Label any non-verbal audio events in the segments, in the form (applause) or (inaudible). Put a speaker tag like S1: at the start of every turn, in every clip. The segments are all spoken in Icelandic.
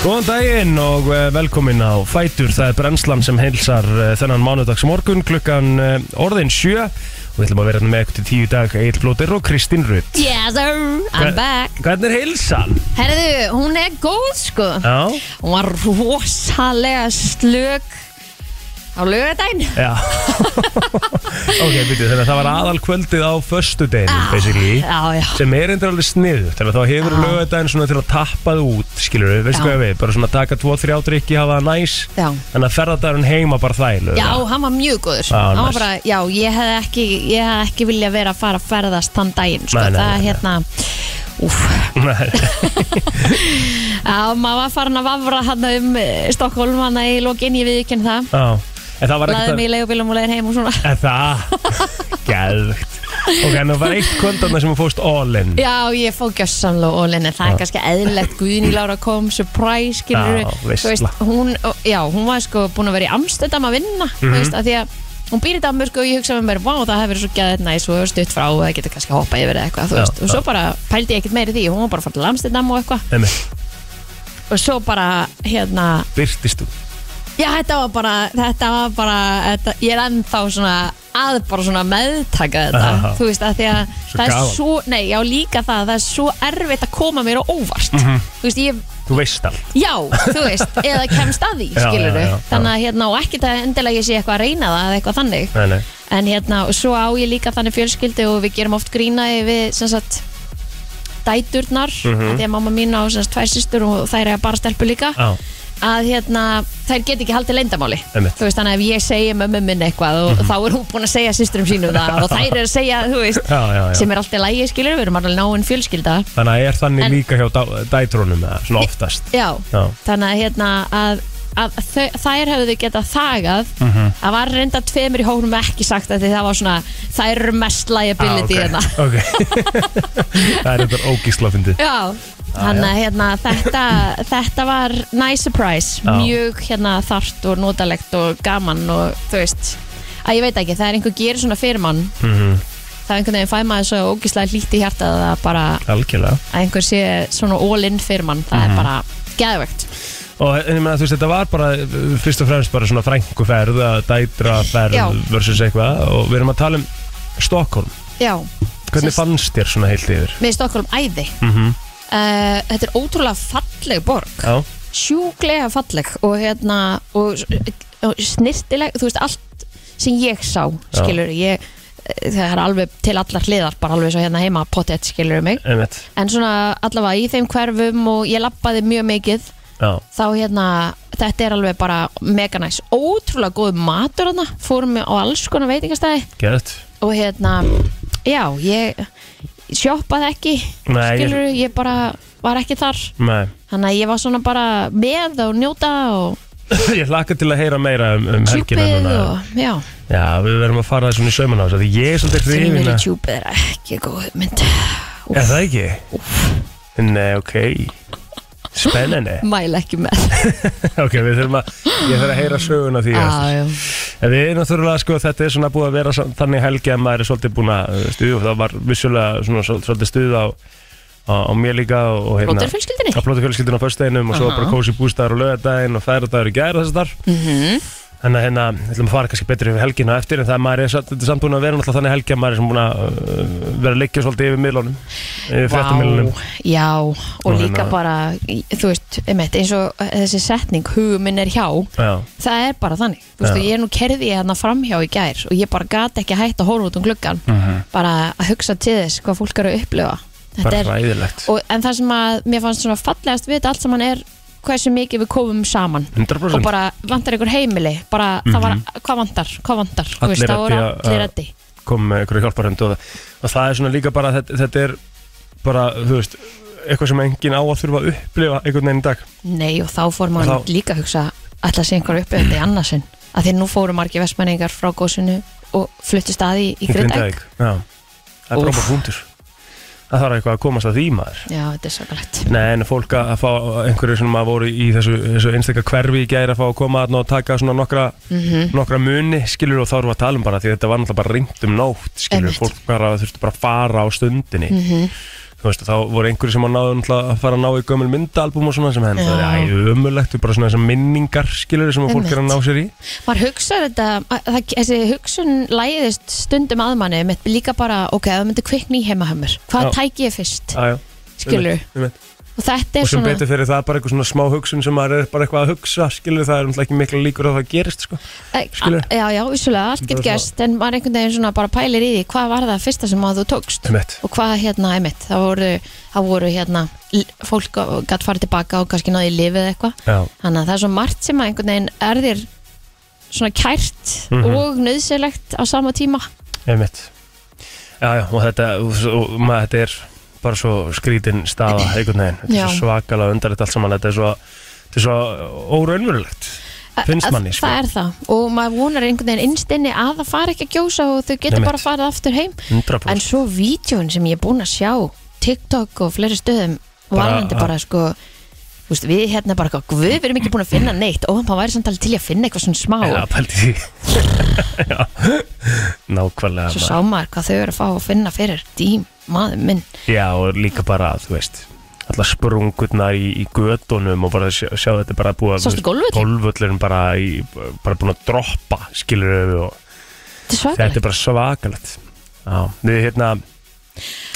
S1: Góðan daginn og eh, velkomin á Fætur, það er brennslan sem heilsar eh, þennan mánudags morgun klukkan eh, orðin sjö og við ætlum að vera hérna með ekkert í tíu í dag Egil Blóter og Kristín Rutt
S2: Yes sir, I'm back
S1: Hvernig er heilsan?
S2: Herðu, hún er góð sko
S1: Já,
S2: Hún var rosalega slök á lögadaginn (laughs)
S1: já Ok, byrju, þannig að það var aðal kvöldið á föstudeginu,
S2: Ah.
S1: basically
S2: Já, já,
S1: sem er endur alveg sniðu þannig að þá hefur
S2: Já.
S1: lögadaginn svona til að tappa þú út skilur við, veistu
S2: Ah. Já.
S1: hvað ég við, bara svona taka 2-3 átrykki, hafa það næs
S2: já
S1: þannig að ferðardagurinn heima bara þælu
S2: Já, hann var mjög góður
S1: Já,
S2: Hann var
S1: nice.
S2: bara, Já, ég hefði ekki, ég hefði ekki vilja vera að fara að ferðast þann daginn sko.
S1: Nei, nei,
S2: Það
S1: nei,
S2: er
S1: nei.
S2: hérna Úf, já, maður var farin að vafra hann um eh, Stokkólm hann í lokin, ég viðkynn það
S1: (laughs) Já, en það var
S2: Laði
S1: ekkert
S2: mig í leigubílum og leiðir heim og svona
S1: Er það? (laughs) Gæðvögt Ok, en það var eitt kvöldan sem þú fóst all in
S2: Já, ég fó gjössamlega ólinni, það er kannski eðlilegt Guðni Lára kom, surprise, skilur
S1: Já, veistla.
S2: hún, já, hún var sko búin að vera í amstöndam að vinna mm
S1: Mhm.
S2: veist, að því að hún býr í Danmörku og ég hugsaði með mér, vá, það hefur verið svo gæðið næs og stutt frá og það getur kannski hoppa yfir eða eitthvað, þú
S1: Já,
S2: veist, og
S1: já.
S2: svo bara pældi ég ekkert meiri því, hún var bara að fara til amstöndam og eitthvað
S1: Emi,
S2: og svo bara, hérna,
S1: byrtist þú
S2: já, þetta var bara þetta var bara, þetta, ég er ennþá svona að bara svona meðtaka þetta,
S1: Já.
S2: þú veist, að því að
S1: Svo
S2: það er
S1: gaman.
S2: svo, nei, já, líka það, að það er svo erfitt að koma mér á óvart
S1: Mhm.
S2: þú veist, ég
S1: Þú veist allt
S2: Já, þú veist, eða kemst að því,
S1: (laughs) Já,
S2: skilur
S1: já, já, já.
S2: Þannig að hérna, og ekkert að endilega ég sé eitthvað að reyna það eða eitthvað þannig
S1: Nei, nei
S2: En hérna, og svo á ég líka þannig fjölskyldi og við gerum oft grína við, sem sagt, dæturnar mm
S1: Mhm.
S2: Því að mamma mín á, sem sagt, tvær systur og þær er bara stelpu líka
S1: Já,
S2: Að hérna, þær get ekki haldið leyndamáli
S1: Einmitt. Mhm.
S2: Þú veist, þannig að ef ég segi mömmu minn eitthvað og þá er hún búin að segja systurum sínum það og þær er að segja, þú veist,
S1: já, já, já.
S2: sem er alltaf lægi, skilur Við erum alveg náinn fjölskylda
S1: Þannig að er þannig
S2: En-
S1: líka hjá dá- dætrónum eða svona oftast
S2: Já,
S1: Já,
S2: þannig að, hérna, að, að þau, þær hefðu getað þagað það
S1: Mhm.
S2: var reynda tveimur í hóknum ekki sagt að því það var svona þær eru mest liability
S1: Ah,
S2: hérna
S1: (laughs) ok, ok. Það er þetta ógísla fyndið
S2: Já, þannig að hérna, þetta, þetta var nice surprise
S1: Já.
S2: mjög hérna þart og notalegt og gaman og þú veist að ég veit ekki, það er einhver gerir svona fyrir mann það er einhvern veginn fæ maður svo ógislega lítið hjarta að það bara
S1: Algjörlega
S2: að einhver sé svona all in fyrir mann það er bara geðvegt
S1: Og en ég meina, þú veist, þetta var bara uh, fyrst og fremst bara svona frænguferð að dætraferð
S2: Já.
S1: versus eitthvað og við erum að tala um Stockholm
S2: Já,
S1: Hvernig
S2: Sest-
S1: fannst þér svona heilt yfir?
S2: með Stokkólum æði
S1: Mm
S2: Uh, þetta er ótrúlega falleg borg
S1: Já,
S2: sjúklega falleg og hérna og, og snirtileg, þú veist allt sem ég sá,
S1: Já.
S2: skilur ég, eh, það er alveg til allar hliðar bara alveg svo hérna heima, pottet skilur mig
S1: einmitt
S2: en svona allavega í þeim hverfum og ég lappaði mjög mikið
S1: Já,
S2: þá hérna, þetta er alveg bara mega næs, ótrúlega góð matur hérna, fórum við á alls konar veitingastæði
S1: gett
S2: og hérna, já, ég sjoppaði ekki,
S1: Nei, ég-
S2: skilur ég bara var ekki þar
S1: Nei, (laughs)
S2: Þannig að ég var svona bara með og njóta og
S1: ég hlakka til að heyra meira um, um helgina
S2: tjúpið
S1: núna
S2: og já,
S1: Já, við verðum að fara svona í sauman á þessu af Því ég er svolítið hrifin
S2: þrjumili
S1: að
S2: tjúpið er ekki góð mynd.
S1: Er það ekki? Nei, ok Spennandi
S2: (laughs) Mæla ekki
S1: (laughs)
S2: með.
S1: Ok, við þurfum að Ég þarf að heyra söguna því ah.
S2: Já, já.
S1: En við erum náttúrulega, sko, þetta er svona búið að vera sam- Þannig helgi að maður er svolítið búin að stuð Og það var vissulega svona svol- svolítið stuð á Á, á mér líka og, og hérna
S2: Blóttur fjölskyldinni.
S1: að plóta fjölskyldinu á föstudeginum og svo
S2: Aha.
S1: bara kósi bústæðar og lögadaginn og færadagur í gæra þess að þar
S2: Mhm.
S1: Þannig að hérna, við ætlum að fara kannski betur yfir helgina á eftir en það er maður er samt- þetta er samt búin að vera náttúrulega þannig helgi að maður er sem búin að uh, vera að liggja svolítið yfir miðlunum yfir fréttamilunum
S2: já, og líka
S1: hérna-
S2: bara, í- þú veist, einmitt, eins og þessi setning, huguminn er hjá,
S1: Já,
S2: það er bara þannig. Þú veist,
S1: Já.
S2: og ég er nú kerði hérna framhjá í gær og ég bara gat ekki hægt að horfa út um gluggan, bara að hugsa til þess hvað fólk eru að upplifa. Þetta
S1: Mhm. bara
S2: er
S1: ræðilegt
S2: og, en það sem að mér fannst svona fallegast við þetta allt saman er hversu mikið við komum saman
S1: 100%
S2: og bara vantar ykkur heimili bara það var, hvað vantar, hvað vantar þú
S1: Mhm. Allir
S2: veist, það voru
S1: reddi að-
S2: allir reddi
S1: kom með einhverju hjálparhund og, það- og það er svona líka bara þetta, þetta er bara, þú veist eitthvað sem enginn á að þurfa að upplifa einhvern veginn í dag
S2: nei og þá fór maður
S1: Og þá-
S2: líka að hugsa ætla að sé einhver uppi þetta í annarsinn að því nú fóru margir vestmenningar frá góðsynu og fluttist aði í, í
S1: Í
S2: Grindæk
S1: Grindavík. Já, það er
S2: Úff.
S1: bara punktur Það þarf eitthvað að komast að því maður
S2: já, þetta er sakalegt
S1: Nei, en fólk að að fá einhverju sem að voru í þessu, þessu einstakka hverfi í gæri að fá að koma þarna og taka svona nokkra,
S2: Mhm.
S1: nokkra muni, skilur og þá erum við að tala um bara því þetta var náttúrulega bara ringt um nótt, skilur
S2: Einmitt. Mhm.
S1: fólk bara þurfti bara að fara á stundinni þú veist, þá voru einhverju sem að náðu náttúrulega að fara að ná í gömul myndaalbum og svona sem henni,
S2: Já.
S1: það er æ, ömulegt bara svona þessar minningar skilur sem að fólk er að ná sér í
S2: maður hugsaður þetta að- það, þessi hugsun læðist stundum að manni með líka bara, ok, ef það myndi kvikni í heimahömmur hvað
S1: Já.
S2: tæki ég fyrst,
S1: Æ,
S2: skilur
S1: einmitt.
S2: og þetta
S1: og
S2: er
S1: sem
S2: svona
S1: betur fyrir það er bara eitthvað svona smá hugsun sem maður er bara eitthvað að hugsa skilur það er náttúrulega ekki mikla líkur að það gerist sko.
S2: Eh,
S1: skilur.
S2: a- já, já, vissulega, allt getur
S1: Bara
S2: gerst en maður einhvern veginn svona bara pælir í því hvað var það fyrsta sem að þú tókst
S1: Einmitt.
S2: og hvað hérna, einmitt, það voru, það voru hérna, l- fólk gætt farið tilbaka og kannski náði í lifið eða eitthvað
S1: Já,
S2: þannig að það er svo margt sem að einhvern veginn er þér svona kært
S1: Mhm.
S2: og nöðsilegt á sama tíma
S1: einmitt Já, já, og þetta, og maður, þetta er bara svo skrítin staða einhvern veginn, þetta
S2: Já.
S1: er svo svakalega undarlegt allt saman, þetta er svo, þetta er svo óraunverulegt, finnst
S2: Að-
S1: manni sko.
S2: Það er það og maður vonar einhvern veginn innstinni að það fari ekki að gjósa og þau getur
S1: Einmitt.
S2: bara farið aftur heim
S1: 100%
S2: en svo vídjón sem ég er búin að sjá TikTok og fleiri stöðum
S1: Bara-
S2: varðandi bara sko þú veist, við hérna bara eitthvað, guð, við erum ekki búin að finna neitt og maður væri samtalið til í að finna eitthvað svona smá
S1: Já, pældi því (laughs) Já. Nákvæmlega
S2: svo
S1: maður.
S2: sá maður hvað þau eru að fá að finna fyrir dým, maður minn
S1: Já, og líka bara, þú veist allar sprungurnar í, í gödunum og bara sjá, sjá þetta bara búið að-
S2: Sástu golfvöllinn?
S1: Golfvöllurinn bara, í, bara búin að droppa skilur við og
S2: þetta er
S1: þetta
S2: svakalegt,
S1: er bara svakalegt Já, við hérna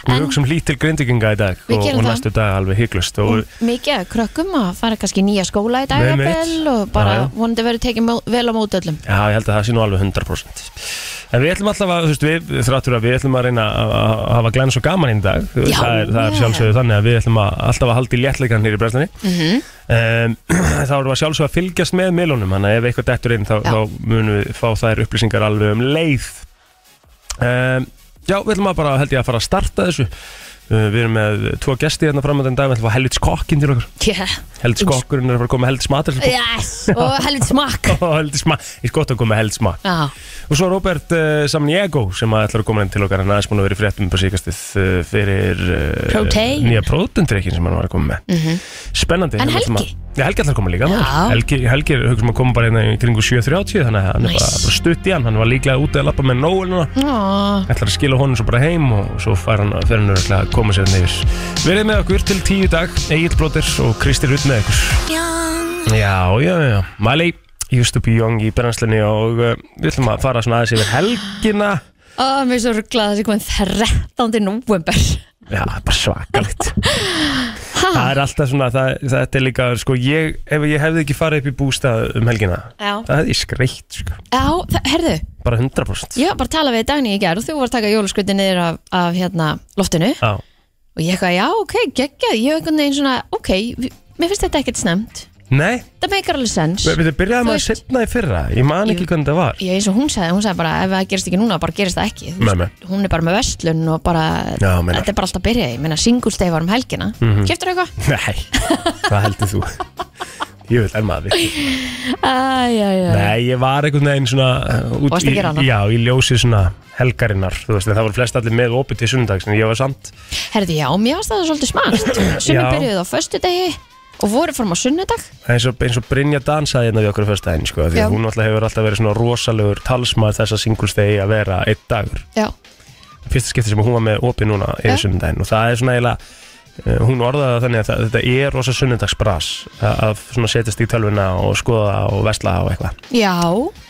S1: við
S2: En-
S1: hugsaum hlýtt til grindiginga í dag
S2: Við
S1: og,
S2: gerum
S1: og
S2: það. Mm.
S1: næstu dag alveg hygglust og
S2: og mikið að krökkum að fara kannski í nýja skóla í dag
S1: Nei, mitt.
S2: jafnvel, og bara
S1: Já, já.
S2: vonandi verið tekið mó- vel á mót öllum
S1: Já, ég held að það sé nú alveg 100% En við ætlum alltaf að, þú veist, við þráttur að við ætlum að reyna að að hafa glens og gaman í dag Þú veist,
S2: Já,
S1: það er, það er
S2: yeah.
S1: sjálfsögðu þannig að við ætlum að alltaf að halda í léttleikan hér í brenslanni mm
S2: Mhm.
S1: -hmm. (clears throat) Þá erum við að sjálfsögðu að fylgjast með milunum Þannig að ef eitthvað dettur inn þá,
S2: Já.
S1: þá munum við fá þær upplýsingar alveg um leið um, Já, við ætlum að bara, held ég að fara að starta þessu Uh, Við erum með tvo gesti hérna framöndan dag Við ætlum að fá Helvits kokkin til okkar
S2: yeah.
S1: Helvits kokkurinn er að fara að koma Helvits matur
S2: yes. og helvit smakk
S1: Helvits matur, ég sko að koma Helvits matur
S2: Já,
S1: Og svo Robert uh, Samniego sem að ætlar að koma inn til okkar hann aðeins múin að vera í fréttum bara síkastið uh, fyrir uh,
S2: Protein. Mhm.
S1: nýja prótendrykkin sem hann var að koma með Spennandi
S2: En
S1: Við ætlum
S2: Helgi?
S1: að, Já, Helgi ætlar að koma líka maður.
S2: Já.
S1: Helgi, Helgi er hugsa um að koma bara inn í kringu 7.30 þannig að hann
S2: Nice.
S1: er bara, bara stutt í hann hann var líklega úti að lappa með nóelina
S2: Ó,
S1: ætlar að skila honum svo bara heim og svo fær hann fer hann örugglega að koma sér neyfis Verið með okkur til tíu í dag Egil Blóter og Kristi Rutt með okkur Já, já, já, Mali Used to be young í brennslinni og uh, við ætlum að fara svona aðeins yfir helgina
S2: Ó, mér er svo rugglaði þessi komin 13. november
S1: Já, það er bara
S2: (laughs)
S1: svakalegt Það er alltaf svona, það, þetta er líka sko, ég, ef ég hefði ekki farið upp í bústað um helgina,
S2: Já,
S1: það hefði ég skreitt sko,
S2: Já það- herðu,
S1: bara 100%
S2: ég var bara að tala við Dagný í gerð og þú var að taka jólaskrutin niður af, af hérna, loftinu
S1: Já,
S2: og ég eitthvað, já, ok, geggjað ég hef einhvern veginn svona, ok, vi- mér finnst þetta ekkert snemt
S1: nei,
S2: það meikar alveg sens
S1: við, við
S2: Þú
S1: byrjaðum að
S2: veist-
S1: setna í fyrra ég man ekki hvernig það var
S2: ég eins og hún sagði, hún sagði bara ef það gerist ekki núna, bara gerist það ekki Þú
S1: Nei,
S2: veist, hún er bara með vestlun og bara
S1: Já, Mhm. meinar.
S2: þetta er bara alltaf að byrja, ég meina singulstegi var um helgina mm eitthvað?
S1: Nei, hvað heldur þú? Ég vil er maður við
S2: Æ, já, já.
S1: Nei, ég var einhvern veginn svona uh, út
S2: Varstu að
S1: í-
S2: gera hana?
S1: Já, ég ljósi svona helgarinnar Þú veist, en það voru flest allir með opið til sundags En ég var samt
S2: Herði, já, mér varst það svolítið smart
S1: (clears throat)
S2: Sumir
S1: Já.
S2: byrjuðu á föstudegi og voru fram á sunnudag
S1: eins og, eins og Brynja dansaði hérna við okkur fyrsta henni sko, Því
S2: Já.
S1: að hún alltaf hefur alltaf verið svona rosalegur talsmaður þess að singulstegi að vera einn dagur
S2: Já,
S1: Fyrsta skipti sem hún var með opið núna
S2: Já.
S1: yfir sundaginn Og það er svona eiginlega uh, Hún orðaði það þannig að það, þetta er rosa sunnudagsbras að, að svona setjast í tölvuna og skoða og vesla og eitthvað
S2: já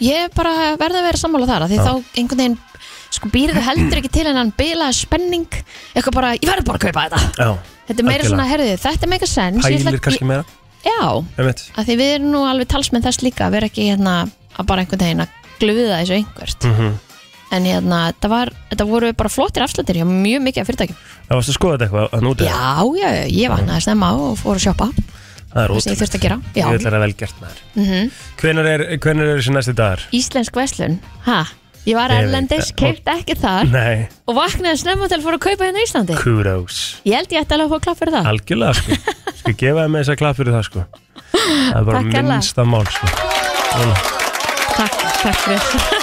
S2: ég bara verði að vera sammála þar af Því
S1: Já.
S2: þá einhvern veginn sko býrðu heldur ekki til en hann bilaði spenning eitthvað bara, ég verði bara að kaupa þetta
S1: Já,
S2: Þetta er meira
S1: Algjörlega.
S2: svona, herðu, þetta er meika sens ég ætla-
S1: hælir kannski meira
S2: Já,
S1: Einmitt.
S2: af því við erum nú alveg talsmenn þess líka að vera ekki hérna að bara einhvern veginn að gluða þessu einhvert
S1: Mhm.
S2: En hérna, þetta, var, þetta voru bara flottir afslutir hjá mjög mikið af fyrirtækjum
S1: Það varst að skoða þetta eitthvað að núti
S2: Já, já, já, ég vannaði snemma og fór að sjoppa
S1: Það er
S2: sem ég
S1: ótrúlega
S2: þurfti að gera já.
S1: Ég vil vera vel gert maður
S2: Mm
S1: Hvenær er, hvenær er þessi næsti
S2: (laughs)
S1: dagar?
S2: Íslensk verslun, ha? Ég var
S1: Ég veit
S2: erlendis,
S1: það.
S2: keipt ekki þar
S1: Nei,
S2: og vaknaði snemma til að fóra að kaupa hérna í Íslandi
S1: kudos
S2: Ég held ég ætti alveg að fá klapp fyrir það
S1: Algjörlega sko Skal gefa það með þess að klap fyrir það sko Það er bara
S2: Takk hérlega.
S1: minnsta mál sko
S2: Takk, takk fyrir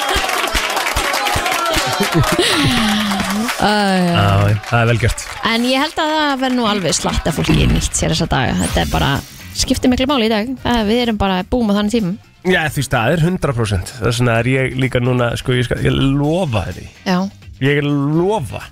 S2: (laughs) Æ,
S1: Á, Það er vel gert
S2: En ég held að það verði nú alveg slatt að fólki nýtt sér þessa daga Þetta er bara, skiptir miklu máli í dag Það, Við erum bara búum á þannig tímum
S1: Já þú veist það er 100% Það er svona er ég líka núna sko ég, skal, ég lofa þér því
S2: Já,
S1: Ég lofa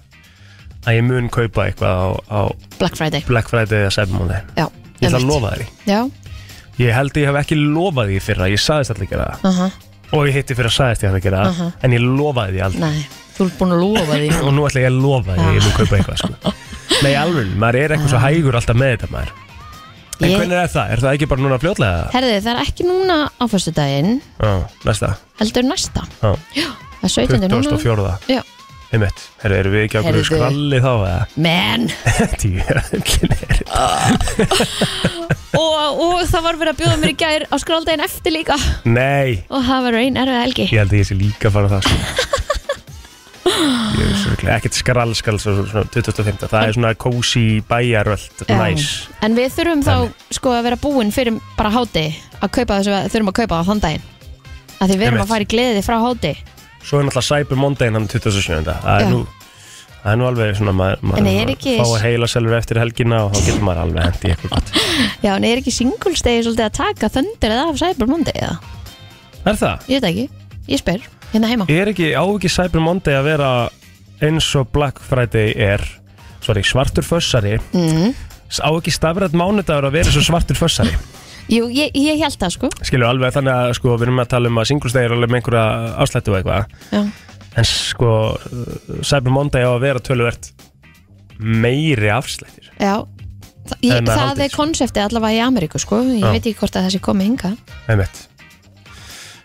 S1: að ég mun kaupa eitthvað á, á
S2: Black Friday
S1: Black Friday eða Cyber Monday
S2: Já,
S1: Ég ætla að
S2: einmitt.
S1: lofa þér því.
S2: Já,
S1: Ég held ég hef ekki lofað því fyrra, ég saðist alltaf að gera það
S2: aha,
S1: Og ég hitti fyrra saðist ég alltaf að gera það
S2: Aha.
S1: En ég lofaði því aldrei
S2: nei Þú ert búin að lofa því
S1: Og nú ætla ég að lofa því að ég mun kaupa eitthvað
S2: (laughs)
S1: sko. Nei, alveg, maður er eitthvað svo hægur alltaf með þetta maður En
S2: Ah. Ég-
S1: hvernig er það? Er það ekki bara núna fljótlega?
S2: Herði, það er ekki núna á fyrstu daginn
S1: Já, næsta
S2: Heldur næsta
S1: Já.
S2: Já, það er 17. núna
S1: 24.
S2: Já,
S1: Einmitt, herru, erum við ekki á hverju
S2: Heyrðu.
S1: skralli þá eða? (laughs)
S2: (laughs) menn
S1: Tíu, öllin er
S2: og, og það var verið að bjóða mér í gær á skráldaginn eftir líka
S1: Nei,
S2: Og það var einn erfið helgi
S1: ég held að ég sé líka að fara það sko. Ég er svo örugglega- Ekkert skrall skal svo, svo- svona 2015 Það er svona kósi bæjaröld
S2: Já.
S1: Næs
S2: En við þurfum þá sko að vera búin fyrir bara háti að kaupa þessu við þurfum að kaupa á þann daginn að því við erum
S1: Einmitt.
S2: að fara í gleði frá háti
S1: Svo er náttúrulega Cyber Monday hérna hann 27. Það
S2: Já.
S1: er nú Það er nú alveg svona maður,
S2: En
S1: maður
S2: er ekki-
S1: fá að heila selur eftir helgina og þá getur maður alveg hendi eitthvað gott.
S2: Já, en er ekki singulstegi svolítið að taka þöndir eða af Cyber Monday eða?
S1: Er það?
S2: Ég veit það ekki, ég spyr, hérna heima
S1: Er ekki, á ekki Cyber Monday að vera eins og Black Friday er sorry, svartur fössari
S2: mm.
S1: á ekki stafrætt mánudagur að vera svo svartur fössari
S2: Jú, ég, ég held það sko
S1: skilur alveg þannig að sko, við erum að tala um að singlstegir alveg með einhverja afslættu og eitthvað
S2: Já,
S1: en sko uh, Cyber Monday á að vera töluvert meiri afslættir
S2: Já. Þa- Ég,
S1: En að
S2: það
S1: hátíð,
S2: er
S1: sko.
S2: konseptið allavega í Ameríku sko Ég
S1: Já.
S2: veit ekki hvort að það sé komið hinga
S1: einmitt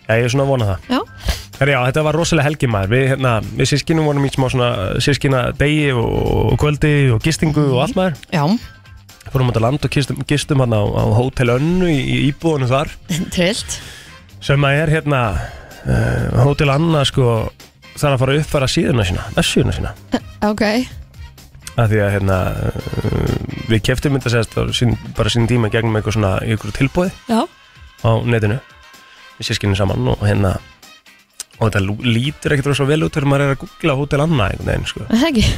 S1: Já, ég er svona að vona það.
S2: Já,
S1: Herra, já, þetta var rosalega helgi maður. Við, hérna, við sískinum vorum í smá svona sískina degi og, og kvöldi og gistingu og allt maður.
S2: já,
S1: Fórum út að land og gistum, gistum hann á, á Hotel Önnu í, í íbúðunum þar.
S2: (laughs) trillt
S1: sem að er hérna uh, Hotel Anna sko þarf að fara að uppfæra síðuna sína, vessíðuna sína
S2: Ok,
S1: af því að hérna uh, við keftum þetta sérst á sín, bara sín tíma gegnum eitthvað svona í ykkur tilbúið
S2: já,
S1: á netinu við sískinni saman og hérna og þetta lú- lítur ekkert rosa vel út þegar maður er að googla Hotel Anna einhvern veginn sko
S2: það ekki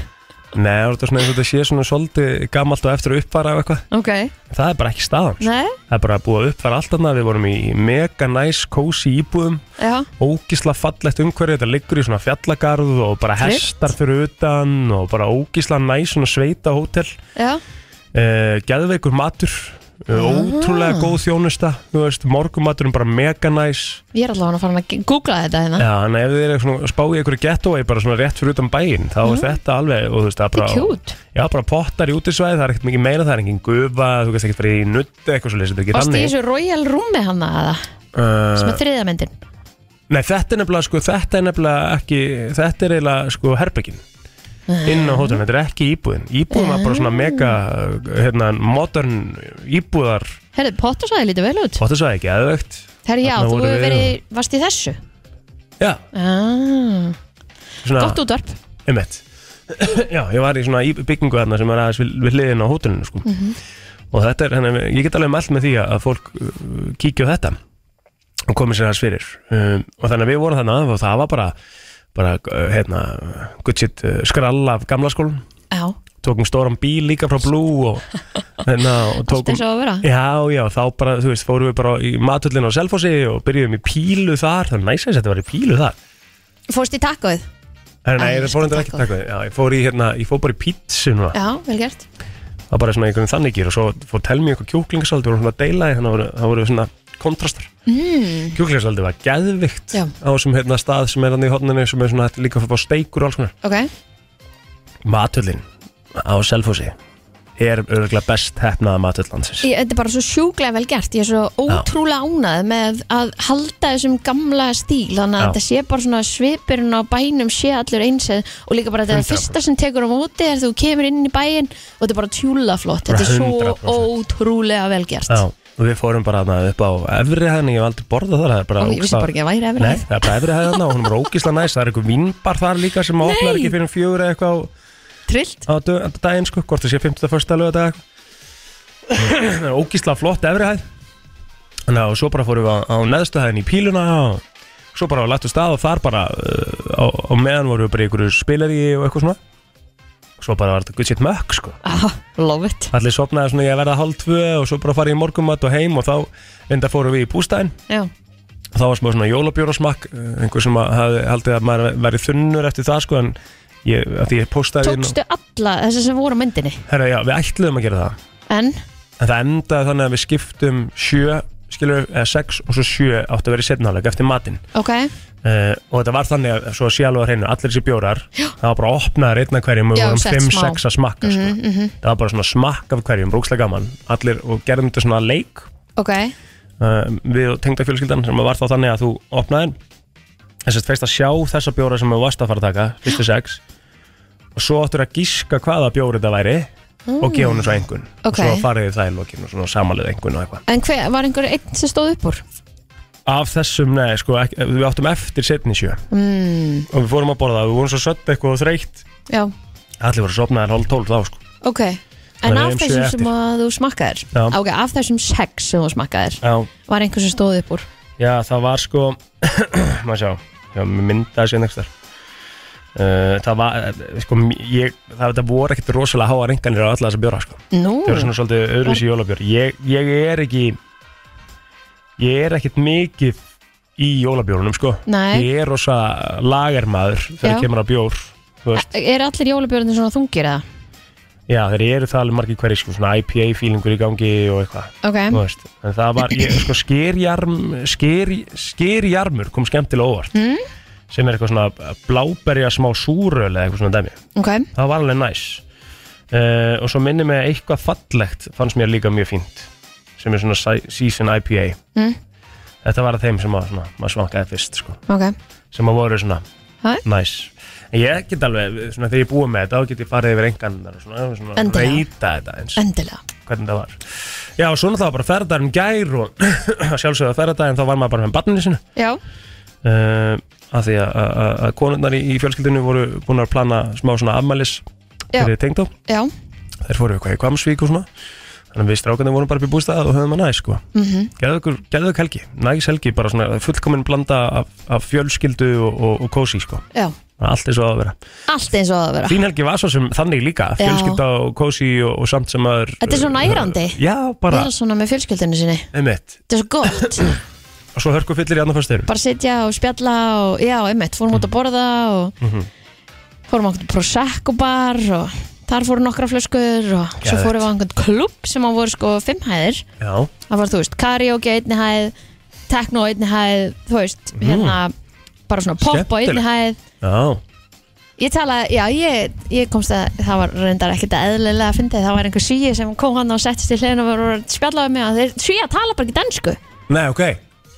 S1: Nei, það er þetta svona eins og þetta sé svona svolítið gamalt og eftir að uppfæra og eitthvað
S2: Ok,
S1: það er bara ekki staðan sko.
S2: nei,
S1: það er bara búið að uppfæra allt annað við vorum í mega næs, kósi íbúðum
S2: já
S1: ógísla fallegt umhverfi þetta liggur í svona fjallagarð og bara
S2: Tryggt.
S1: hestar fyrir utan og bara ógísla næs svona sveita hótel
S2: Já,
S1: uh, geðveikur matur uh, ótrúlega góð þjónusta þú veist, morgumaturinn bara mega næs
S2: ég er allavega að fara að googla þetta hérna
S1: já, þannig að ef þið er svona spáið ykkur getaway bara svona rétt fyrir utan bæinn þá er þetta alveg og þú veist, það er
S2: Mhm. Þetta er
S1: bara
S2: kjút
S1: já, bara pottar í útisvæði, það er ekkert mikið meira það er engin gufa, þú veist ekkert fyrir í nutt eitthvað svo þetta er ekki
S2: Varst í
S1: þannig
S2: þessu Royal Roomi hann að það sem
S1: uh,
S2: er þriðja myndin
S1: nei, þetta er nefnilega sko, þetta er nefnilega ekki þetta er eiginlega sko herbyggin inn á
S2: Ah.
S1: hótelum, þetta er ekki íbúðin íbúðin var bara svona mega hérna, modern íbúðar
S2: Herðu, Pottersæði lítið vel út
S1: þetta sagði ekki aðvögt
S2: Herðu, já,
S1: Þarna
S2: þú
S1: vorum
S2: hefur
S1: við
S2: verið, varst í þessu
S1: já,
S2: ah,
S1: svona,
S2: Gott útvarp
S1: einmitt (coughs) já, ég var í svona í- byggingu þarna sem var aðeins við, við hliðin á hótelinu sko.
S2: Mhm.
S1: og þetta er, henni, ég get alveg mælt með því að að fólk uh, kíkja á þetta og komið sér aðeins fyrir um, og þannig að við vorum þarna og það var bara bara, uh, hérna, good shit uh, skrall af gamla skólan
S2: Já,
S1: tókum stóran bíl líka frá Blue
S2: (laughs)
S1: og, hérna, og
S2: allt
S1: tókum
S2: eins og að vera
S1: Já, já, þá bara, þú veist, fórum við bara í matullin á Selfossi og byrjuðum í pílu þar, það er næst að þetta var í pílu þar.
S2: Fórst í takkóið
S1: En nei,
S2: Æ,
S1: það fórum þetta ekki
S2: taco.
S1: takkuð, já, ég fór í hérna, ég fór bara í pítsu núna,
S2: Já, vel gert
S1: það var bara svona einhvern þannig gýr og svo fór tel mér eitthvað kjúklingasaldi og svona deilaði, þannig að voru- það voru svona kontrastar.
S2: mm,
S1: Kjúklingasaldi var geðvikt
S2: Já.
S1: á þessum hérna stað sem er hann í hodninni sem er svona þetta er líka fyrir steikur og alls konar.
S2: Ok,
S1: Matullin á Selfossi er örgulega best hefnaða matull landsins.
S2: ég, þetta er bara svo sjúklega vel gert Ég er svo ótrúlega ánað með að halda þessum gamla stíl Þannig að
S1: Já.
S2: þetta sé bara svona svipurinn á bænum sé allur eins eð- Og líka bara þetta er
S1: 100%.
S2: fyrsta sem tekur á móti er þú kemur inn í bæin Og þetta er bara tjúlaflott Þetta er svo
S1: 100%.
S2: ótrúlega vel gert
S1: Já, og við fórum bara þarna upp á efri hæðin, ég hef aldrei borðað þar, það er bara
S2: Og ég vissi
S1: ógeðslega-
S2: bara ekki að væri efri
S1: Nei,
S2: hæð.
S1: það er bara efri hæðin og hún er ógísla næs, það er einhver vínbar þar líka sem opnar ekki fyrir um fjögur eða eitthvað á-
S2: Trillt
S1: á dö- daginn sko, hvort það sé 51. lögadag (clears throat) Það er ógísla flott efri hæð Þannig að og svo bara fórum við á, á neðstu hæðin í píluna og svo bara lættu stað og þar bara uh, á, á meðan vorum við bara í einhverju spilari og eitthvað svona Svo bara var þetta gutt sitt mökk sko
S2: ah, Love it
S1: Allir sopnaði svona í að verða hálf tvö og svo bara farið í morgumat og heim og þá enda fórum við í bústæðin
S2: Já,
S1: uh, og þá var smá svona jólabjórasmakk eh, einhver sem að hafði haldið að maður verið þunnur eftir það hérna- sko en ég, að því ég postaði inn og,
S2: Tókstu alla þessi sem voru á myndinni
S1: herra, já, við ætluðum að gera það
S2: En,
S1: en það endaði þannig að við skiptum sjö skilur, eða sex og svo sjö átti að vera í setnáleik eftir matinn
S2: ok,
S1: uh, og þetta var þannig að svo að sé alveg að hreinu allir þessi bjórar, það var bara að opnaður einn af hverjum og
S2: Já,
S1: vorum
S2: sett
S1: 5-6
S2: smá. Mhm.
S1: að smakka sko. það var bara svona smakk af hverjum, brúkslega gaman allir og gerðum þetta svona leik
S2: ok
S1: uh, við og tengdafjölskyldan sem var þá þannig að þú opnaðir þess að feist að sjá þessa bjóra sem þú varst að fara að taka fyrstu sex og svo áttur að gíska hvaða bjóri þetta væri og gefa hún svo einhvern
S2: Mm. Ok.
S1: og svo farið þið það í lokin og svona samalið einhvern og eitthvað
S2: En hver, var einhver einn sem stóð upp úr?
S1: af þessum, nei, sko, ekki, við áttum eftir setni sjö
S2: Mm,
S1: og við fórum að borða og við vorum svo sött eitthvað og þreytt
S2: já,
S1: allir voru sopnaðir hálf tólf þá, sko
S2: ok En
S1: Þannig
S2: af
S1: við eigum sjö
S2: þessum
S1: eftir.
S2: sem að þú smakkaðir
S1: Já.
S2: Ok, af þessum sex sem þú smakkaðir
S1: já,
S2: Var einhver sem stóð upp úr?
S1: já það var sko (clears throat) maður sjá, já, mér myndaði sér nægstar uh, það var, eh, sko ég, það, það voru ekkert rosalega háa renganir á alla þessa bjóra, sko
S2: Nú,
S1: það eru svona svolítið öðruvísi jólabjór ég, ég er ekki ég er ekkert mikið í jólabjórunum, sko
S2: nei
S1: ég er rosa lagermaður þegar
S2: Já.
S1: kemur á bjór þú veist,
S2: Er allir jólabjörnir svona þungir eða?
S1: já, þeir eru það alveg margir hverjir, sko, svona IPA-fílingur í gangi og eitthvað
S2: Ok,
S1: Þú veist, en það var, ég, sko, skýrjarm, skýr, skýrjarmur kom skemmtilega óvart
S2: Mm.
S1: sem er eitthvað svona bláberja smá súröl eða eitthvað svona dæmi,
S2: ok
S1: það var alveg næs uh, og svo minni mig að eitthvað fallegt fannst mér líka mjög fínt sem er svona si- season IPA
S2: Mm.
S1: þetta var að þeim sem að, svona, maður svankaði fyrst sko,
S2: Ok,
S1: sem að voru svona
S2: Hæ?
S1: næs en ég get alveg, svona þegar ég búið með þetta þá get ég farið yfir engan og svona, svona
S2: Endilega.
S1: reyta þetta eins
S2: endilega
S1: hvernig það var Já, og svo náttúrulega bara ferðarinn gær og (clears throat) að sjálfsögðu að ferðardaginn þá var maður bara með barninu sinu
S2: Já,
S1: uh, af því að- að að- að konundar í, í fjölskyldinu voru búin að plana smá svona afmælis
S2: Já.
S1: fyrir tengdó,
S2: já,
S1: þeir fóru eitthvað í Kvamsvík og svona þannig að við strákandi vorum bara upp í bústað og höfum að næs sko,
S2: mhm
S1: geðu ykkur, geðu ykkur helgi næs helgi, bara svona fullkomin blanda af, af fjölskyldu og, og, og kósi sko,
S2: já
S1: allt eins og á að vera
S2: Allt eins og það að vera
S1: Þín helgi var svo sem þannig líka,
S2: Já.
S1: fjölskylda og kósi og, og samt sem maður
S2: Þetta er svo nærandi.
S1: Já,
S2: Bara
S1: bara,
S2: svona með fjölskyldinu sinni
S1: einmitt
S2: Þetta er svo gott
S1: (clears throat) og svo hörku fyllir í annan fyrstuðurum
S2: Bara sitja og spjalla og já, einmitt Fórum út að borða og
S1: Mhm.
S2: Fórum á einhvern prosecco bar og Þar fóru nokkra flöskur og svo
S1: Geðveikt.
S2: fórum við á einhvern klubb sem að voru sko fimm hæðir
S1: Já,
S2: Það var, þú veist, karaoke á einni hæð, techno á einni hæð, þú veist, hérna, bara svona pop á einni
S1: Mm. Skemmtilegt.
S2: hæð.
S1: já,
S2: Ég talaði, já, ég, ég komst að, það var reyndar ekkert að eðlilega að fyndi, það var einhver svíi sem kom hann og settist í hliðin og var að spjalla við mig og þeir svíi að tala bara ekki dansku.
S1: nei ok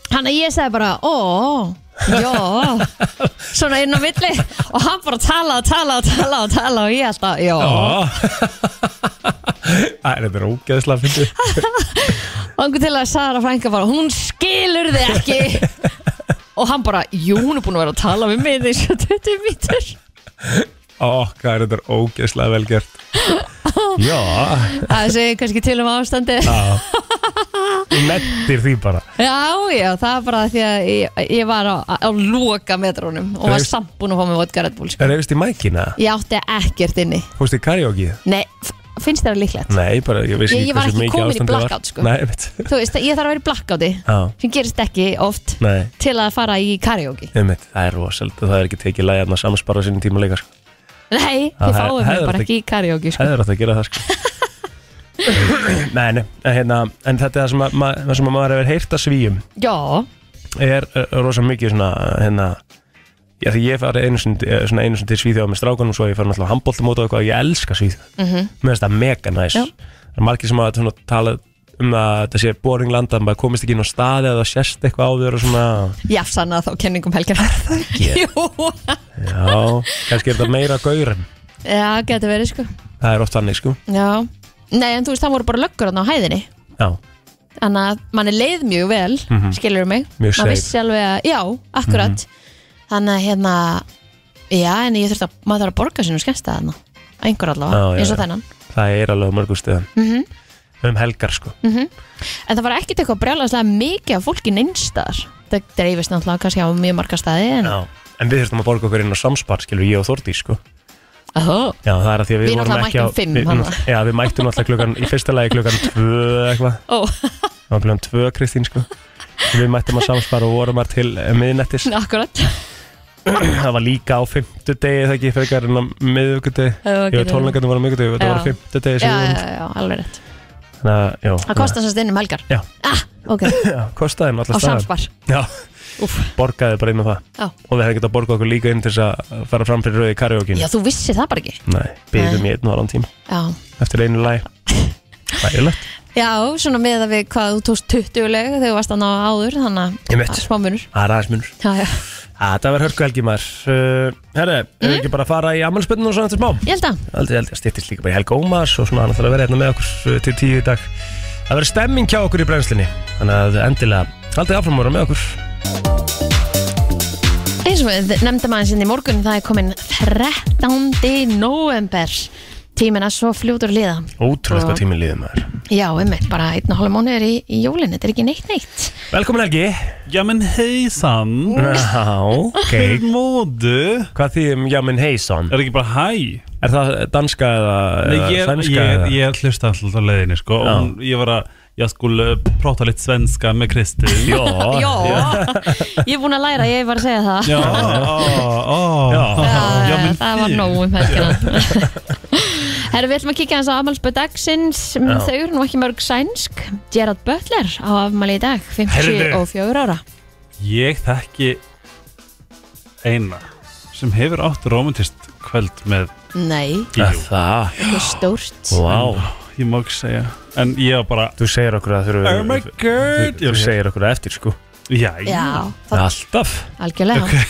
S2: Þannig að ég sagði bara, ó, já, svona inn á milli og hann bara talaði og talaði og talaði og talaði og ég alltaf, já.
S1: Ó. (laughs) Æ, Þetta er ógeðslega fyndið
S2: Og einhvern til að Sara frænka bara, hún skilur þig ekki Og hann bara, jú, hún er búin að vera að tala við mig þessu 20 mítur
S1: Ó, hvað er þetta er ógeðslega vel gert Já,
S2: Það segir kannski til um ástandi Já,
S1: já Þú nettir því bara
S2: já, það er bara því að ég, ég var á, á loka metrónum Og
S1: Þú
S2: var
S1: veist-
S2: samt búin að fá mig vodka Red Bull sko.
S1: Reyfist í mækina,
S2: Ég átti ekkert inni
S1: fórst í karaoke
S2: Nei, f- finnst þér það líklegt?
S1: Nei, bara ég veist
S2: Ég- ég var ekki komin í
S1: ástandið
S2: blackout, sko.
S1: Nei, einmitt
S2: Þú veist, ég þarf að vera í blackouti
S1: Já,
S2: Sem gerist ekki oft
S1: nei,
S2: til að fara í karaoke
S1: einmitt Það er rosalega, það er ekki tekið lægjarn að samspara sinni tíma leika sko.
S2: Nei,
S1: Já,
S2: þið
S1: það-
S2: fáum mig
S1: hefði
S2: bara
S1: átt að-
S2: ekki í karaoke sko.
S1: Það er átt að gera það
S2: (laughs)
S1: sko Nei, nei, en, hérna, en þetta er það sem, að, ma, það sem að maður hefur heyrt að svíum
S2: Já,
S1: er uh, rosa mikið svona hérna Já, því ég fari einu sinni, eh, svona einu sinni til Svíþjóð með strákunum svo ég fari náttúrulega handbóltamót og eitthvað og ég elska Svíþjóð.
S2: Mhm.
S1: Mér finnst það mega næs.
S2: Já.
S1: Það er margir sem að svona, tala um að þetta sé boring land að maður komist ekki inn á staði eða það sést eitthvað á þér og svona,
S2: jafsanna þá kenningum helgar (laughs) Jú,
S1: já, kannski er þetta meira gaurum.
S2: já, getur verið sko
S1: Það er oft þannig, sko.
S2: Já, nei en þú veist það voru bara löggur hann á hæðinni
S1: Já,
S2: Þannig að manni leið mjög vel, mm
S1: Mhm.
S2: skilur mig
S1: Mjög
S2: Maður
S1: safe. Mhm.
S2: vissi alveg að, já, akkurat Þannig að hérna, já en ég þurfti að, maður þarf að borga sínum skemmsta þarna Einhver
S1: Já,
S2: allavega,
S1: já,
S2: eins og
S1: já.
S2: þennan
S1: það er alveg á mörgum stöðum.
S2: Mhm.
S1: Um helgar, sko.
S2: En það var ekkit eitthvað brjálagslega mikið af fólki neinstaðar Það dreifist náttúrulega kannski á mjög marga staði en,
S1: Já. En við þurfum að borga okkur inn á samspart, skilur, ég og Þórdís, sko.
S2: Ahó,
S1: Já, það er að því að við,
S2: Við
S1: vorum
S2: náttúrulega
S1: ekki
S2: mættum fimm,
S1: við-
S2: hana.
S1: (laughs) Já, við mættum alltaf klukkan, í fyrsta lagi klukkan tvö eitthvað,
S2: ó, (laughs)
S1: það var klukkan tvö Kristín sko Við mættum að samspara og vorum þar til eh, miðnættis
S2: akkurat
S1: (clears throat) það var líka á fimmtudegi það ekki frekar en á miðugudegi
S2: Það var
S1: ég veit
S2: ekki-
S1: tónleikandi var á miðugudegi, þetta
S2: Já.
S1: var á fimmtudegi
S2: já,
S1: sem við
S2: já,
S1: vorum.
S2: já, alveg rétt
S1: þannig að já,
S2: það kostar sérst inn um helgar
S1: Já.
S2: ah, ok,
S1: já, kostaði hann
S2: á
S1: alltaf staðan
S2: samspar
S1: já,
S2: Úff.
S1: borgaði bara inn á það
S2: Já.
S1: og við hefði getað borgað okkur líka inn til þess að fara fram fyrir rauði karaoke
S2: já, þú vissir það bara ekki
S1: nei, byggðum í einn og halvan tím
S2: já,
S1: eftir einu
S2: (laughs)
S1: læg Ægilegt
S2: já svona með að við hvað þú tókst 20 leg þegar þú varst að ná áður þannig
S1: Einmitt.
S2: að smámunur
S1: Það er aðeins munur
S2: já, já.
S1: Það verður Ah, hörku helgi maður uh, Herre, mm. erum við ekki bara að fara í ammálspenninu og svona eftir smá?
S2: ég held að
S1: Aldrei, aldrei, stýttist líka bara í Helga Ómars og svona hann ætlar að vera hérna með okkur uh, til tíu í dag Það verður stemming hjá okkur í brennslinni Þannig að endilega, aldrei áfram voru með okkur
S2: eins og við nefndum aðeins inn í morgun það er komin 13. november tíminn að svo fljótur að liða
S1: Ótrúlega
S2: Já.
S1: hvað tíminn liðið maður
S2: já, einmitt, bara einn og hálfa mánuður í, í jólinn þetta er ekki neitt neitt
S1: Velkomin Helgi
S3: Ja men hejsan,
S1: Já, ok
S3: hur mår du?
S1: Hvað þýðum Jamin Heysson?
S3: Er það ekki bara hæ?
S1: Er það danska eða,
S3: Nei,
S1: eða
S3: ég,
S1: sænska?
S3: ég,
S1: eða?
S3: jag lyssnade alltid på leginni sko
S1: Ja.
S3: och jag var jag skulle prata lite svenska med (laughs) Kristin.
S1: Já,
S2: já, (laughs) ég er búin að læra, ég var að segja það
S3: Ja, ah, ja,
S1: Já.
S3: ja,
S2: Já,
S3: men
S2: það var
S3: fint.
S2: nóg
S1: (laughs)
S2: um helgina Herru, við ætlum að kíkja hans á afmælspöð dagsins
S1: Já.
S2: Þau eru nú ekki mörg sænsk Gerard Butler á afmæli í dag
S1: Heyrðu.
S2: 54 ára
S3: Ég þekki eina sem hefur átt romantist kvöld með
S2: Nei,
S1: Er
S3: Gíu.
S1: Það,
S2: það er stórt
S1: vá
S3: ah, Ég má ekki segja. En ég var bara,
S1: Þú segir okkur að þurfum
S3: oh my god.
S1: Þú segir okkur það eftir sko
S3: Já,
S2: Já, það,
S1: Alltaf
S2: algjörlega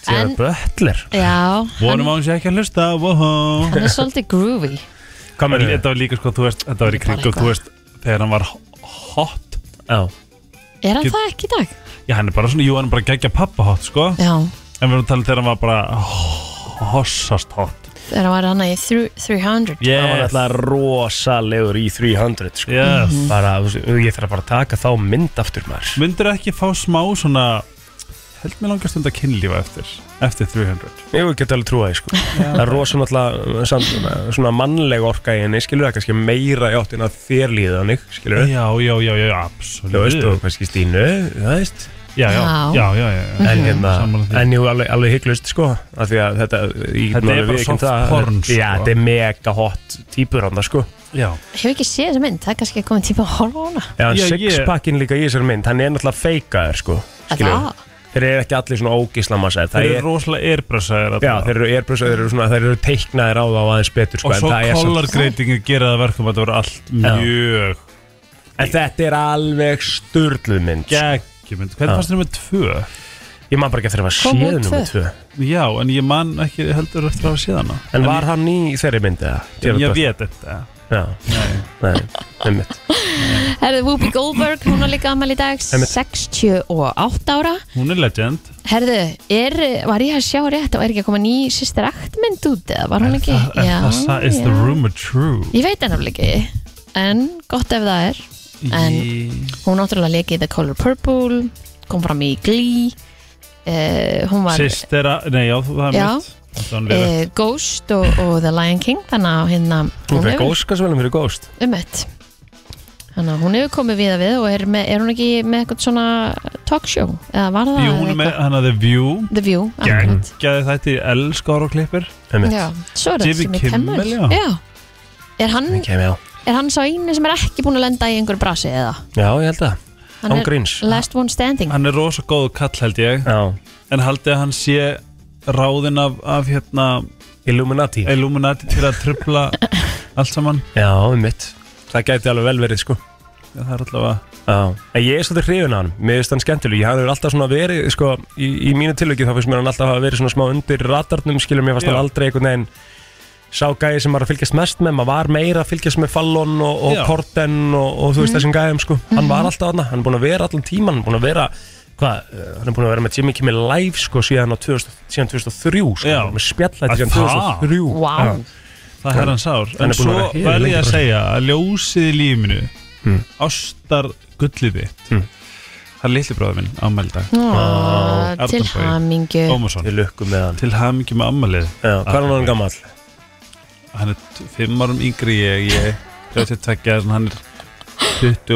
S1: Þegar
S2: En-
S1: Böttler
S2: Já, hann,
S3: Vonum að hún sé ekki að hlusta, wow.
S2: hann er svolítið groovy
S1: Hvað
S3: En
S1: með þetta?
S3: Þetta var líka sko, þú veist, þetta var í
S2: Bara
S3: kringum,
S2: eitthvað.
S3: þú veist, þegar hann var hot
S1: Já,
S2: Er hann
S3: Get-
S2: það ekki í dag?
S3: Já, hann er bara svona, jú, hann er bara geggja pappa hot, sko
S2: Já,
S3: En við erum að tala um þegar hann var bara hossast hot
S2: þegar hann var hann í þrjú- 300
S1: hann var alltaf rosalegur í 300 sko.
S3: yes.
S1: bara, þú veist, Ég þarf bara að taka þá mynd aftur maður
S3: Myndir ekki fá smá svona Held mér langar stund að kynlífa eftir Eftir 300
S1: Ég get alveg trúa því sko. Það er rosa náttúrulega samt, svona mannleg orka í henni skilur það kannski meira í áttin að þér líða þannig skilur það
S3: Já, já, já,
S1: Þú
S3: já,
S1: veist, og
S3: absolutt
S1: kannski Stínu, þú veist
S3: Já, já,
S2: Já.
S3: já, já, já, já.
S1: En hérna,
S3: Sammála því.
S1: en jú, alveg, alveg hygglust sko af Því að þetta, ég
S3: Þetta
S1: get nú
S3: er
S1: alveg
S3: bara
S1: viðurkennt
S3: soft porn, sko.
S1: Já, þetta er mega hot típur hann sko
S3: já.
S2: Hefur ekki séð þessa mynd, það er kannski komin tíma að horfa á hana
S1: Já, en
S3: Já, ég-
S1: sixpackin líka í þessari mynd, hann er náttúrulega feikaður sko skilurðu.
S2: Það-
S1: Þeir eru ekki allir svona ógísla massæðir
S3: Þeir eru rosalega eirbrössaðir
S1: Já, þeir eru airbrusha, þeir eru svona, þeir eru teiknaðir á þá aðeins betur sko,
S3: Og
S1: en,
S3: svo
S1: það er samt,
S3: kollargreitingin gera það verkum að þetta voru allt mjög
S1: en þetta er alveg sturdluð mynd sko.
S3: geggjumynd Hvernig
S1: Já.
S3: fannst þér með tvö?
S1: Ég man bara ekki eftir að það
S2: Kom
S1: var
S2: út
S1: séð
S2: tvö?
S1: nummer tvö
S3: Já, en ég man ekki heldur eftir að hafa séð hana
S1: En var hann í þeirri myndi það?
S3: En ég veit þetta
S1: Já, nei, einmitt
S2: Herðu Whoopi Goldberg, hún var líka ammæli í dag
S1: Einmitt.
S2: 68 ára
S3: Hún er legend
S2: Herðu, er, var ég að sjá rétt og er ekki að koma ný sýstir aktmynd út eða var hún ekki?
S3: Er það- það- Is the rumor true?
S2: Ég veit hennar ekki en gott ef það er En- Hún náttúrulega lekið The Color Purple kom fram í Glee uh, hún var
S3: Sistera, nei já, þú- það er
S2: Já.
S3: mitt Þetta var verið.
S2: uh, Ghost og, og The Lion King þannig að hérna
S1: Hún fekk óskarsvelum fyrir Ghost
S2: umett Þannig að hún hefur komið við að við og er, með, er hún ekki með eitthvað svona talkshow? Eða var það
S3: Jú, hún er með, hann að The View
S2: The View, akkurat.
S3: Gæði þetta í elskar og klippir
S1: Einmitt,
S2: Já, svo er það
S3: Jimmy
S2: sem er
S3: Kimmel,
S2: Kimmel
S3: já.
S2: já. Er, hann,
S1: það kemur á
S2: er hann sá einu sem er ekki búin að lenda í einhverju brasi eða?
S1: Já, ég held það,
S2: Hann
S1: án
S2: er
S1: gríns
S2: last one standing
S3: Hann er rosa góð kall held ég
S1: Já,
S3: En haldið að hann sé ráðinn af, af hérna
S1: Illuminati
S3: Illuminati til að
S2: (laughs)
S3: trubla allt saman
S1: Já, einmitt Það gæti alveg vel verið sko
S3: Já, Það er allavega
S1: Já, en ég er svolítið hrifin af hann, mér finnst hann skemmtileg, ég hann hefur alltaf svona verið, sko, í, í mínu tilöki þá finnst mér hann alltaf hafa verið svona smá undir radarnum, skilur mér fannst
S3: Já.
S1: hann aldrei einhvern veginn sá gæði sem var að fylgjast mest með, maður var meira að fylgjast með Fallon og, og
S3: Já.
S1: Corden og, og þú veist þessum gæðum, sko, hann var alltaf hann, hann er búin að vera allan tíman, hann er búin að vera, hvað, eh, hann er búin að vera með Jimmy Kimmel live, sko, síðan á 2000, síðan 2003, sko,
S3: Já.
S1: hann er með spjallæti síðan
S3: Að það?
S1: 2003.
S2: Vá,
S3: Það er hans ár
S1: Hann
S3: En
S1: er búinn
S3: svo
S1: að vera hér
S3: verð
S1: lengi
S3: ég að
S1: bara.
S3: segja að ljósið í lífinu
S1: Mm.
S3: Ástar gullið þitt
S1: Mm.
S3: Það er litli bróður minn, ammældag
S2: Ó,
S3: Arnar
S2: til
S3: Bogi.
S2: hamingju
S3: Ómarsson,
S1: Við lukkum með hann.
S3: til hamingi með ammælið
S1: Eh. Já, hvað er hann gammal?
S3: Hann er t- fimm árum yngri ég Ég er 32 en hann er 27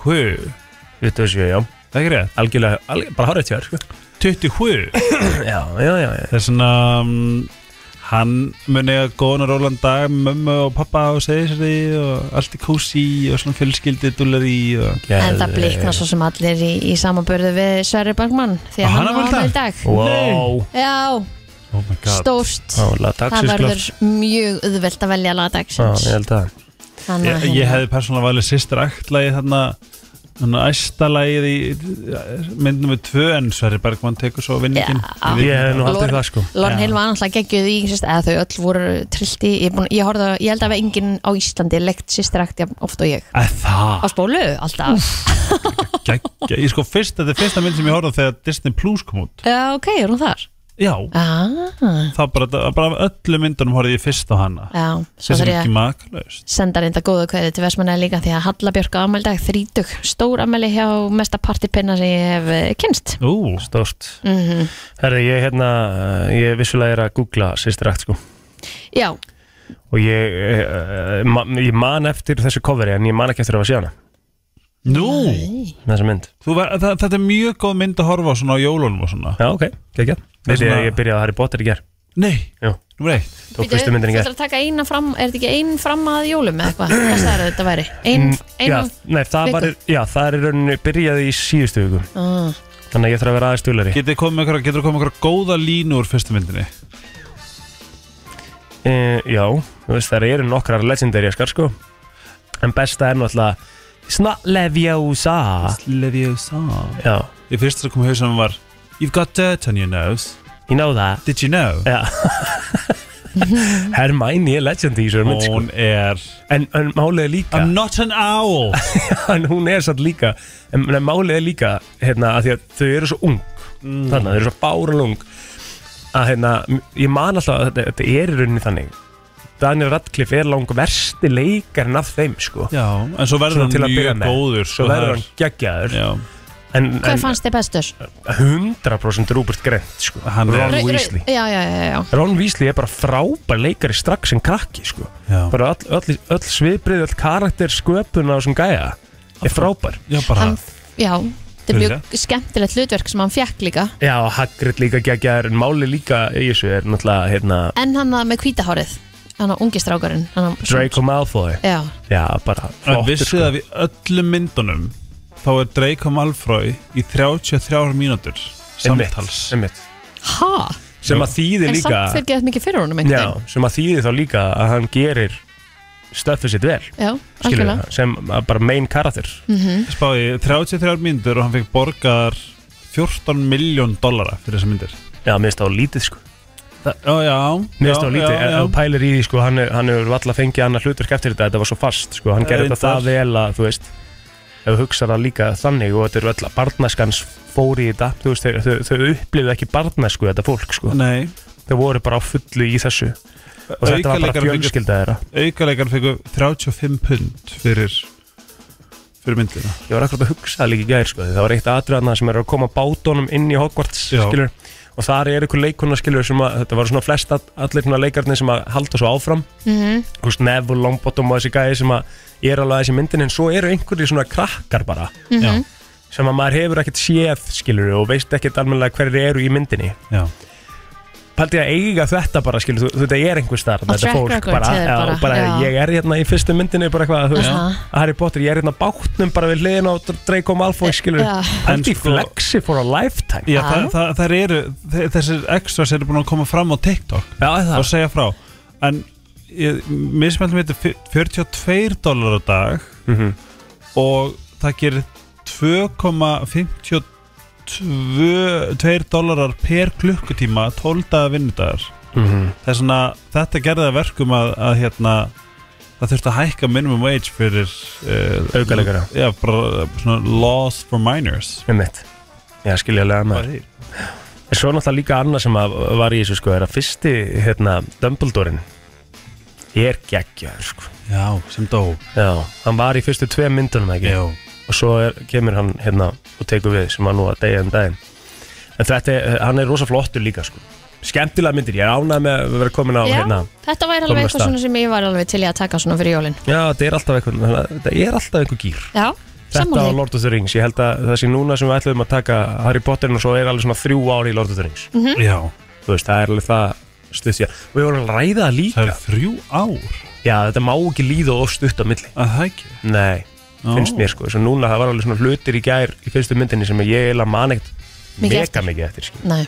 S1: 27, já.
S3: Það er ekki rétt
S1: algjörlega, algjörlega bara hárið tjör sko.
S3: 27
S1: já, já, já, já.
S3: Það er svona mm, Hann muni að góðan og rólan dag með mömmu og pappa og segir sér því og allt í kósi og svona fjölskyldi dúlar í og
S2: En það blikna svo sem allir í, í samanbörðu við Sverri Bergmann Því
S3: Og
S2: að
S3: hann
S2: hann
S3: á afmæli
S2: var
S3: í
S2: í dag
S1: wow,
S2: Já,
S3: Oh my
S2: stórt
S1: ála,
S2: Það
S1: dagsísklöf
S2: verður mjög auðvelt að velja
S1: sko. Já,
S2: lagdagsins
S1: ég held að
S2: Þannig
S3: Ég,
S2: að
S3: ég
S2: hérna-
S3: hefði persónulega valið sýstir aktlagi þarna Þannig að æsta lagið í myndnum við tvö en Sverri Bergman tekur svo vinningin
S2: Já.
S1: Ég hef nú haldið
S2: Lord-
S1: það sko
S2: Lorne
S3: Já.
S2: Hill var náttúrulega geggjuð í sérst, eða þau öll voru trillti ég, er búin, ég, horfði, á- ég held að hafa enginn á Íslandi leikt sýstirakt jafn oft og ég
S3: Að
S2: á
S3: það,
S2: spólu alltaf
S3: geggja, ég sko fyrst, þetta er fyrsta mynd sem ég horfði á þegar Disney Plus kom út
S2: Já, ok, er hún þar?
S3: Já,
S2: Ah,
S3: það bara, það- bara af öllum myndunum horfði ég fyrst á hana
S2: já, svo
S3: Þessi
S2: þarf ég
S3: mikið
S2: að
S3: maklaust
S2: senda reynda góðu kveði til Vestmannaði líka því að Halla Björk á afmæli í dag þrítug stór afmæli hjá mesta partypinna sem ég hef eh, kynst
S3: Ú,
S1: Stórt
S2: mm
S1: Herri, ég hérna, eh, ég vissulega er að googla sýstirakt sko
S2: Já,
S1: og ég, eh, eh, ma- ég man eftir þessu coveri en ég man ekki eftir að það var síðana
S3: nú
S1: þessa mynd,
S3: Þú Var, það, þetta er mjög góð mynd að horfa á svona á jólunum og svona
S1: já ok, gekkja
S3: Það er
S1: Veit ég
S3: svona-
S1: að ég byrjaði að Harry Potter í ger
S3: Nei,
S1: Jú.
S3: nummer eitt
S1: tók fyrstu myndin í
S2: Þú
S1: ger
S2: ætlar að taka eina fram, er þetta ekki ein fram að jólum eða eitthvað? Hvað sagði þetta væri? Ein, ein,
S1: Mm, já, nei, það, var,
S2: viku.
S1: já, það er í rauninni byrjaði í síðustu viku
S2: Ah.
S1: þannig að ég þarf að vera aðeins stúlari
S3: Getur komið með einhverja einhver góða línu úr fyrstu myndinni
S1: e, já, þú veist það eru nokkrar legendary skar sko en besta er náttúrulega Snallevjósa
S3: Leviosa
S1: já,
S3: Í fyrsta sem kom í hausum var You've got dirt on your nose
S1: ég know það
S3: Did you know?
S1: já Hermæni er legendary í þessu mynd sko.
S3: Hún er
S1: en, en málið er líka
S3: I'm not an
S1: (laughs)
S3: owl
S1: en hún er satt líka en, en málið er líka hérna, að því að þau eru svo ung mm. þannig, þau eru svo báralung að hérna, m- ég man alltaf að þetta, þetta er í rauninni þannig Daniel Radcliffe er lang versti leikarinn af þeim sko
S3: Já, en svo
S1: Svona
S3: verður hann
S1: til að byrja
S3: mjög
S1: með.
S3: góður sko.
S1: svo verður hann geggjaður
S3: Já,
S1: en,
S2: Hver
S1: en
S2: fannst þið bestur?
S1: 100% Rupert Grant sko
S3: Hann er-
S1: Ron
S2: Rau- rau-
S1: Weasley
S2: Já, já, já, já.
S1: Ron Weasley er bara frábær leikari strax sem krakki sko
S3: já.
S1: bara öll, öll, öll sviðbrið, öll karakter sköpuna og sem gæja er frábær
S3: já bara
S2: Hann, já, þetta er
S3: Auðvitað.
S2: mjög skemmtilegt hlutverk sem hann fekk líka
S1: Já, Hagrid líka geggjaður en máli líka í þessu er náttúrulega hérna,
S2: En hann að með hvítahárið Hann að ungi strákurinn hann að-
S1: Draco Malfoy
S2: Já,
S1: Já, bara
S3: En
S1: flottur sko.
S3: vissið að við öllum myndunum þá er Draco Malfoy í 33 mínútur
S1: Einmitt,
S3: samtals
S1: einmitt.
S2: ha?
S1: Sem að þýði
S2: En
S1: líka
S2: samt fyrir geðað mikið fyrir honum einhvern
S1: Já, sem að þýði þá líka að hann gerir stöfið sitt vel
S2: veginn. já
S1: skilur
S2: algjörlega
S1: það, sem að bara main karakter Mm.
S3: Spáði 33 mínútur og hann fekk borgar 14 miljón dollara fyrir þessar myndir
S1: Já, mér finnst það á lítið sko
S3: Já, já
S1: Mér finnst það á lítið,
S3: já,
S1: ef
S3: já.
S1: þú pælir í því sko hann, er- hann hefur alltaf fengið annað hlutverk eftir þetta Þetta var svo fast sko, hann
S3: Já,
S1: gerir þetta
S3: reyndar.
S1: það vel að, þú veist Ef þú hugsar það líka þannig og þetta eru öll að barnaskans fór í þetta Þú veist, þau, þau, þau upplifðu ekki barnasku þetta fólk sko
S3: Nei,
S1: þau voru bara á fullu í þessu og þetta var bara
S3: aukaleikar fengur,
S1: fjölskylda þeirra
S3: aukaleikar fengur 35 pund fyrir fyrir myndina
S1: ég var akkurat að hugsa það líka í gæðir sko, því það var eitt atriðana sem er að koma bátunum inn í Hogwarts
S3: Já.
S1: skilur, og þar er einhver leikuna skilur sem að þetta var svona flest all- allir svona leikarnir sem að halda svo áfram
S2: Mhm.
S1: Þú veist, Neville, Longbottom og þessi gæði sem að er alveg þessi myndin en svo eru einhverjir svona krakkar bara
S3: Já,
S1: sem að maður hefur ekkert séð skilur og veist ekkert almennilega hverjir eru í myndinni
S3: já
S1: Paldi að eiga þetta bara, skilur, þú, þetta er einhver starf
S2: Og track record
S1: bara,
S2: hefur
S1: já,
S2: bara,
S1: bara
S2: já.
S1: ég er hérna í fyrstu myndinni bara eitthvað, þú veist,
S2: Aha.
S1: Harry Potter ég er hérna á bátnum bara við hliðin á Draco Malfoy, skilur,
S2: Eh, Já.
S3: En
S1: paldi
S3: sko-
S1: flexi for a lifetime
S3: Já,
S2: Já.
S3: það, það, það eru, þe- þessir extras eru búin að koma fram á TikTok og segja frá en mismælum við þetta er 42 dólar á dag
S1: mm -hmm.
S3: og það gerir 2,52 dólarar per klukkutíma 12 daga vinnudagar
S1: Mm -hmm.
S3: það er svona, þetta gerði það verkum að, að hérna það þurfti að hækka minimum wage fyrir uh,
S1: Aukaleikara.
S3: já, bara svona laws for minors
S1: einmitt Já, skiljulega maður. En svo náttúrulega líka annað sem að var í þessu sko er að fyrsti, hérna, Dumbledore-in er geggjaður sko.
S3: já, sem dó
S1: Já, hann var í fyrstu tve myndunum ekki
S3: já,
S1: og svo er, kemur hann hérna og tekur við sem var nú að degja um daginn en þetta, er, hann er rosa flottur líka sko. skemmtilega myndir, ég er ánægð með að vera komin á
S2: Já,
S1: hérna
S2: þetta væri
S1: Komin af
S2: alveg eitthvað
S1: stað.
S2: svona sem ég var alveg til í að taka svona fyrir jólin
S1: já, þetta er alltaf einhver, þetta er alltaf einhver gýr
S2: Já,
S1: Þetta og Lord of the Rings, ég held að það sé núna sem við ætlum að taka Harry Potterinn og svo er alveg svona þrjú ári í Lord of the Rings
S2: Mhm.
S3: Já.
S1: Þú veist, það er alveg það stuðsja Við vorum að ræða það líka
S3: Það er þrjú ár
S1: Já, þetta má ekki líða og stutt á milli
S3: að það ekki
S1: Nei,
S3: Ó.
S1: finnst mér sko Svo núna það var alveg svona hlutir í gær í fyrstu myndinni sem ég eiginlega man ekkert
S2: Mikið
S1: mega
S2: eftir.
S1: mikið eftir skil.
S2: Nei,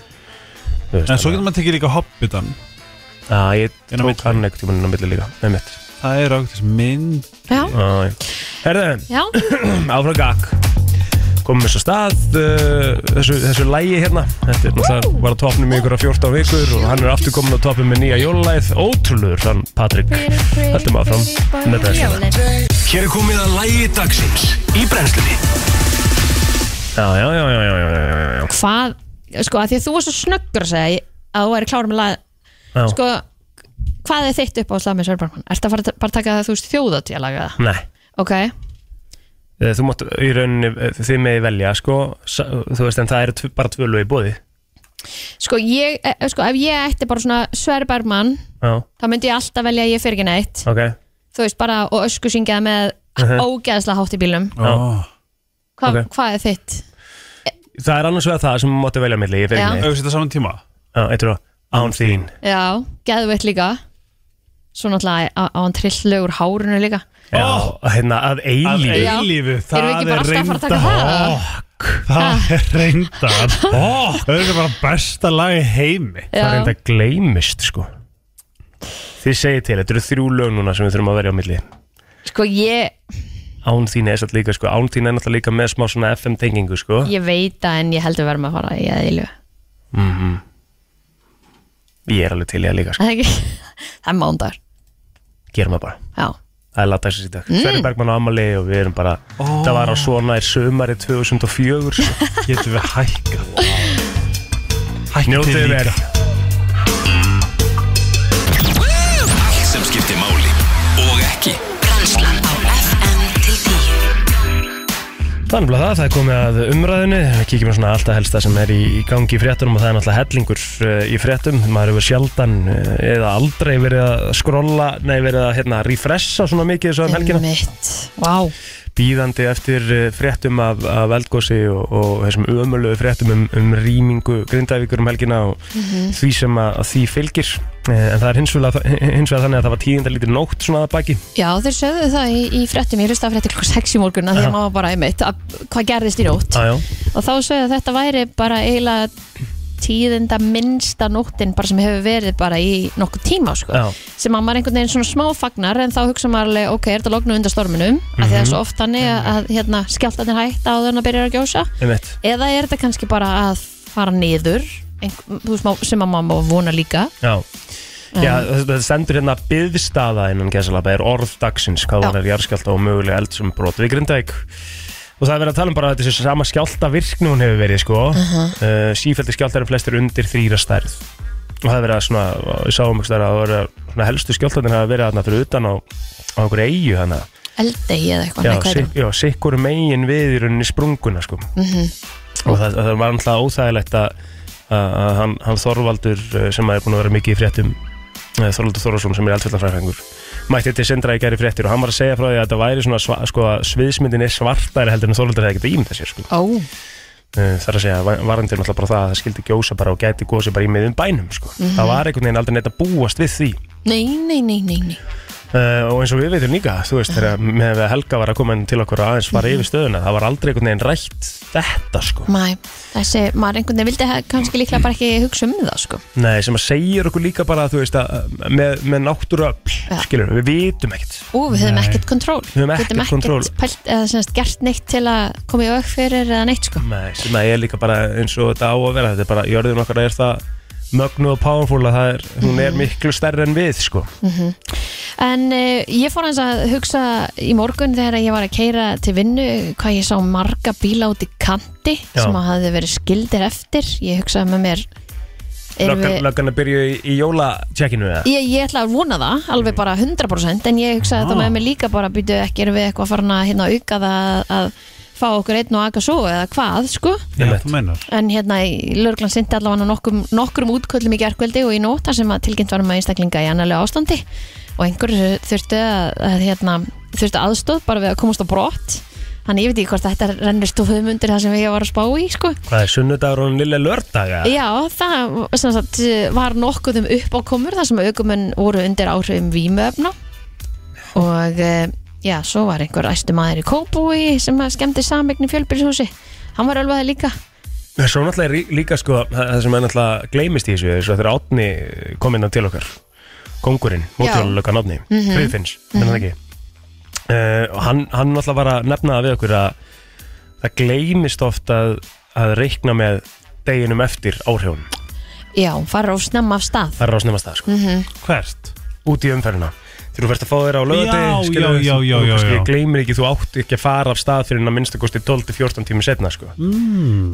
S1: Þú veist,
S3: En svo
S1: þannig
S3: getur maður tekið líka Hobbitan
S1: að- Já, ég
S3: Inn á
S1: tók
S3: milli.
S1: hann einhvern tímann inn á milli líka Nei mitt
S3: Það er ákveðis mynd
S2: já,
S1: Herðu,
S2: já
S1: (laughs) áfram gag komum við svo stað uh, þessu, þessu lægi hérna þetta er náttúrulega var á topnum í ykkur að 14 vikur og hann er aftur komin á topnum með nýja jólæð ótrúlegur þann Patrik heldum áfram með brennsluna
S4: Hér er komið að lægi dagsins í brennslunni
S1: já, já, já, já, já, já, já, já, já.
S2: Hvað, sko, að því að þú var svo snöggur að segja að þú væri klára með lag
S1: Já.
S2: Sko, hvað er þitt upp á slag með Sörbarmann? Ertu að fara að- bara að taka það, þú veist, þjóðatíðalaga það?
S1: nei
S2: Ok,
S1: Eh, þú mátt í rauninni eh, þið með velja sko sa- þú veist en það eru tv bara tvö lög í bóði
S2: sko, ég, eh, sko, ef ég ætti bara svona Sörbarmann
S1: já,
S2: þá myndi ég alltaf velja að ég fyrir ekki neitt
S1: ok
S2: þú veist bara og ösku syngja með ógeðslega hátt í bílum
S3: Ó.
S2: Hva,
S1: Mhm. Ok.
S2: hvað er þitt?
S1: það er annars vegar það sem þú máttu velja á milli ég fyrir
S2: Já.
S1: mig
S3: Ef við setja saman tíma
S1: já, eitthvað án þín
S2: Já, geðveitt líka svo náttúrulega á, á hann trillu úr hárunu líka
S1: já, hérna að
S3: Að
S1: eilífi
S2: Já.
S3: eilífu
S2: Erum við ekki
S3: Það
S2: bara
S3: er
S2: alltaf að fara að taka
S3: reyndar
S2: það? Ah.
S3: Það er reyndar Það er bara besta lag í heimi
S1: það er
S2: Já,
S1: enda gleymist sko þið segir til, þetta eru þrjú lög núna sem við þurfum að verja á milli
S2: sko ég,
S1: án þín er satt líka sko, án þín er náttúrulega líka með smá svona FM tengingu sko
S2: ég veit það en ég heldur verðum að fara í aðeilu
S1: ég er alveg til í að líka sko,
S2: (laughs) Það er ekki- það er mándar
S1: gerum það bara
S2: Já,
S1: það er lataðis í dag, mm. Sverri Bergmann á Amali og við erum bara, það var á svona í sumari 2004 sko.
S3: (laughs) Getum við hækka
S1: njótið
S3: líka.
S1: verið
S4: Allt sem skiptir máli og ekki
S5: Brennslan á FM til 10
S1: Þannig að það, það er komið að umræðinu, við kíkjum á svona alltaf helsta sem er í, í gangi í fréttunum og það er náttúrulega hellingur eh, í fréttum, maður hefur sjaldan eh, eða aldrei verið að skrolla, nei verið að hérna refressa svona mikið þessu um helgina,
S2: mitt Vá,
S1: býðandi eftir eh, fréttum af, af eldgósi og, og þessum ömulegu fréttum um, um rýmingu grindavíkur um helgina og því sem að, að því fylgir, Eh, en það er hins vegar, hins vegar þannig að það var tíðinda lítur nótt svona að baki.
S2: já þeir sögðu það í, í fréttum Ég hlusta að frétti klokk 6 í morgun að því
S1: Já.
S2: að maður bara einmitt að, hvað gerðist í nótt
S1: Ah,
S2: og þá sögðu að þetta væri bara eiginlega tíðinda minnsta nóttin bara sem hefur verið bara í nokkuð tíma sko.
S1: Já.
S2: sem að maður einhvern veginn svona smá fagnar en þá hugsa maður alveg, ok, er þetta lognu undan storminum af því það er
S1: Mhm.
S2: svo oft þannig að, að hérna, skjáltanir hætta á þannig að byrja að gjósa
S1: einmitt.
S2: eða er þetta kannski bara að fara niður einhver, þú veist, má- sem að maður má vona líka um,
S1: Já, Já þetta þetta stendur hérna byðstaða innan gæsalapa er orð dagsins hvað
S2: Já.
S1: var er jarðskjálta og mögulega eldsumbrot við Grindavík og það er verið að tala um bara að þetta sé sama skjálta virkni hún hefur verið sko uh sífældi skjálta eru flestir undir þrýra stærð og það er verið að svona við sáum ekki stærð að það verið svona helstu skjáltanir hafa verið þarna fyrir utan á, á einhver eigu hana
S2: eldegi eða eitthvað
S1: já,
S2: nei, hvað er
S1: sig, já, sikkur megin við í rauninni sprunguna sko og það, það var alltaf óþægilegt að, að, að hann, hann Þorvaldur eh, sem er búin að vera mikið í fréttum eh, Þorvaldur Þorvarsson sem er eldfjallafræðingur mætti til sindra í gæri fréttir og hann var að segja frá því að þetta væri svona sva, sko, að sviðsmyndin er svartari heldur en Þorvaldur hefði ekkert ímynda sér sko.
S2: það? Ó,
S1: Eh, það er að segja, va- varandi er náttúrulega bara það að það skildi gjósa bara og gæti gósi bara í miðum bænum sko. það var einhvern veginn aldrei neitt að búast við því
S2: nei, nei, nei, nei, nei
S1: Uh, og eins og við veitum líka, þú veist, þegar með að Helga var að koma inn til okkur og aðeins fara
S2: Mhm.
S1: yfir stöðuna, það var aldrei einhvern veginn rætt þetta, sko.
S2: Mæ, þessi, maður einhvern veginn vildi he- kannski líklega bara ekki hugsa um það sko.
S1: Nei, sem að segja okkur líka bara, þú veist, að með, með náttúröfl,
S2: Já.
S1: skilur, við vitum ekkert.
S2: og við höfum
S1: Nei.
S2: ekkert kontról
S1: Við höfum ekkert kontról.
S2: pælt, eða, sem sagt, gert neitt til að koma í auk fyrir eða neitt sko.
S1: Nei, sem að ég er líka bara eins og þetta á að vera, þetta er bara, jörðin okkar er það mögnu og powerful að það er, hún
S2: Mhm.
S1: er miklu stærri en við, sko.
S2: en uh, ég fór hans að hugsa í morgun þegar ég var að keira til vinnu hvað ég sá marga bíla út í kanti
S1: Já.
S2: sem að hafði verið skildir eftir ég hugsaði með mér erum
S1: Löggan,
S2: við-
S1: löggan að byrja í, í jólatjekkinu, eða?
S2: Ég, ég ætla að vona það, alveg bara 100% en ég hugsaði
S1: Ah.
S2: þetta með mig líka bara býtu ekki erum við eitthvað farin að hérna auka það að- að fá okkur einn og aga svo eða hvað sko
S3: Já,
S1: Einmitt.
S3: þú meinar
S2: En hérna, lauruglan sindi allavega nokkrum, nokkrum útköllum í gerkveldi og í nóta sem að tilkynnt var um að einstaklinga í annarlega ástandi og einhverju þurftu að, að hérna, þurftu aðstóð bara við að komast á brott Þannig ég veit ekki hvort þetta rennur stóðum undir það sem ég var að spá í sko.
S1: Hvað er sunnudagur og nýlega lördaga?
S2: Já, það sem sagt, var nokkuð um uppákomur þar sem aukumenn voru undir áhrifum vímöfna og eh, já, svo var einhver æstu maður í Kópúi sem að skemmti sameigni fjölbyrðshúsi hann var ölvaði líka
S1: Svo náttúrulega er rí- líka sko það það sem er náttúrulega gleymist í þessu er svo þegar Átni kom inn til okkar kongurinn, mótjólulegan Átni mm
S2: Mhm.
S1: -hmm. Friðfinns, menn það ekki uh, hann, hann náttúrulega var að nefna það við okkur að það gleymist oft að, að reikna með deginum eftir áhrifun
S2: já, fara og snemma af stað
S1: það er rásnumast það sko
S2: mm
S3: Mhm.
S1: Hvert? Út í umferðina Þegar þú verðst að fá þér á
S3: Já,
S1: lögadegi
S3: já, já, já, já.
S1: Ég gleymir ekki, þú átt ekki að fara af stað fyrir en að minnsta kosti 12-14 tími setna sko.
S3: mm.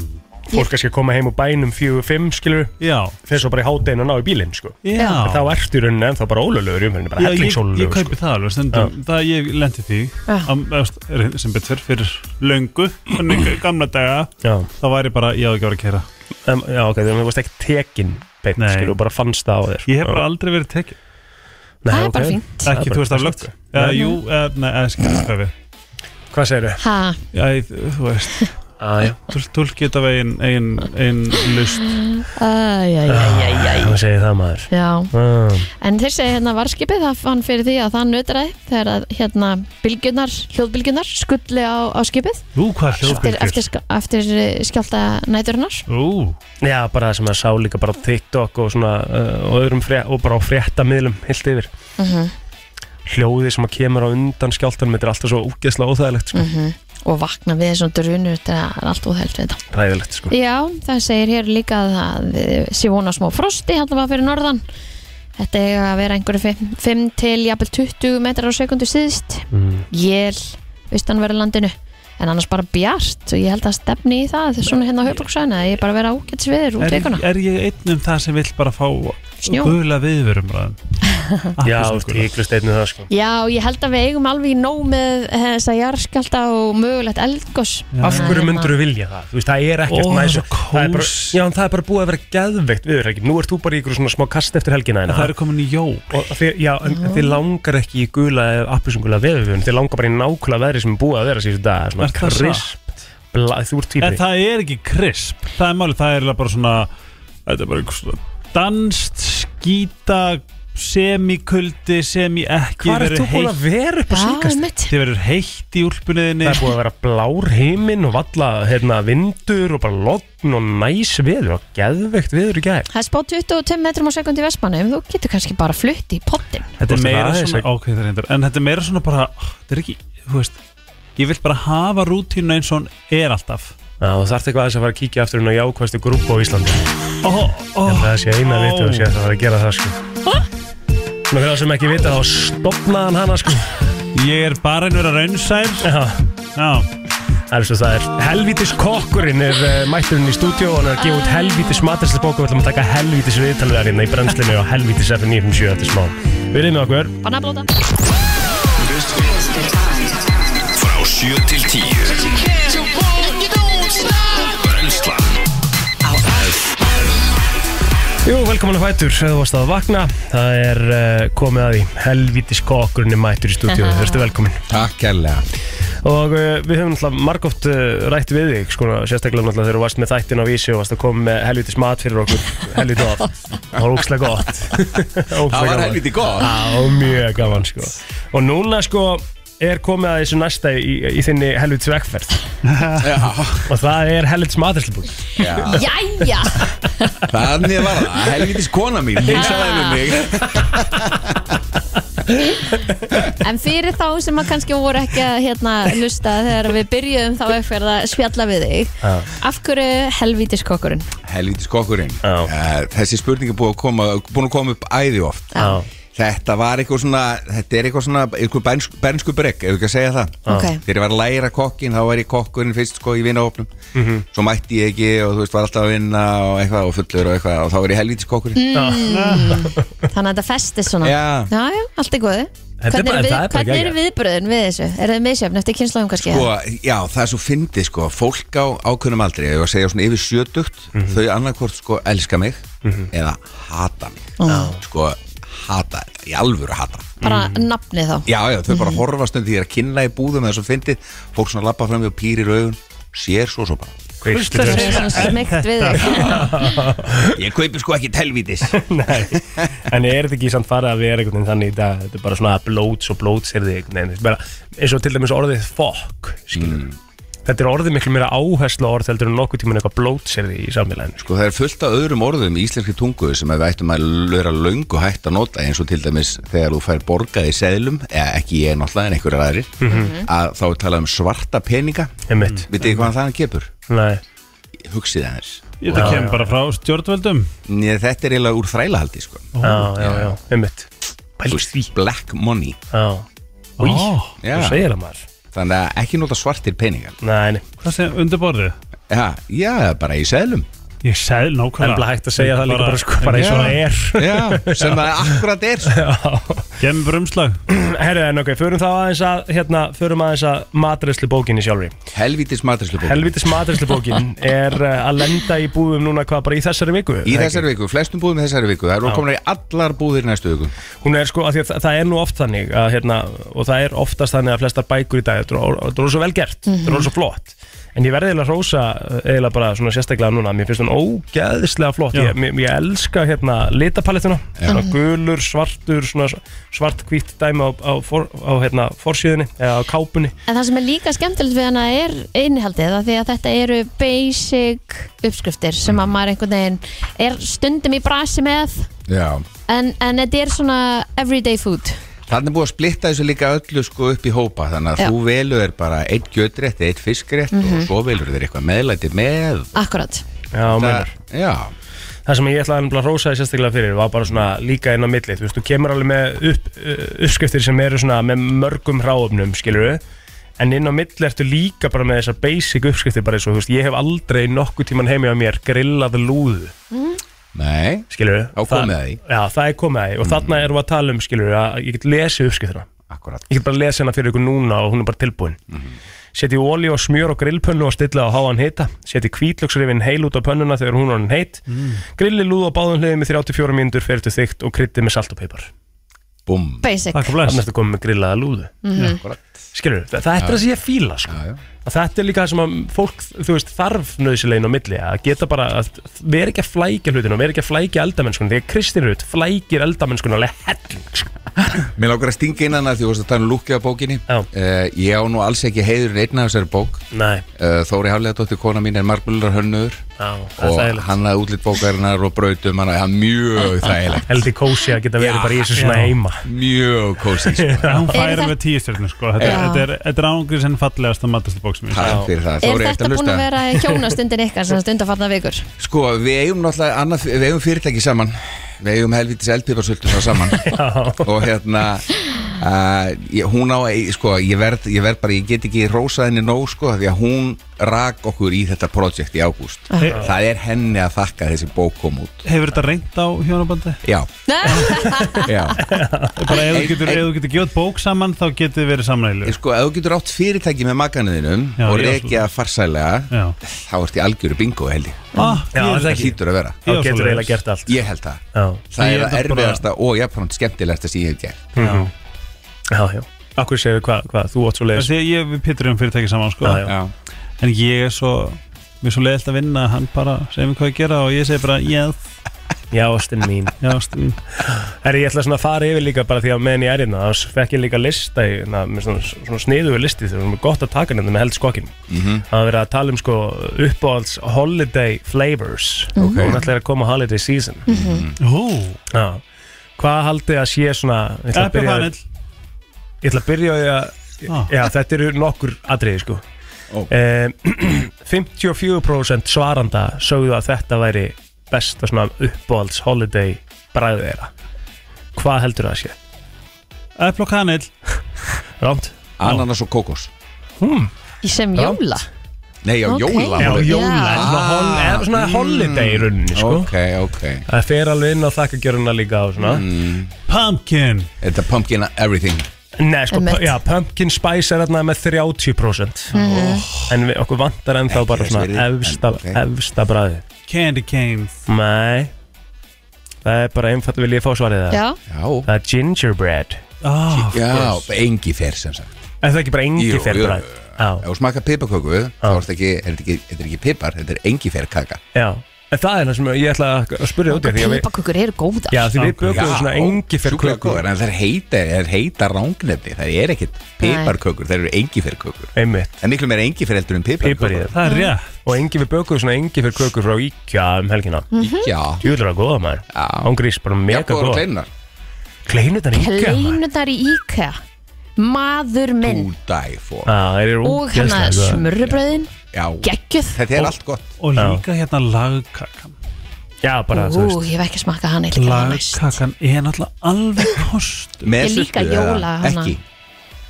S1: Fólk kannski að koma heim úr bænum 4-5 skilur
S3: Já
S1: Fyrir svo bara í hátdeinu að ná í bílinn sko.
S3: Já.
S1: En Þá ertu í rauninni ennþá bara ólöglegur í umferðinu bara sko.
S3: Já, ég, ég
S1: hellingsólögur
S3: kaupi það alveg stundum það ég lendi því
S2: Já.
S3: Am, efst, er- sem betur fyrir löngu þannig gamla daga
S1: Já.
S3: þá var ég bara, ég á ekki að vera að kera
S1: um, Já, ok, þannig að þú varst ekki tekin beint,
S3: Nei.
S1: skilur, þú bara fannst það á þér sko.
S3: ég hef bara aldrei verið tekið
S1: Nei,
S2: Það er bara
S1: ok.
S2: fínt.
S1: Það er
S3: ekki,
S1: bara-
S3: þú veist af lögt eða,
S1: Nei.
S3: jú, eða, nei, eða, skilur hvað við
S1: Hvað segirðu?
S2: ha,
S3: já, ég- þú veist,
S1: Ah, já.
S3: túl- túlkið þetta veginn ein, ein lust
S2: æjæjæjæj
S1: Þú segir það maður
S2: já,
S1: ah.
S2: en þeir segja hérna varskipið það fann fyrir því að það nötraði þegar að hérna bylgjunar, hljóðbylgjunar skulli á, á skipið
S3: ú, hvað
S2: eftir, eftir,
S3: hljóðbylgjur
S2: sk- eftir eh, skjálfta næturinnar
S3: ú,
S1: Já, bara það sem að sá líka bara á TikTok og svona uh, og, öðrum frétt, og bara á fréttamiðlum heilt yfir hljóðið sem að kemur á undan skjáltanum þetta er alltaf svo úgeðslega óþægilegt sko.
S2: og vakna við þessum drunur þetta er allt úðhælt við þetta
S1: ræðilegt sko.
S2: Já, það segir hér líka að það eh, sé vona á smá frosti hérna var fyrir norðan Þetta er að vera einhverju 5 til jafnvel 20 metrar á sekundu síðst
S1: mm.
S2: Jél, austanverðu landinu En annars bara bjart og ég held að stefni í það Svona hérna á höfbruksvæðinu að ég bara vera ágætt sviður út
S3: er,
S2: vikuna
S3: er ég einn um það sem vill bara fá
S2: Snjó.
S3: gula viðverum
S1: Já, tíklusteytinu það sko.
S2: Já, ég held að við eigum alveg í nóg með eh, þessa jarðskjálta og mögulegt eldgoss
S1: Af hverju myndur þú vilja það? Þú veist, það er ekkert
S3: Ó,
S1: næs
S3: það er svo
S1: það er bara,
S3: kósí.
S1: Já, en það er bara búið að vera geðveikt viður ekki Nú ert þú bara í ykkur svona smá kast eftir helgina
S3: það
S1: þína.
S3: er komin í jól
S1: Og þið, já, en þið langar ekki í gula eða appisungula veðurvun Þið langar bara í nákvæmlega veðri sem er búið að vera síðan dag Svona
S3: Er það satt?
S1: krisp bla, Þú ert
S3: En
S1: týpri
S3: það er ekki krisp Það er málið, það er eiginlega bara svona Þetta er bara einhver svona danst, skýta, semikuldi, semi ekki
S1: Hvað ert þú búin að vera upp á
S2: Já,
S1: síkast?
S2: mitt
S3: Þið verður heitt í úlpunniðinni
S1: Það er búið að vera blár heiminn og valla hérna, vindur og bara logn og næs viður og geðveikt viður í gær.
S2: Það er spáð 25 metrum á sekundi í Vestmanni Þú getur kannski bara flutt í pottin
S3: Þetta er
S1: Þú
S3: meira
S1: veist,
S3: svona,
S1: það
S3: ok það er reyndar En þetta er meira svona bara, oh, þetta er ekki, þú veist Ég vil bara hafa rútínu eins og hún er alltaf
S1: Já, þú þarft eitthvað aðeins að fara að kíkja aftur inn á jákvæmstu grúpu á Íslandi.
S3: Ó, ó
S1: Ég held að það sé eina
S3: ó.
S1: vitu og sé að það fara að gera það, sko. Nú fyrir það sem ekki vita þá stopnaði hann hana, sko.
S3: Ég er bara einhver að raunsær
S1: Já,
S3: Já,
S1: það er svo það er. Helvítis kokkurinn er uh, mætturinn í stúdíó og hann er að gefa út helvítis matarslega bók og við ætlum að taka helvítis viðtalverðina í brennslinu og helvítis F957 eftir smá. Við erum með okkur.
S2: Bannablóta
S4: Frá 7 til 10 Brennslan
S5: á F
S1: Jú, velkomin að fætur, ef þú varst að vakna Það er uh, komið að því Helvítis kokkurinn er mættur í stúdíu
S6: (laughs)
S1: Verstu velkomin
S6: Takk kærlega
S1: Og uh, við höfum náttúrulega margóft uh, rætt við þig sko, Sérstaklega náttúrulega þegar þú varst með þættin á vísi Og varst að koma með helvítis mat
S6: (laughs)
S1: fyrir okkur Helvítis oft Það var ókslega gott
S6: Það var helviti gott
S1: Já, mjög gaman sko Og núna sko er komið að þessu næsta í, í þinni helvítis vegferð
S6: Já,
S1: Og það er helvítis maturslubúk
S6: já
S2: Jæja
S6: Þannig var það Helvitis kona mín Hún sagði við mig
S2: En fyrir þá sem að kannski voru ekki að hérna hlusta þegar við byrjuðum þá eitthvað að spjalla við þig
S1: Já.
S2: Af hverju helvítis kokkurinn?
S6: Helvitis kokkurinn
S1: Já.
S6: Eh, Þessi spurning er búin að koma, búin að koma upp æði oft
S1: Já.
S6: Þetta var eitthvað svona Þetta er eitthvað svona Eitthvað bernsku, bernsku bregg Ef við ekki að segja það
S2: Ok.
S6: Þegar ég var að læra kokkin Þá var ég kokkurinn fyrst sko í vinahopnum Svo mætti ég ekki Og þú veist var alltaf að vinna Og eitthvað og fullur og eitthvað Og þá var ég helvitis kokkurinn
S1: Mm.
S2: Þannig að þetta festist svona
S6: Já.
S2: já, já, allt er góði
S1: Þetta er
S2: Hvernig
S1: bara-
S2: eru
S1: það er
S2: við,
S1: bara
S2: hvernig er
S1: geggjað.
S2: viðbröðin við þessu? Er þið misjöfn eftir kynnslóðum kannski?
S6: Sko, já, það er svo fyndið sko, fólk á ákveðnum aldrei, ef ég var að segja svona yfir sjötugt, þau annarkvort sko elska mig eða hata mig. Sko, hata þetta, í alvöru hata þetta.
S2: bara nafnið þá
S6: mm. Já, já, þau bara horfast um því að kynna í búðum eða svo fyndið, fólk svona lappa fram í og pýrir augun, sér svo svo bara
S2: Hvurslags- Það er svona smeygt við
S6: Ég kaupi sko ekki telvítis
S1: Nei, en er þetta ekki samt farið að vera einhvern veginn þannig í dag, þetta er bara svona blóts og blóts er þig, neina, bara eins og til dæmis orðið fokk, skilur Þetta er orðið miklu meira áherslu orð heldur en nokkuð tíma eitthvað blóts er þig í samfélaginu
S6: Sko það er fullt af öðrum orðum í íslenski tungu sem að við ættum að löra löngu hægt að nota eins og til dæmis þegar þú fær borgað í seðlum, eða ekki ég náttúrulega en einhverjar aðrir,
S1: Mhm.
S6: að þá er talað um svarta peninga
S1: sko. Einmitt.
S6: Vitið þið hvað það kemur?
S1: Nei
S6: Hugsið aðeins
S3: Þetta kemur bara frá stjórnvöldum
S6: Nei, þetta er eiginlega úr þrælahaldi sko
S1: Já, já, já, einmitt
S6: Pælst því Black money
S1: Já Í, þú segir það maður
S6: Þannig að ekki nota svartir peningar
S1: Nei, nei
S3: Hvað segir undirborðið?
S6: Já, já, bara í seðlum
S3: Ég segði nákvæmlega
S1: Embla hægt að segja það líka bara, sko, bara eins og það er (clears throat)
S6: Já, sem það akkurat er sko.
S3: Gemmi bara umslag
S1: Herru, en ok, förum þá aðeins að hérna, förum aðeins að matreyslu bókinni sjálfri
S6: Helvítis matrislu
S1: Helvitis matreyslu bókin er eh, að lenda í búðum núna hvað bara í þessari
S6: Í
S1: viku er það ekki?
S6: þessari viku, flestum búðum í þessari viku Það eru
S1: Já.
S6: komin í allar búðir næstu viku
S1: Hún er sko, af því að það, það er nú oft þannig að, hérna, og það er oftast þannig að flestar bækur í dag þetta er- þetta er svo vel gert, þetta
S6: Mhm.
S1: er svo flott en ég verði eiginlega að rósa eiginlega bara svona sérstaklega núna, mér finnst hún ógeðslega flott,
S3: Já.
S1: ég, mér- ég elska hérna litapalettuna, svona gulur svartur, svona svart hvítt dæmi á, á, for, á hérna forsíðunni eða á kápunni
S2: En það sem er líka skemmtilegt við hana er innihaldið af því að þetta eru basic uppskriftir sem að maður einhvern veginn er stundum í brasi með
S6: Já
S2: en, en þetta er svona everyday food
S6: Þannig er búið að splitta þessu líka öllu sko upp í hópa Þannig að
S2: Já.
S6: þú velur bara eitt gjötrétt, eitt fiskrétt
S2: Mhm.
S6: Og svo velur þér eitthvað meðlæti með
S2: Akkurat
S1: Já, meinar.
S6: Já
S1: það sem ég ætlaði nefnilega að rósa þér sérstaklega fyrir var bara svona líka inn á milli þú veist, þú kemur alveg með upp, uh, uppskriftir sem eru svona með mörgum hráöfnum skilur en inn á milli ertu líka bara með þessar basic uppskriftir bara eins og þú veist, ég hef aldrei nokkuð tíman heimi á mér grillað lúðu
S6: Nei
S1: skilur
S6: Á komið að því. Mm.
S1: Já, það er komið að því og þarna erum við að tala um skilur að ég get lesið uppskriftina
S6: Akkurat
S1: ég get bara lesið hana fyrir ykkur núna og hún er bara tilbúin setji olí og smjör og grillpönnu og stilla á háan hita setji kvítlöksrifin heil út á pönnuna þegar hún er orðin heit Grilli lúð á báðum hliðum í 34 mínútur fyrir til þygt og krytti með salt og peipar
S6: Búm
S2: Basic
S3: Takk og
S1: Þannig
S3: bless
S1: ertu komið með grillaða lúðu
S2: Mhm.
S1: Skilur, það, það er það sem ég fíla sko.
S6: Já, já.
S1: Og Þetta er líka það sem að fólk þú veist, þarf nöðsilegin á milli að geta bara að vera ekki að flækja hlutinu og vera ekki að flækja eldamennskunum því að Kristín Rut flækir eldamennskunum alveg helling sko.
S6: Mér langar að stinga innan að því þú varst að tala um lúkja á bókinni
S1: Já.
S6: uh, Ég á nú alls ekki heiðurinn einn af þessari bók
S1: Nei,
S6: uh, Þóri Hafleðadóttir kona mín er margmjölar hönnuður
S1: á, það er
S6: og
S1: þægilegt
S6: hann hafði útlitt bókarinnar og brautum hann hafði
S1: (laughs)
S6: mjög þægilegt
S1: Heldig kósi að geta verið
S6: Já,
S1: bara í þessu svona
S3: já.
S1: heima
S6: mjög kósi sko.
S3: En Hún
S2: Er
S3: færi
S2: þetta-
S3: með tíu stjórnir sko Þetta
S2: Já.
S3: þetta er, þetta er ángrið sem fallegasta matastabók sem ég
S6: Takk fyrir það,
S2: Er
S6: Þóri, ertu
S2: þetta
S6: að
S2: búin
S6: hlusta?
S2: að vera hjónastundin ykkar sem stundafarna
S1: (laughs)
S2: vikur?
S6: Sko, við eigum náttúrulega annað, við eigum fyrirtæki saman Við eigum helvitis eldpiparsöldun
S1: (laughs)
S6: saman Og hérna uh, ég, Hún á, að- sko, ég verð, ég verð bara Ég get ekki rósað henni nóg, sko Því að hún rak okkur í þetta projekt í ágúst
S3: Já.
S6: Það er henni að þakka þessi bók kom út
S3: Hefur þetta reynd á hjónabandi?
S6: Já, já
S1: (laughs)
S3: Bara ef þú
S6: Ein-
S3: getur,
S6: ein-
S3: ef þú getur gjóð bók saman þá getur þið verið
S6: En
S3: samræðilegur
S6: Sko, ef þú getur átt fyrirtæki með makanuðinum
S3: Já,
S6: og
S3: ég á svo-
S6: reykja farsælega
S3: Já
S6: þá ert í algjöru bingo held ég
S3: ah,
S1: Já,
S3: ég-
S1: það
S6: Það hlýtur að vera
S1: Þá
S3: Já,
S1: getur
S3: svoleiðis.
S1: eiginlega gert allt
S6: Ég held það
S1: Já,
S6: Það
S3: Ég
S6: er
S3: held
S6: það
S3: að bara-
S6: erfiðasta og jafnframt skemmtilegasta sem ég hef gert
S3: Já.
S1: já, já Mhm. Akkur segir hvað, hva, þú átt svo leiðis
S3: Þessi ég- ég við pittur um fyrirtæki saman sko
S1: Já, já.
S6: Já,
S3: En ég er svo Mér er svo leiðilt að vinna Hann bara segir mér hvað ég gera Og ég segir bara Yes
S1: Já, ástinn mín
S3: Já, mm. stund
S1: (laughs) Herri, ég ætla svona að fara yfir líka bara því að meðan ég er hérna þá fekk ég líka lista í, na, með svona, svona sniðugu listi þegar við gott að taka hérna með held skokkin
S6: Mhm.
S1: Það er verið að tala um sko uppáhalds holiday flavors og
S6: Ok. Mhm.
S1: það er að koma holiday season
S3: Hú
S1: Já Hvað haldið að sé svona Ég ætla að
S3: Eppi
S1: byrja,
S3: panel
S1: ég ætla að byrja á því að
S3: Ah.
S1: Já, þetta eru nokkur atriði sko
S6: Ó.
S1: eh, (clears throat) 54% svaranda sögðu að þetta væri besta svona uppáhalds holiday bræðið þeirra Hvað heldur það að sé?
S3: Eppi Ah. og kanel
S1: Rámt?
S6: ananas og kókos
S1: Hmm.
S2: Í sem
S1: Rámt.
S2: jóla?
S6: Nei, já,
S2: Ok.
S6: jóla
S1: Já,
S6: holiday.
S1: jóla,
S2: Já.
S1: svona, hol, eða svona holiday í rauninni sko
S6: Ah, hmm. Ok, ok
S1: Það fer alveg inn á þakkagjöruna líka og svona
S6: Hmm.
S3: Pumpkin
S6: Þetta er pumpkin everything
S1: Nei, sko,
S2: Einmitt.
S1: pu- já, pumpkin spice er þarna með 30%
S6: Oh.
S1: En við, okkur vantar ennþá bara
S6: þess
S1: svona
S6: virði, en
S1: efsta,
S6: ok.
S1: efsta bræði
S3: Candy canes
S1: Nei Það er bara einfalt, vil ég fá svarið það?
S2: Já.
S1: Það er gingerbread
S3: Ah,
S6: Já, engifer sem sagt
S1: En það er ekki bara engiferbræð
S6: Ef þú smaka pipaköku þá er þetta ekki, er þetta ekki, þetta er ekki pipar, þetta er engiferkaka
S1: Já, en það er það sem ég ætla að spyrja út í því að við-
S2: Pipakökur eru góðar
S1: Já, því við bökum svona engiferköku
S6: sjúklakökur, en það er heita, það heita rángnefni það er ekkit piparkökur, það eru engiferkökur
S1: Einmitt,
S6: það er miklu meira engifer heldur en
S1: pipar í
S6: piparkökur
S1: þeim
S3: Það er
S2: Mm.
S3: rétt
S1: Og engi við bökum svona engiferköku frá Íkja um helgina
S2: Mm.
S6: Já,
S1: Júlur að góða maður
S6: Já.
S1: Ángrís, bara
S6: já,
S1: mega
S6: góður
S1: góða
S6: kleinar
S1: Kleinutan Íkja maður
S2: Kleinunar í IKEA Maður minn
S6: Two die for
S1: Já, þeir eru
S2: Og hann
S1: ógeðslega
S2: að
S1: góðar.
S2: smurrubröðin
S6: Já,
S2: Gekkjöð
S6: þetta er allt gott
S3: Og líka hérna lagkakan
S1: Já, bara, þú
S2: Ú,
S1: veist
S2: ég hef ekki smakað hann eitthvað næst
S3: Lagkakan er náttúrulega alveg kost
S6: Með
S2: Ég líka
S6: sultu eða
S2: jóla hana.
S6: Ekki,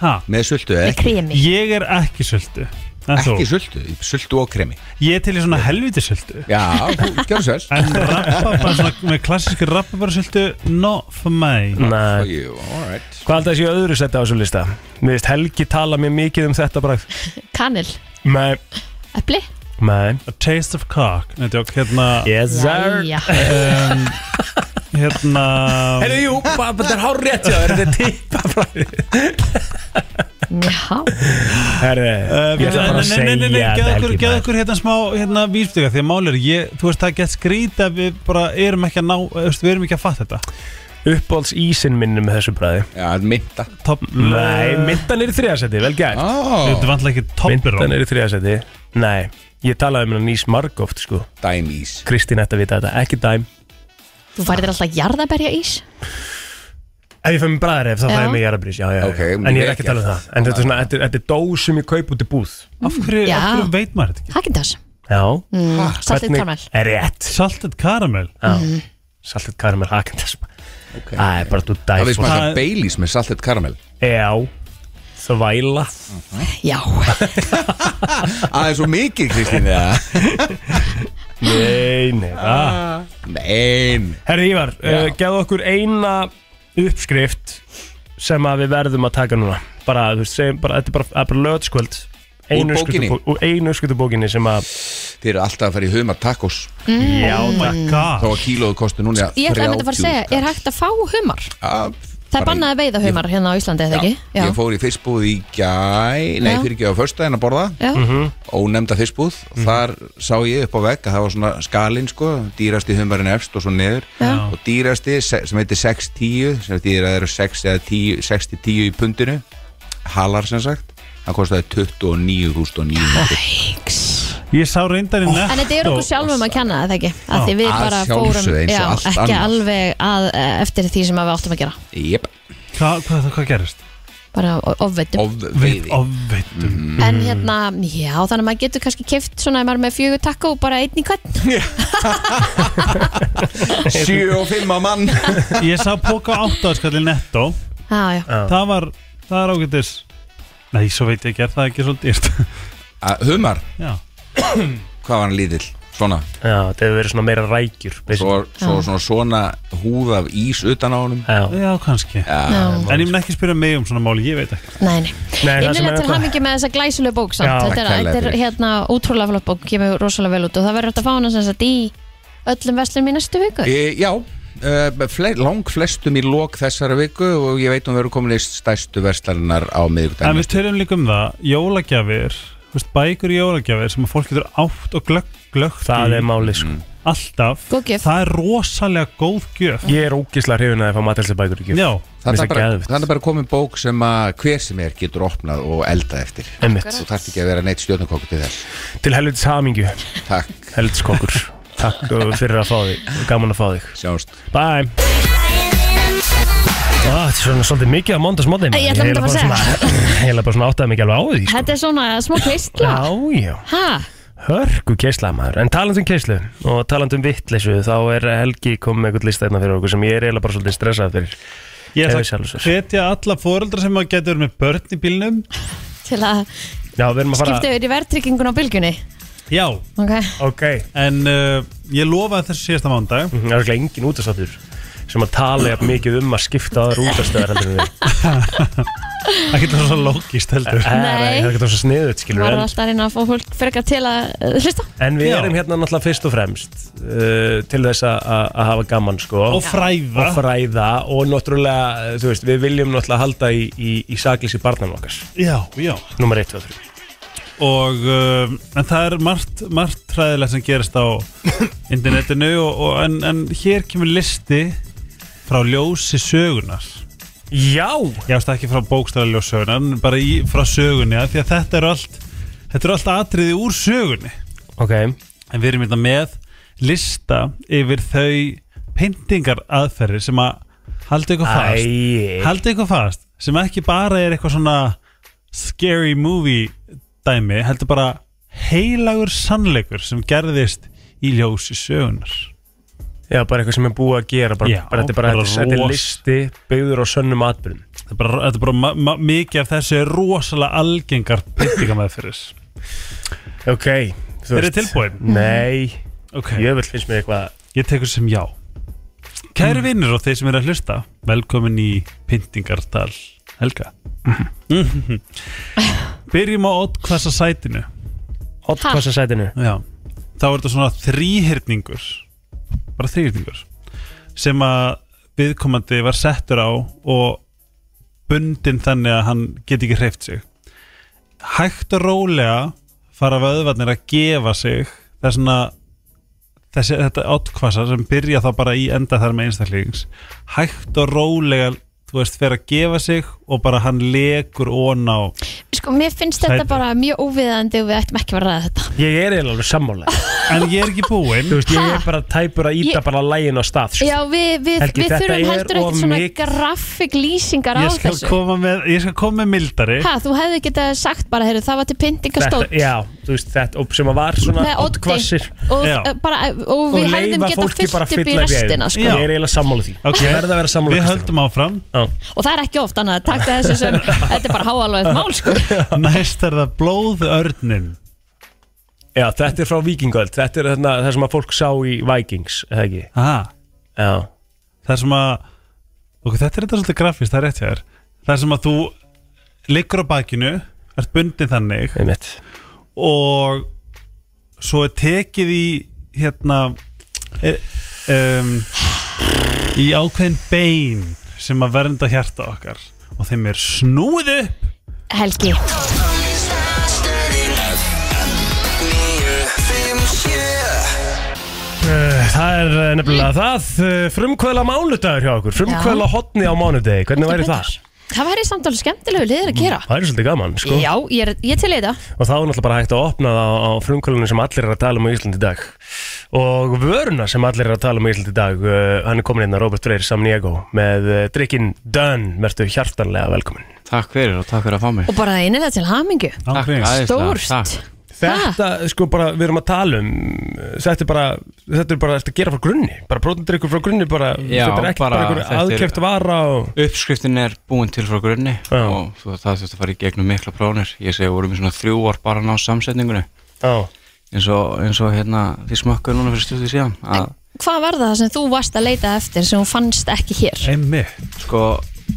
S3: Ha,
S6: með sultu eða
S2: Með
S6: ekki
S2: kremi
S3: ég er ekki sultu En þú?
S6: Ekki sultu, sultu og kremi
S3: Ég er til í svona helviti sultu
S6: Já, þú- gjörðu svo vel
S3: En rappabara, svona með klassísku rappabara sultu Not for me
S1: Nei,
S6: Jú, all right
S1: Hvað held að séu öðru setja á þessu lista? Mér veist Helgi tala mér mikið um þetta bara
S2: Kanil
S1: Nei,
S2: Epli
S1: nei
S3: A taste of cock Nei, djók, hérna
S1: Yes sir
S2: Jæja.
S3: um, Hérna
S1: Herru, jú, bara þetta er hár rétt hjá þér, þetta er tippa fræði
S2: Já
S1: Herru,
S3: Uh,
S1: ég ætla bara að segja
S3: nei, nei,
S1: þetta
S3: geð okkur,
S1: Helgi
S3: geð
S1: maður.
S3: okkur hérna smá hérna vísbyggar því að máli er, ég, þú veist það get skrýta við bara erum ekki að ná, þú veist, við erum ekki að fatta þetta
S1: Uppbólds ísinn minnum með þessu bræði
S6: Já, þetta er mynda
S3: Top,
S1: Nei, myndan er í þriðasetti, vel gert
S6: oh.
S3: Þetta er vantlega ekki toppur
S1: Myndan er í þriðasetti Nei, ég talaði um hennar nýs margóft, sko
S6: Dæmís
S1: Kristín ætti að vita þetta, ekki dæm
S2: Þú færið þér alltaf jarðaberja ís
S1: Ef ég fæ mér bræðar ef, þá fæ
S2: Já.
S1: ég mér jarabrís, já, já, já
S6: Ok,
S1: En ég er ekki að tala um
S6: vel
S1: það En þetta er svona, þetta er- þetta er dó sem ég kaup út í búð
S3: Af hverju,
S2: Já.
S3: af hverju veit maður þetta ekki?
S2: Hakindas
S1: Já
S2: Mm, Saltið
S1: Hvernig-
S2: kanil
S1: Er rétt
S3: Salted karamel
S1: Já, saltið karamel hakendas Það er bara þú
S6: Það veist
S1: dæf
S6: maður
S3: Það-
S6: að Baileys með saltet karamel
S1: Já, þvæla
S2: Já
S6: Það er svo mikið Kristín eða?
S1: Nei, nei, það
S6: Nein
S1: Herri Ívar, uh, gefðu okkur eina uppskrift sem að við verðum að taka núna bara, þú veist, segjum bara, þetta er bara, það er bara lögskvöld
S6: Úr bókinni?
S1: Úr einu uppskriftubókinni sem að
S6: Þeir eru alltaf að fara í huma tacos
S1: Já,
S3: Oh my
S6: Þó
S3: god
S6: að kílóðu kosti núna
S2: Ég ætla að mynda að fara að segja Er hægt að fá humar? Það er bannað að veiða humar hérna á Íslandi, eða ekki?
S6: Já, ég fór í fiskbúð í gæ Nei,
S2: Já.
S6: fyrir ekki á första en að borða
S2: Já.
S1: Mhm.
S6: Ónefnda fiskbúð Þar sá ég upp á vegg að það var svona skalinn sko Dýrasti humarinn efst og svo niður
S2: Já.
S6: Og dýrasti se- sem heitir 6-10 Sem þýðir að það eru 6 eða 10 6-10 í pundinu Halar sem sagt Það kostiði 29.900
S2: Æks
S3: Ég sá reyndar í netto
S2: En þetta er okkur sjálfum að kenna, eða ekki? Að því við
S6: Að
S2: bara
S6: sjálfsögðu
S2: fórum
S6: eins og
S2: já,
S6: allt
S2: ekki
S6: annað.
S2: alveg að, eh, eftir því sem að við áttum að gera
S6: Jep,
S3: Hvað hva, hva gerist?
S2: bara ofveitum
S3: Við
S6: ofveiði
S3: ofveitum
S2: en hérna, já þannig að maður getur kannski keft svona ef maður er með fjögur takko og bara einn í hvern
S6: 7 og 5 á mann
S3: Ég sá póka áttaðskall í netto
S2: já, já,
S3: Það var, það er ágættis Nei, svo veit ég ekki, er það ekki svolítið dýrt?
S6: (laughs)
S3: (laughs)
S6: Að Humar,
S3: Já
S6: hvað var hann lítill? Svona
S1: Já, þetta hefur verið svona meira rækjur basically.
S6: Svo, svo, svona, svona húð af ís utan á honum
S1: Já,
S3: Já, kannski
S2: já,
S3: En ég mun ekki spyrja mig um svona máli, ég veit ekki
S2: nei, nei
S1: Nei, það sem
S2: Innilega
S1: er
S2: til hamingi með þessa glæsulega bók samt.
S1: Já.
S2: þetta, er,
S6: Takk
S2: þetta er
S6: kærlega
S2: hérna útrúlega flott bók kemur rosalega vel út og það verður hægt að fá hana sem sagt í öllum vestlum í næstu viku
S6: e, Já, uh, fle, lang flestum í lok þessara viku og ég veit hún verður komin í stærstu verslarinnar á
S3: En
S6: miðvikudaginn
S3: við tölum líka um það, jólagjafir þú veist, Bækur í jólagjafir sem að fólk getur átt og glöggt glögg
S1: það er málið sko
S6: Mm.
S3: Alltaf
S2: Góð gjöf.
S3: Það er rosalega góð gjöf
S1: Ég er ógislega hrifin að ég fá matelsebækur ekki
S3: Já,
S6: Þannig er
S1: Mér finnst það
S6: bara,
S1: geðveikt.
S6: þarna er bara komin bók sem að hver sem er getur opnað og eldað eftir
S1: Einmitt,
S6: Þú þarft ekki að vera neitt stjórnarkokku til þess
S1: til helvitis hamingju
S6: Takk,
S1: Helvitskokkur Takk uh, fyrir að fá þig, gaman að fá þig
S6: sjáumst
S1: Bye Ah, Þetta er svona svolítið mikið á mondagsmótin
S2: Ég ætla einmitt að fara að
S1: (laughs) Ég er bara svona áttaði mikið alveg á því sko.
S2: þetta er svona smá kvistla
S1: Já, já,
S2: ha,
S1: hörku keisla maður En talandum keislu og talandum vittleysu Þá er Helgi komið með eitthvað lista einna fyrir okkur Sem ég er eiginlega bara svolítið stressað fyrir
S3: ég
S1: Eða
S3: ætla að
S1: sjálfsög.
S3: hvetja alla foreldra sem að getur með börn í bílnum
S2: til að
S1: Já, við erum að fara
S2: skipta yfir í verðtryggingun á bylgjunni
S3: Já,
S2: ok,
S1: Ok,
S3: en uh, ég lofaði þessu síðasta mándag
S1: Mhm, það er ekki engin útastáttur Sem að tala jafn mikið um að skipta aðra útastöðar heldur en við
S3: Það getur svo lókist heldur
S2: Nei.
S1: Það getur svo sniðut skilur
S2: Var
S1: en,
S2: alltaf að reyna að fá fólk frekar til að uh, hlusta
S1: en við
S3: Já.
S1: erum hérna náttúrulega fyrst og fremst uh, til þess að- að að hafa gaman sko
S3: Og fræða.
S1: og fræða og náttúrulega, uh, þú veist, við viljum náttúrulega halda í, í, í saklísi barnan okkar
S3: Já, já
S1: Númer 1, 2, 3
S3: Og, um, en það er margt, margt træðilegt sem gerist á internetinu og, og, en, en hér kemur listi frá ljósi sögunar
S1: Já
S3: Já, veist ekki frá bókstæðar ljós sögunar en bara í, frá sögunni, af því að þetta er allt þetta er allt atriði úr sögunni
S1: Ok,
S3: en við erum hérna með lista yfir þau pyntingar aðferðir sem að haldi eitthvað fast
S1: Æi.
S3: haldi eitthvað fast sem ekki bara er eitthvað svona scary movie dæmi heldur bara heilagur sannleikur sem gerðist í ljósi sögunar
S1: já, bara eitthvað sem er búið að gera bara,
S3: Já,
S1: bara, þetta er bara,
S3: bara
S1: þetta er- þetta er
S3: ros-
S1: listi byggður á sönnum atbyrðum
S3: þetta er bara, þetta er bara ma- ma- mikið af þessu er rosalega algengar pyntingar með fyrir
S1: Ok, þú
S3: Eru tilbúin?
S1: Nei,
S3: ok,
S1: ég vil finnst mér eitthvað
S3: Ég tekur sem já Kæri vinnur og þeir sem eru að hlusta Velkomin í Pyntingartal Helga Byrjum á oddkvassa sætinu
S1: Hotkvassa sætinu
S3: Já Þá er þetta svona þrýhyrningur Bara þrýhyrningur Sem að viðkomandi var settur á Og bundinn þannig að hann geti ekki hreift sig Hægt og rólega fara vöðvarnir að gefa sig Það er svona þessi, þetta átkvassa sem byrja þá bara í enda þar með einstaklings hægt og rólega þú veist, fer að gefa sig og bara hann lekur ón á
S2: Sko, mér finnst þetta
S3: Sæti.
S2: bara mjög óviðandi og við ættum ekki að vera að ræða þetta
S1: Ég er eiginlega alveg sammála
S3: en ég er ekki búinn
S1: Þú veist, ég er bara tæpur að íta
S2: Ég-
S1: bara lægin á stað sko.
S2: Já, við, við,
S1: Helgi,
S2: við
S1: þetta
S2: þurfum
S1: er
S2: heldur
S1: of
S2: ekkert svona
S1: mikið-
S2: graffiklýsingar á
S3: ég skal,
S2: þessu
S3: koma með, ég skal koma með mildari
S2: Ha, þú hefði getað sagt bara, heyrðu, það var til
S1: Þetta,
S2: pyntingastótt
S1: já, þú veist, þetta og sem að var svona
S2: Nei, oddi.
S1: oddhvassir
S2: og,
S3: Já.
S2: uh, bara, og við
S1: og
S2: hefðum
S1: leifa
S2: getað
S1: fólki bara að
S2: fyllt upp í
S1: fylla upp í
S2: restina
S1: eyrun.
S2: sko.
S1: Ég er eiginlega sammála því
S3: Ok.
S1: Ég verð að vera sammála
S3: við
S1: Kristín.
S3: höldum áfram
S2: og það er ekki oft annað að taka þessu sem þetta er bara háalvægt mál sko.
S3: næst er það blóðörnin
S1: Já, þetta er frá vikingöld Þetta er þarna, það sem að fólk sá í Vikings eða ekki?
S3: Aha,
S1: Já,
S3: það er sem að ok, þetta er þetta svolítið grafist, það er rétt hjá þér það er sem að þú liggur á bakinu ert bundin þannig
S1: einmitt
S3: og svo er tekið í hérna er, um, í ákveðin bein sem að vernda hjarta okkar og þeim er snúið upp
S2: Helgi,
S1: Það er eh, nefnilega það eh, Frumkvöla mánudagur hjá okkur Frumkvöla hotni á mánudegi, hvernig væri það?
S2: það væri samt alveg skemmtilegu liðir að gera
S1: Það er svolítið gaman, sko
S2: Já, ég, er- ég til í þetta
S1: og þá er náttúrulega bara hægt að opna það á, á frumkvölunum sem allir er að tala um á Íslandi í dag og vöruna sem allir er að tala um á Íslandi í dag uh, hann er komin hérna Robert Freyr Samniego með uh, drikkin Dön, verðstu hjartanlega velkomin
S7: Takk fyrir og takk fyrir að fá mig
S2: og bara einilega til hamingu
S7: Takk,
S3: Ángríns.
S7: æðislega,
S2: Stórst.
S7: takk.
S1: Þetta, sko bara, við erum að tala um uh, þetta er bara, þetta er bara þetta er að gera frá grunni, bara prótendrykkur frá grunni bara,
S7: Já,
S1: þetta er ekki bara
S7: bara-
S1: einhver
S7: þetta er-
S1: aðkjöft vara og
S7: Uppskriftin er búin til frá grunni
S1: Já.
S7: og þú, það þurfti að fara í gegnum mikla prófnir Ég segi, vorum við svona þrjú ár bara að ná samsetningunni
S1: á,
S7: eins og, eins og hérna, þið smökkuðu núna fyrir stjórnum síðan að
S2: Hvað var það sem þú varst að leita eftir sem þú fannst ekki hér?
S3: einmitt
S7: sko,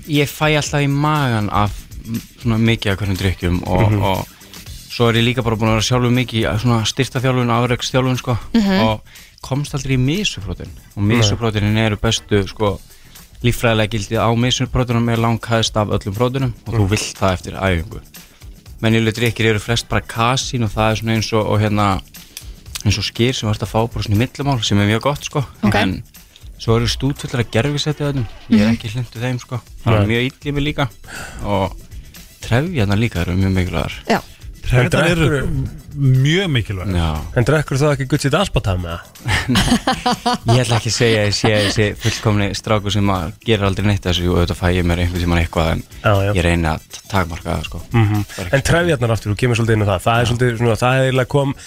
S7: ég fæ alltaf í magan af m- svona mikið af hvernig drikkjum og, og svo er ég líka bara búin að vera sjálfur mikið í að svona styrta þjálfun, afreiks þjálfun sko og komst aldrei í misufrótin og misufrótinin eru bestu sko líffræðilega gildið á misufrótinum er langhæðst af öllum frótinum og þú vilt það eftir æfingu mennileg drikkir eru flest bara kasín og það er svona eins og, og hérna eins og skýr sem varst að fá bara svona í millamál sem er mjög gott sko
S2: Ok.
S7: en svo eru stútfullar að gerfisetti þessum ég er ekki hlindu þeim sko það er
S1: Nei.
S7: mjög illið mig líka og trefjarnar líka eru mjög mikilvægar
S2: Já,
S3: þetta er
S1: drekkur-
S3: mjög mikilvægt
S7: Já,
S1: en drekkur það ekki gutt sitt aspartam eða?
S7: ég ætla ekki að segja að ég sé þessi fullkomni stráku sem að gera aldrei neitt af þessu og auðvitað fæ ég mér einhvern tímann eitthvað en
S1: Já, já.
S7: ég reyna að t- takmarka það sko Það er ekki-
S1: Mhm. En trefjarnar aftur, þú kemur svolítið inn á það Það er svolítið, svona, það er eiginlega kom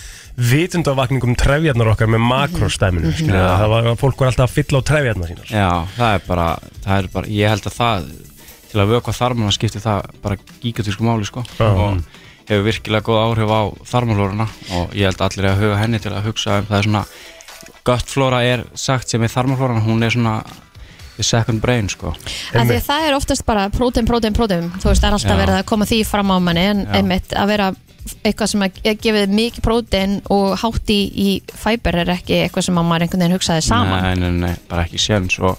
S1: vitundavakningum trefjarnar okkar með makrostæminu mm
S7: Mhm. Já.
S1: Það var, fólk var alltaf að fylla á trefjarnar sínar
S7: Já, það er bara, það er bara ég held að það, til að vökva þarmanna skiptir það bara gigantísku máli sko.
S1: Já.
S7: og hefur virkilega góð áhrif á þarmalóruna og ég held að allir er að huga henni til að hugsa um það er svona, guttflóra er sagt sem er þarmalóran, hún er svona the second brain sko
S2: að því að það er oftast bara prótein, prótein, prótein þú veist, það er alltaf
S7: Já.
S2: verið að koma því fram á manni en
S7: Já.
S2: einmitt að vera eitthvað sem að að gefið mikið prótein og hátti í fæber er ekki eitthvað sem að maður einhvern veginn hugsaði saman
S7: Nei, nei, nei, bara ekki séns og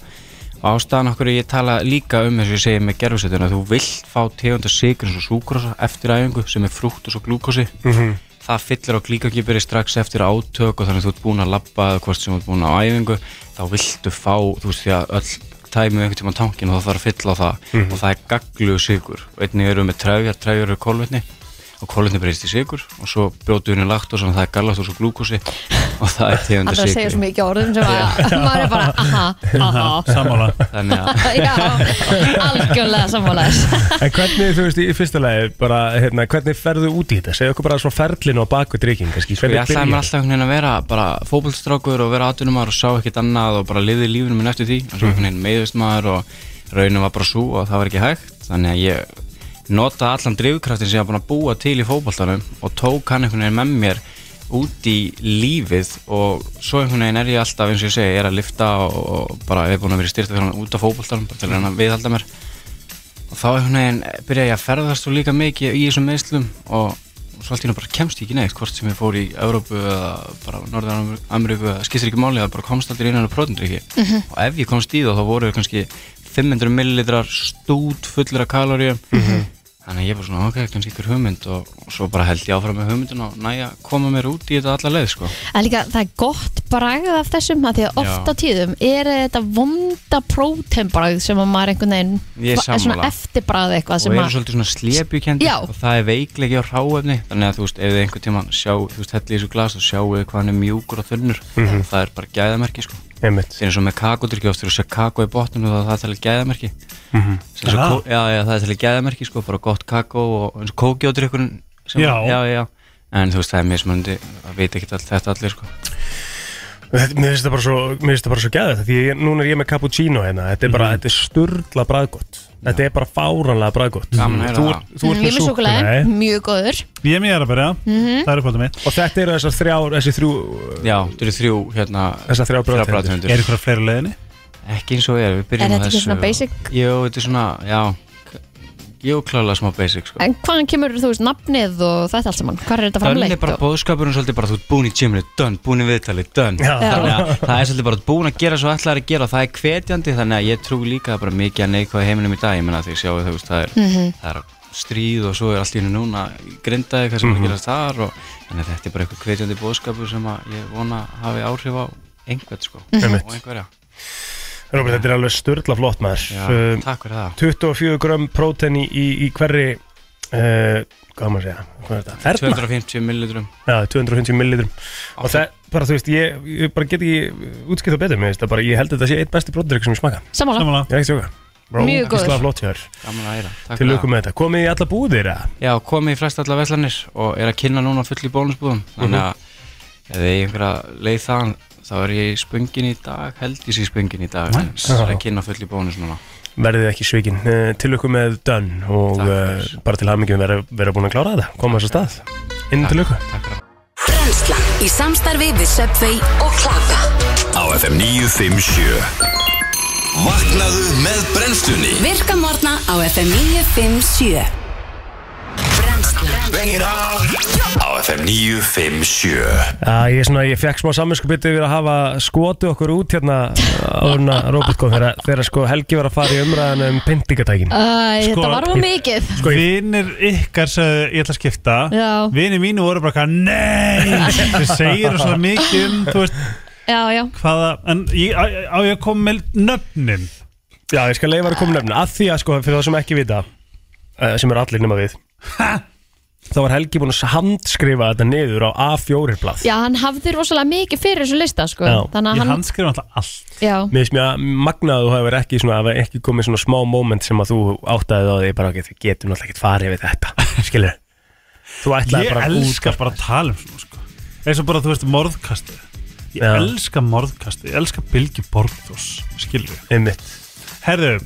S7: ástæðan okkur ég tala líka um eins og ég segi með gerfusetuna, þú vilt fá tegunda sigur eins og súkrosa eftir æfingu sem er frúktus og glúkosi
S1: Mhm.
S7: það fyllir á glíkagibri strax eftir átök og þannig að þú ert búin að labba eða hvort sem þú ert búin á æfingu, þá viltu fá þú veist því að öll tæmi einhvern tímann tankin og það þarf að fylla á það og það er gaglu sigur, einnig eru með trefjar trefjar eru kolvetni og kolvetni breyst í sigur og svo brjótu henni lagt og það er galaktos og glúkosi (laughs) og það er tegunda
S2: Allra
S7: sigur
S2: að segja svo mikið orðum sem að (laughs) maður er bara, aha, aha
S3: Sammála
S2: (laughs)
S7: þannig að
S2: Já,
S7: (laughs)
S2: algjörlega sammálaðis
S1: (laughs) En hvernig, þú veist, í fyrsta lagi bara, hérna, hvernig ferðu út í þetta? Segðu okkur bara svona ferlinu á baku drikking, kannski
S7: Sko, ég
S1: Hvernig
S7: ætlaði mér
S1: byrjar?
S7: alltaf einhvern veginn að vera bara fótbollstrákur og vera atvinnumar og sá ekkert annað og bara liði lífinu minn eftir því og svo einhvern veginn meiðist maður og raunin var bara svo og það var ekki hægt þannig að ég notaði allan drifkraftin sem ég var búin að búa til í fótbolltanum og tók hann einhvern veginn með mér út í lífið og svo einhvern veginn er ég alltaf eins og ég segi, ég er að lifta og, og bara er búin að vera styrta fyrir hann út af fótbolltanum bara til að reyna að viðhalda mér og þá einhvern veginn byrja ég að ferðast og líka mikið í þessum meðslum og svo allt í hérna bara kemst ég ekki neitt hvort sem ég fór í Evrópu eða bara Norður Ameríku eða skistir ekki máli eða bara komst aldrei innan á prótendriki og ef ég komst í það þá voru kannski 500 millilitrar stút fullur af kaloríum þannig að ég bara svona ok, kannski ykkur hugmynd og og svo bara held ég áfram með hugmyndin og næja koma mér út í þetta alla leið sko
S2: En líka það er gott bragð af þessum að því að oft
S7: Já.
S2: á tíðum er þetta vonda prótenbragð sem að maður einhvern veginn
S7: Ég er
S2: er svona
S7: sammála.
S2: eftirbragð eitthvað
S7: og
S2: sem
S7: eru
S2: að
S7: svolítið svona slepjukendi
S2: Já.
S7: og það er veiklegi á ráefni þannig að þú veist, ef þið einhvern tímann sjá þú veist, hellið í þessu glas og sjáu hvað hann er mjúkur og þunnur það er bara gæðamerki sko
S1: Einmitt.
S7: það er eins og með kakodrykki oft eru að sjá kakó í botninu og það er talið gæðamerki Sem svo
S3: Aha.
S7: kó- já, já, það er talið gæðamerki sko, bara gott kakó og eins og kókjódrykkurinn sem-
S3: Já.
S7: já, já, en þú veist, það er mismunandi að vita ekki all, þetta allir sko
S1: Þetta- Mér finnst það bara svo, mér finnst það bara svo gæðið Því ég, núna er ég með cappuccino hérna Þetta er
S7: Mhm.
S1: bara, þetta er sturla braðgott Þetta er bara fáranlega braðgott
S7: Gaman að heyra
S1: Þú
S7: það.
S1: ert- þú ert
S2: Mjög
S1: með
S2: með súkulega,
S1: súkkulaði.
S2: mjög góður
S3: Ég er mér að byrja,
S2: Mhm.
S3: það er uppáldum mitt
S1: Og þetta eru þessar þrjár, þessi þrjú
S7: já, þetta eru þrjú, hérna
S1: Þessar þrjár
S7: þrjár
S1: bragðtegundir.
S7: bragðtegundir.
S3: Er ykkur fleiri á leiðinni?
S7: ekki eins og ég er, við
S2: Er
S7: byrjum á
S2: þetta ekki
S7: þessu
S2: svona basic?
S7: Jú, þetta er svona, já Jú, klálega smá basic sko.
S2: En hvaðan kemur, þú veist, nafnið og þetta allt saman? Hvað er þetta
S7: Þannig er
S2: framleitt?
S7: bara
S2: og-
S7: bóðskapurinn svolítið bara þú ert búin í gyminu, done, búin í viðtali, done
S1: Já.
S7: Þannig að það er svolítið bara búin að gera svo allar að gera og það er hvetjandi þannig að ég trú líka bara mikið að neikvað heiminum í dag, ég menna því sjáu þú veist, það er,
S2: Mhm.
S7: það er stríð og svo er allt í hennu núna grindaði hvað sem
S1: Mhm.
S7: er að gerast þar og þannig að þetta er bara eitthvað hvetjandi bóðskapur sem að ég vona hafi áhrif á einhvern sko
S2: Mhm.
S1: Einmitt.
S7: og einhverja,
S1: Robert, þetta er alveg sturla flott
S7: já,
S1: maður Um,
S7: takk fyrir það
S1: 24 grömm prótein í, í, í hverri uh, hvað á maður að segja, hvað er þetta? Ferna?
S7: 250 millilitrum
S1: Já, 250 millilitrum og það, bara þú veist, ég, ég bara get ekki útskipt á betur, mér veist, það bara, ég held að þetta sé eitt besti prótein sem ég smaka,
S2: Sammála,
S3: Sammála
S1: ég er ekki sjóka
S2: Mjög góður.
S1: flott hjá þér,
S7: Gaman að æra Takk
S1: til
S7: fyrir
S1: aukum með þetta komið í alla búðir, eða?
S7: það. Já, komið í flest alla veslanir og er að kynna núna full í bónusbúðum Þannig að ef þið er einhverja leið þaðan þá er ég í spöngin í dag held ég sé í spöngin í dag en
S1: Já.
S7: er að kynna full í bónus núna
S1: verðið ekki svikin uh, til aukum með dönn og
S7: Takk
S1: uh,
S7: fyrir.
S1: bara til hamingjum vera, vera búin að klára þetta koma þess að stað, inn til aukum
S7: Takk fyrir
S5: Brennslan í samstarfi við Subway og Klaka
S4: á FM 957 Vaknaðu með brennslunni
S5: Virka morgna á FM 957 Brennslan
S4: Bengir á á FM 957
S1: Já, ég, er svona, ég fekk smá samvinskupið yfir að hafa skotið okkur út hérna áðurna Robert kom þegar, þegar sko Helgi var að fara í umræðan um pyntingatækin
S2: Æ, þetta var of mikið
S1: Sko, ég-
S3: Vinir ykkar sagðu ég ætla að skipta
S2: Já.
S3: Vinir mínu voru bara eitthvað Nei, þið segir svo mikið um Þú veist
S2: Já, já,
S3: hvaða En ég, á, á ég að koma með nöfnin
S1: Já, ég skal leifa að koma nefna að því að sko, fyrir það sem ekki vita uh, sem eru allir nema við þá var Helgi búinn að handskrifa þetta niður á A4 blað
S2: já, hann hafði rosalega mikið fyrir þessu lista, sko
S1: Já,
S2: Þannig að
S3: Ég
S2: hann,
S3: handskrifa alltaf allt
S2: já,
S1: Mér finnst mér að magnað að þú hefur ekki, svona, hafa ekki komið svona smá moment sem að þú áttaðið á því bara ok, við getum náttúrulega ekkert farið við
S3: (laughs)
S1: þetta skilur Þú ætlaði
S3: Ég
S1: bara að
S3: elska
S1: útvarpa.
S3: bara að tala um svona sko. eins og bara þú veist morðkastið Ég
S1: Já.
S3: elska morðkastið, ég elska Bilgi Borgþós Skilju
S1: Einmitt.
S3: Herðu,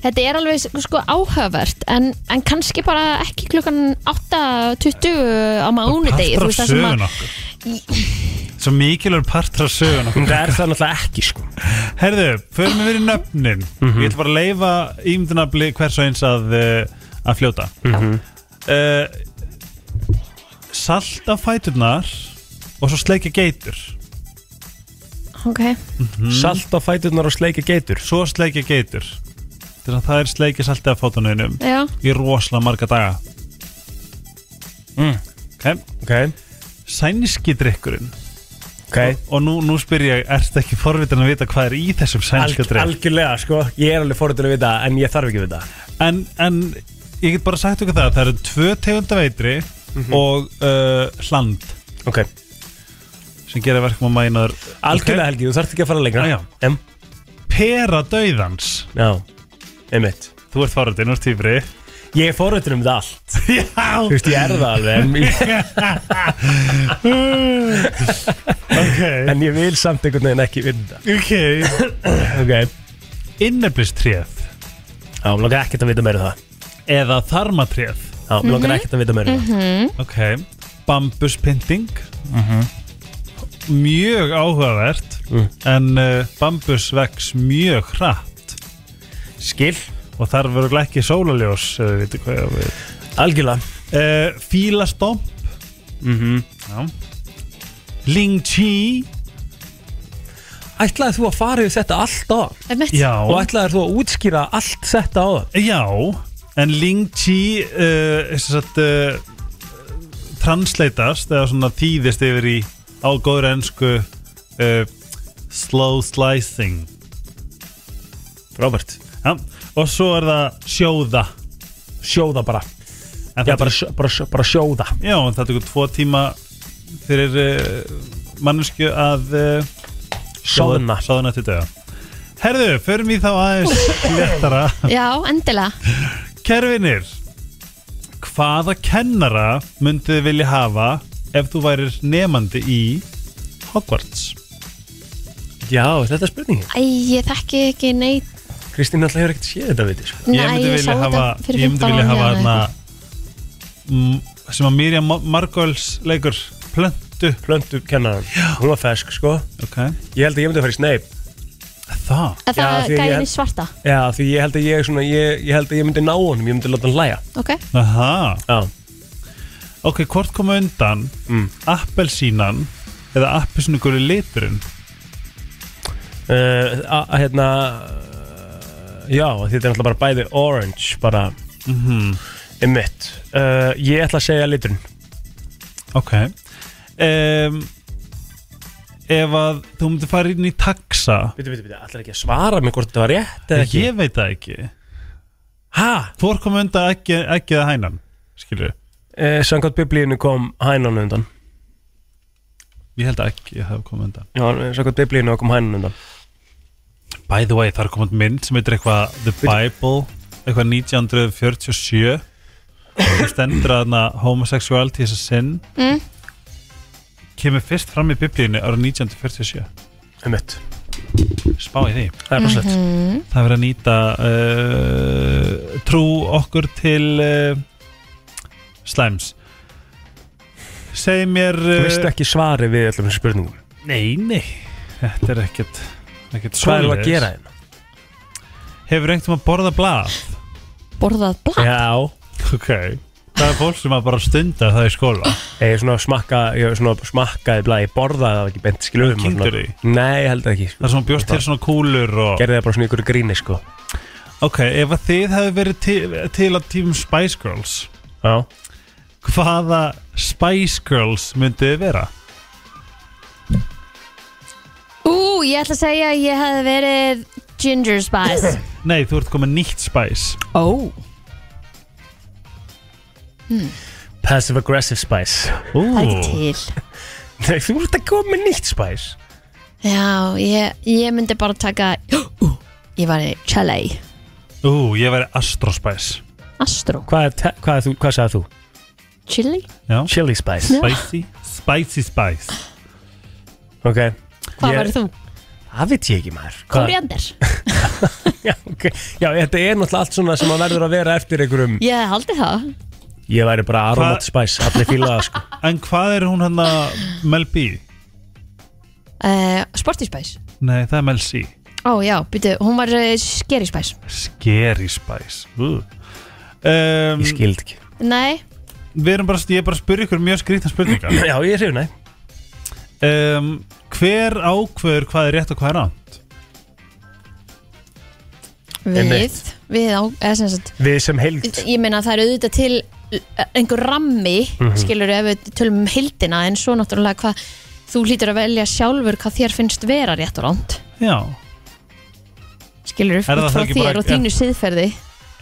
S2: þetta er alveg sko áhugavert en, en kannski bara ekki klukkan 8.20 á mánudegi þú
S3: partur af
S2: veist það sem
S3: sögun
S2: að
S3: okkur Svo mikilvægur partur af söguna
S1: Það er það náttúrulega ekki sko
S3: Herðu, förum við í nöfnin
S1: Mhm.
S3: Ég ætla bara að leifa ímyndunabli hvers og eins að, eh, að fljóta mm
S1: Mhm.
S3: Salt af fæturnar og svo sleikja geitur
S2: Ok,
S1: Salt á fæturnar og sleika geitur
S3: Svo sleikja geitur Þess að það er sleikja salti af fótunuðinum
S2: já,
S3: í rosalega marga daga
S1: Mm.
S3: Ok,
S1: Ok,
S3: sæniski drikkurinn
S1: ok
S3: Og nú, nú spyr ég, ertu ekki forvitin að vita hvað er í þessum sænska
S1: Alg,
S3: drikk?
S1: Algjörlega sko, ég er alveg fórhundin að vita En ég þarf ekki að vita
S3: en, en ég get bara sagt okkur það Það eru tvö tegunda veitri Og uh, hland
S1: Ok,
S3: Sem gerir verkum að mænaður
S1: algjörlega Helgi, þú þarft ekki að fara lengra
S3: Já, já.
S1: Em,
S3: Pera dauðans
S1: já, einmitt
S3: Þú ert fórhaldin, þú ert týpri
S1: Ég er fórhundin um þetta allt
S3: (laughs) Já
S1: Þú veist, ég er það alveg en, (laughs) ég-
S3: Ok,
S1: en ég vil samt einhvern veginn ekki vita
S3: (coughs) ok
S1: Ok,
S3: Inneflistréð
S1: já, mér langar ekkert að vita meira um það
S3: Eða þarmatréð
S1: Já, mér langar ekkert að vita meira um það
S3: Ok Bambuspynting Mhm. Mjög áhugavert En uh, bambus vex mjög hratt
S1: Skil,
S3: Og þar verður ekki sólaljós Eða við veitum hvað ég á við
S1: algjörlega
S3: uh, Fílastomp
S1: Mhm.
S3: Já. Ling Chi
S1: Ætlaðir þú að fara yfir þetta allt á
S2: einmitt
S3: Já,
S1: Og ætlaðir þú að útskýra allt þetta á það
S3: já En Ling Chi uh, satt, uh, Translatast Eða svona þýðist yfir í Á góður ensku uh, Slow slicing
S1: Robert,
S3: já. Og svo er það sjóða
S1: sjóða bara
S3: En
S1: Já,
S3: það-
S1: bara, sjó- bara, sjó- bara sjóða
S3: já, en það tekur tvo tíma Fyrir uh, mannesku að uh,
S1: Sjóðna
S3: Sjóðna til döða Herðu, förum við þá
S1: (laughs)
S3: aðeins Lettara
S2: Já, endilega
S3: Kerfinir Hvaða kennara myndið þið vilja hafa ef þú værir nefandi í Hogwarts?
S1: Já, þetta er spurningin
S2: Æ, ég þekki ekki neitt
S1: Kristín alltaf hefur ekkert séð þetta veitir sko.
S2: Nei,
S3: ég myndi
S2: sá
S3: vilja
S2: þetta
S3: hafa,
S2: fyrir
S3: ég
S2: 15
S3: myndi vilja
S2: árum
S3: hafa
S2: eða
S3: hana,
S2: eitthvað.
S3: mm, sem að Mirjam Mar- Margols leikur plöntu
S1: Plöndu kennaran, hún var fesk sko
S3: okay.
S1: Ég held að ég myndi að fara í Snape
S3: Það,
S2: Að
S1: Já,
S2: það
S1: því
S2: er
S1: ég
S2: gæðin
S1: held-
S2: í svarta
S1: Já, því ég held að ég, svona, ég, ég, held að ég myndi ná honum, ég myndi láta hann hlæja
S2: Ok,
S3: aha
S1: Já,
S3: Ok, hvort koma undan
S1: Mm.
S3: appelsínan eða appelsínugurli liturinn
S1: uh, a, a- hérna uh, Já, því þetta er alltaf bara bæði orange bara
S3: Mhm.
S1: Einmitt uh, Ég ætla að segja liturinn
S3: Ok um, Ef að þú myndir fara inn í taxa
S1: Býtu, býtu, býtu, ætlar ekki að svara mig hvort þetta var rétt eða ekki
S3: Ég veit það ekki
S1: Ha?
S3: Hvor kom undan ekki, ekki að hænan? Skilju,
S1: Uh, Samkvæmt biblíinu kom hænan undan
S3: ég held að ekki að það kom undan
S1: Já, samkvæmt biblíinu kom hænan undan
S3: By the way, það er komand mynd sem heitir eitthvað The Bible, eitthvað 1947 og stendur að hana homosexuality is a sin
S2: Mm.
S3: kemur fyrst fram í biblíinu ára 1947
S1: Einmitt
S3: spá í því
S1: Það er bara slett
S2: Mhm.
S3: það verður að nýta uh, trú okkur til uh, slæms segi mér
S1: Þú
S3: uh,
S1: veist ekki svari við öllum þessum spurningum
S3: Nei, nei Þetta er ekkert,
S1: Hvað er
S3: ekkert
S1: það að
S3: svoleiðis.
S1: gera hérna?
S3: Hefur einhvern veginn að borða blað?
S2: borðað blá
S1: Já
S3: Ok Það er fólk sem að bara stunda það í skóla
S1: Ég er svona að smakka Ég er svona að smakkaði blað Ég borðaði það ekki beint skilum
S3: Kynntur því?
S1: Nei, ég held það ekki
S3: Það er svona bjóst til svona kúlur og
S1: Gerði það bara svona ykkur gríni sko
S3: Ok, ef að þið hefur verið til, til að tímum Spice Girls
S1: Já
S3: Hvaða Spice Girls myndið þið vera?
S2: Ú, ég ætla að segja að ég hefði verið Ginger Spice
S3: Nei, þú ert komið nýtt Spice
S2: (clears throat) Ó
S1: Passive aggressive spice (laughs)
S3: Ú,
S2: Það er ekki til
S1: Nei, þú ert að koma með nýtt spice
S2: Já, ég, ég myndi bara taka (gasps) Ú, ég var í Chile
S3: ú ég væri Astro Spice
S2: Astro
S1: Hvað, er te- hvað, er þú- hvað sagði þú?
S2: Chile?
S3: Já,
S1: Chili spice
S3: Spicy Spicy Spice
S1: Ok
S2: Hvað
S1: Ég-
S2: yeah. þú?
S1: Það veit ég ekki maður Hvað-
S2: Koriander
S1: (laughs) Já, ok Já, þetta er náttúrulega allt svona sem að verður að vera eftir einhverjum
S2: Ég hefði haldið það
S1: Ég væri bara aromat
S3: Hvað-
S1: spice Allir fílaða sko
S3: En hvað er hún hann að Mel hérna B?
S2: uh, Sporty Spice
S3: Nei, það er Mel C
S2: Ó já, býtu, hún var uh, Scary Spice
S3: Scary Spice uh. um,
S1: Ég skild ekki
S2: Nei,
S3: Við erum bara, ég er bara að spyrja ykkur mjög skrýtna spurningar
S1: (coughs) Já, ég er hrifin, nei
S3: um, Hver ákveður hvað er rétt og hvað er ránt?
S2: við
S1: Einmitt.
S2: Við á, eða sem sagt
S1: Við sem heild
S2: Ég meina það er auðvitað til uh, einhver rammi,
S1: Mhm.
S2: skilur ef við tölum um hildina, en svo náttúrulega hvað þú hlýtur að velja sjálfur hvað þér finnst vera rétt og ránt
S3: Já,
S2: skilur út
S3: það þá
S2: frá
S3: ekki
S2: þér
S3: bara-
S2: og þínu síðferði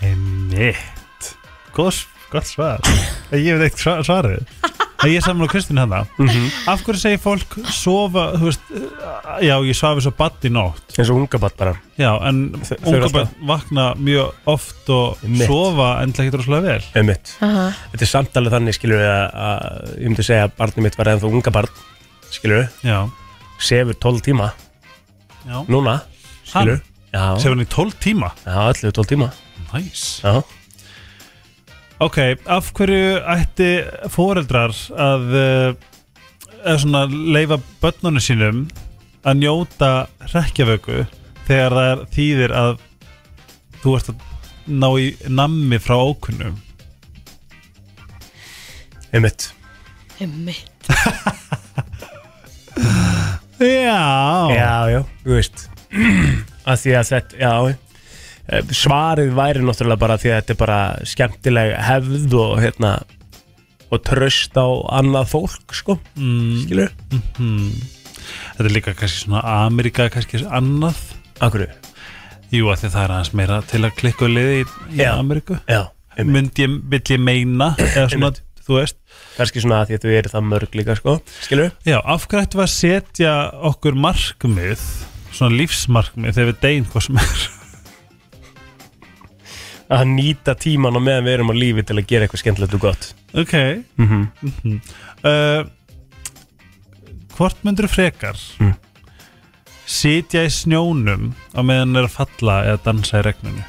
S3: einmitt Góð, gott svar (coughs) Ég veit eitt
S1: (laughs)
S3: svarið En ég er saman á Kristínu hann
S1: Mhm.
S3: Af hverju segir fólk sofa, þú veist uh, Já, ég svafi svo badd í nótt
S1: eins og unga bara
S3: Já, en
S1: Þau- þau eru
S3: unga börn
S1: alltaf-
S3: vakna mjög oft og
S1: Einmitt.
S3: sofa enda ekki droslega vel
S1: Einmitt.
S2: Aha.
S1: Þetta er samtalið þannig skilur við að, að ég myndi segja að barnið mitt var ennþá unga barn skilur við,
S3: Já,
S1: sefur 12 tíma
S3: já
S1: núna, skilur við Já,
S3: Sefur hann í 12 tíma
S1: já allir 12 tíma
S3: Næs nice.
S1: Já,
S3: Ok, af hverju ætti fóreldrar að eh, eða svona leifa börnunum sínum að njóta rekkjavöku þegar það er þýðir að þú ert að ná í nammi frá ókunnum
S1: einmitt
S2: Einmitt.
S3: Já,
S1: Já, já, þú veist (clears throat) að því að þetta, já eh, svarið væri náttúrulega bara því að þetta er bara skemmtileg hefð og hérna og tröst á annað fólk sko,
S3: Mm,
S1: skilur
S3: Þetta er líka kannski svona Amerika kannski annað
S1: Akkur,
S3: Jú, að því það er aðeins meira til að klikku liði í, í
S1: Já.
S3: Ameríku
S1: já, einmitt
S3: Myndi ég, vill ég meina eða svona,
S1: Einmitt.
S3: þú veist
S1: kannski svona að því að þú eru það mörg líka sko, skilur
S3: Já, af hverju ættum við að setja okkur markmið svona lífsmarkmið þegar við deyn hvað sem er
S1: að nýta tíman og meðan við erum á lífi til að gera eitthvað skemmtilegt og gott
S3: Ok
S1: Mhm.
S3: uh, Hvort myndur frekar
S1: Mm.
S3: sitja í snjónum á meðan er að falla eða dansa í regninu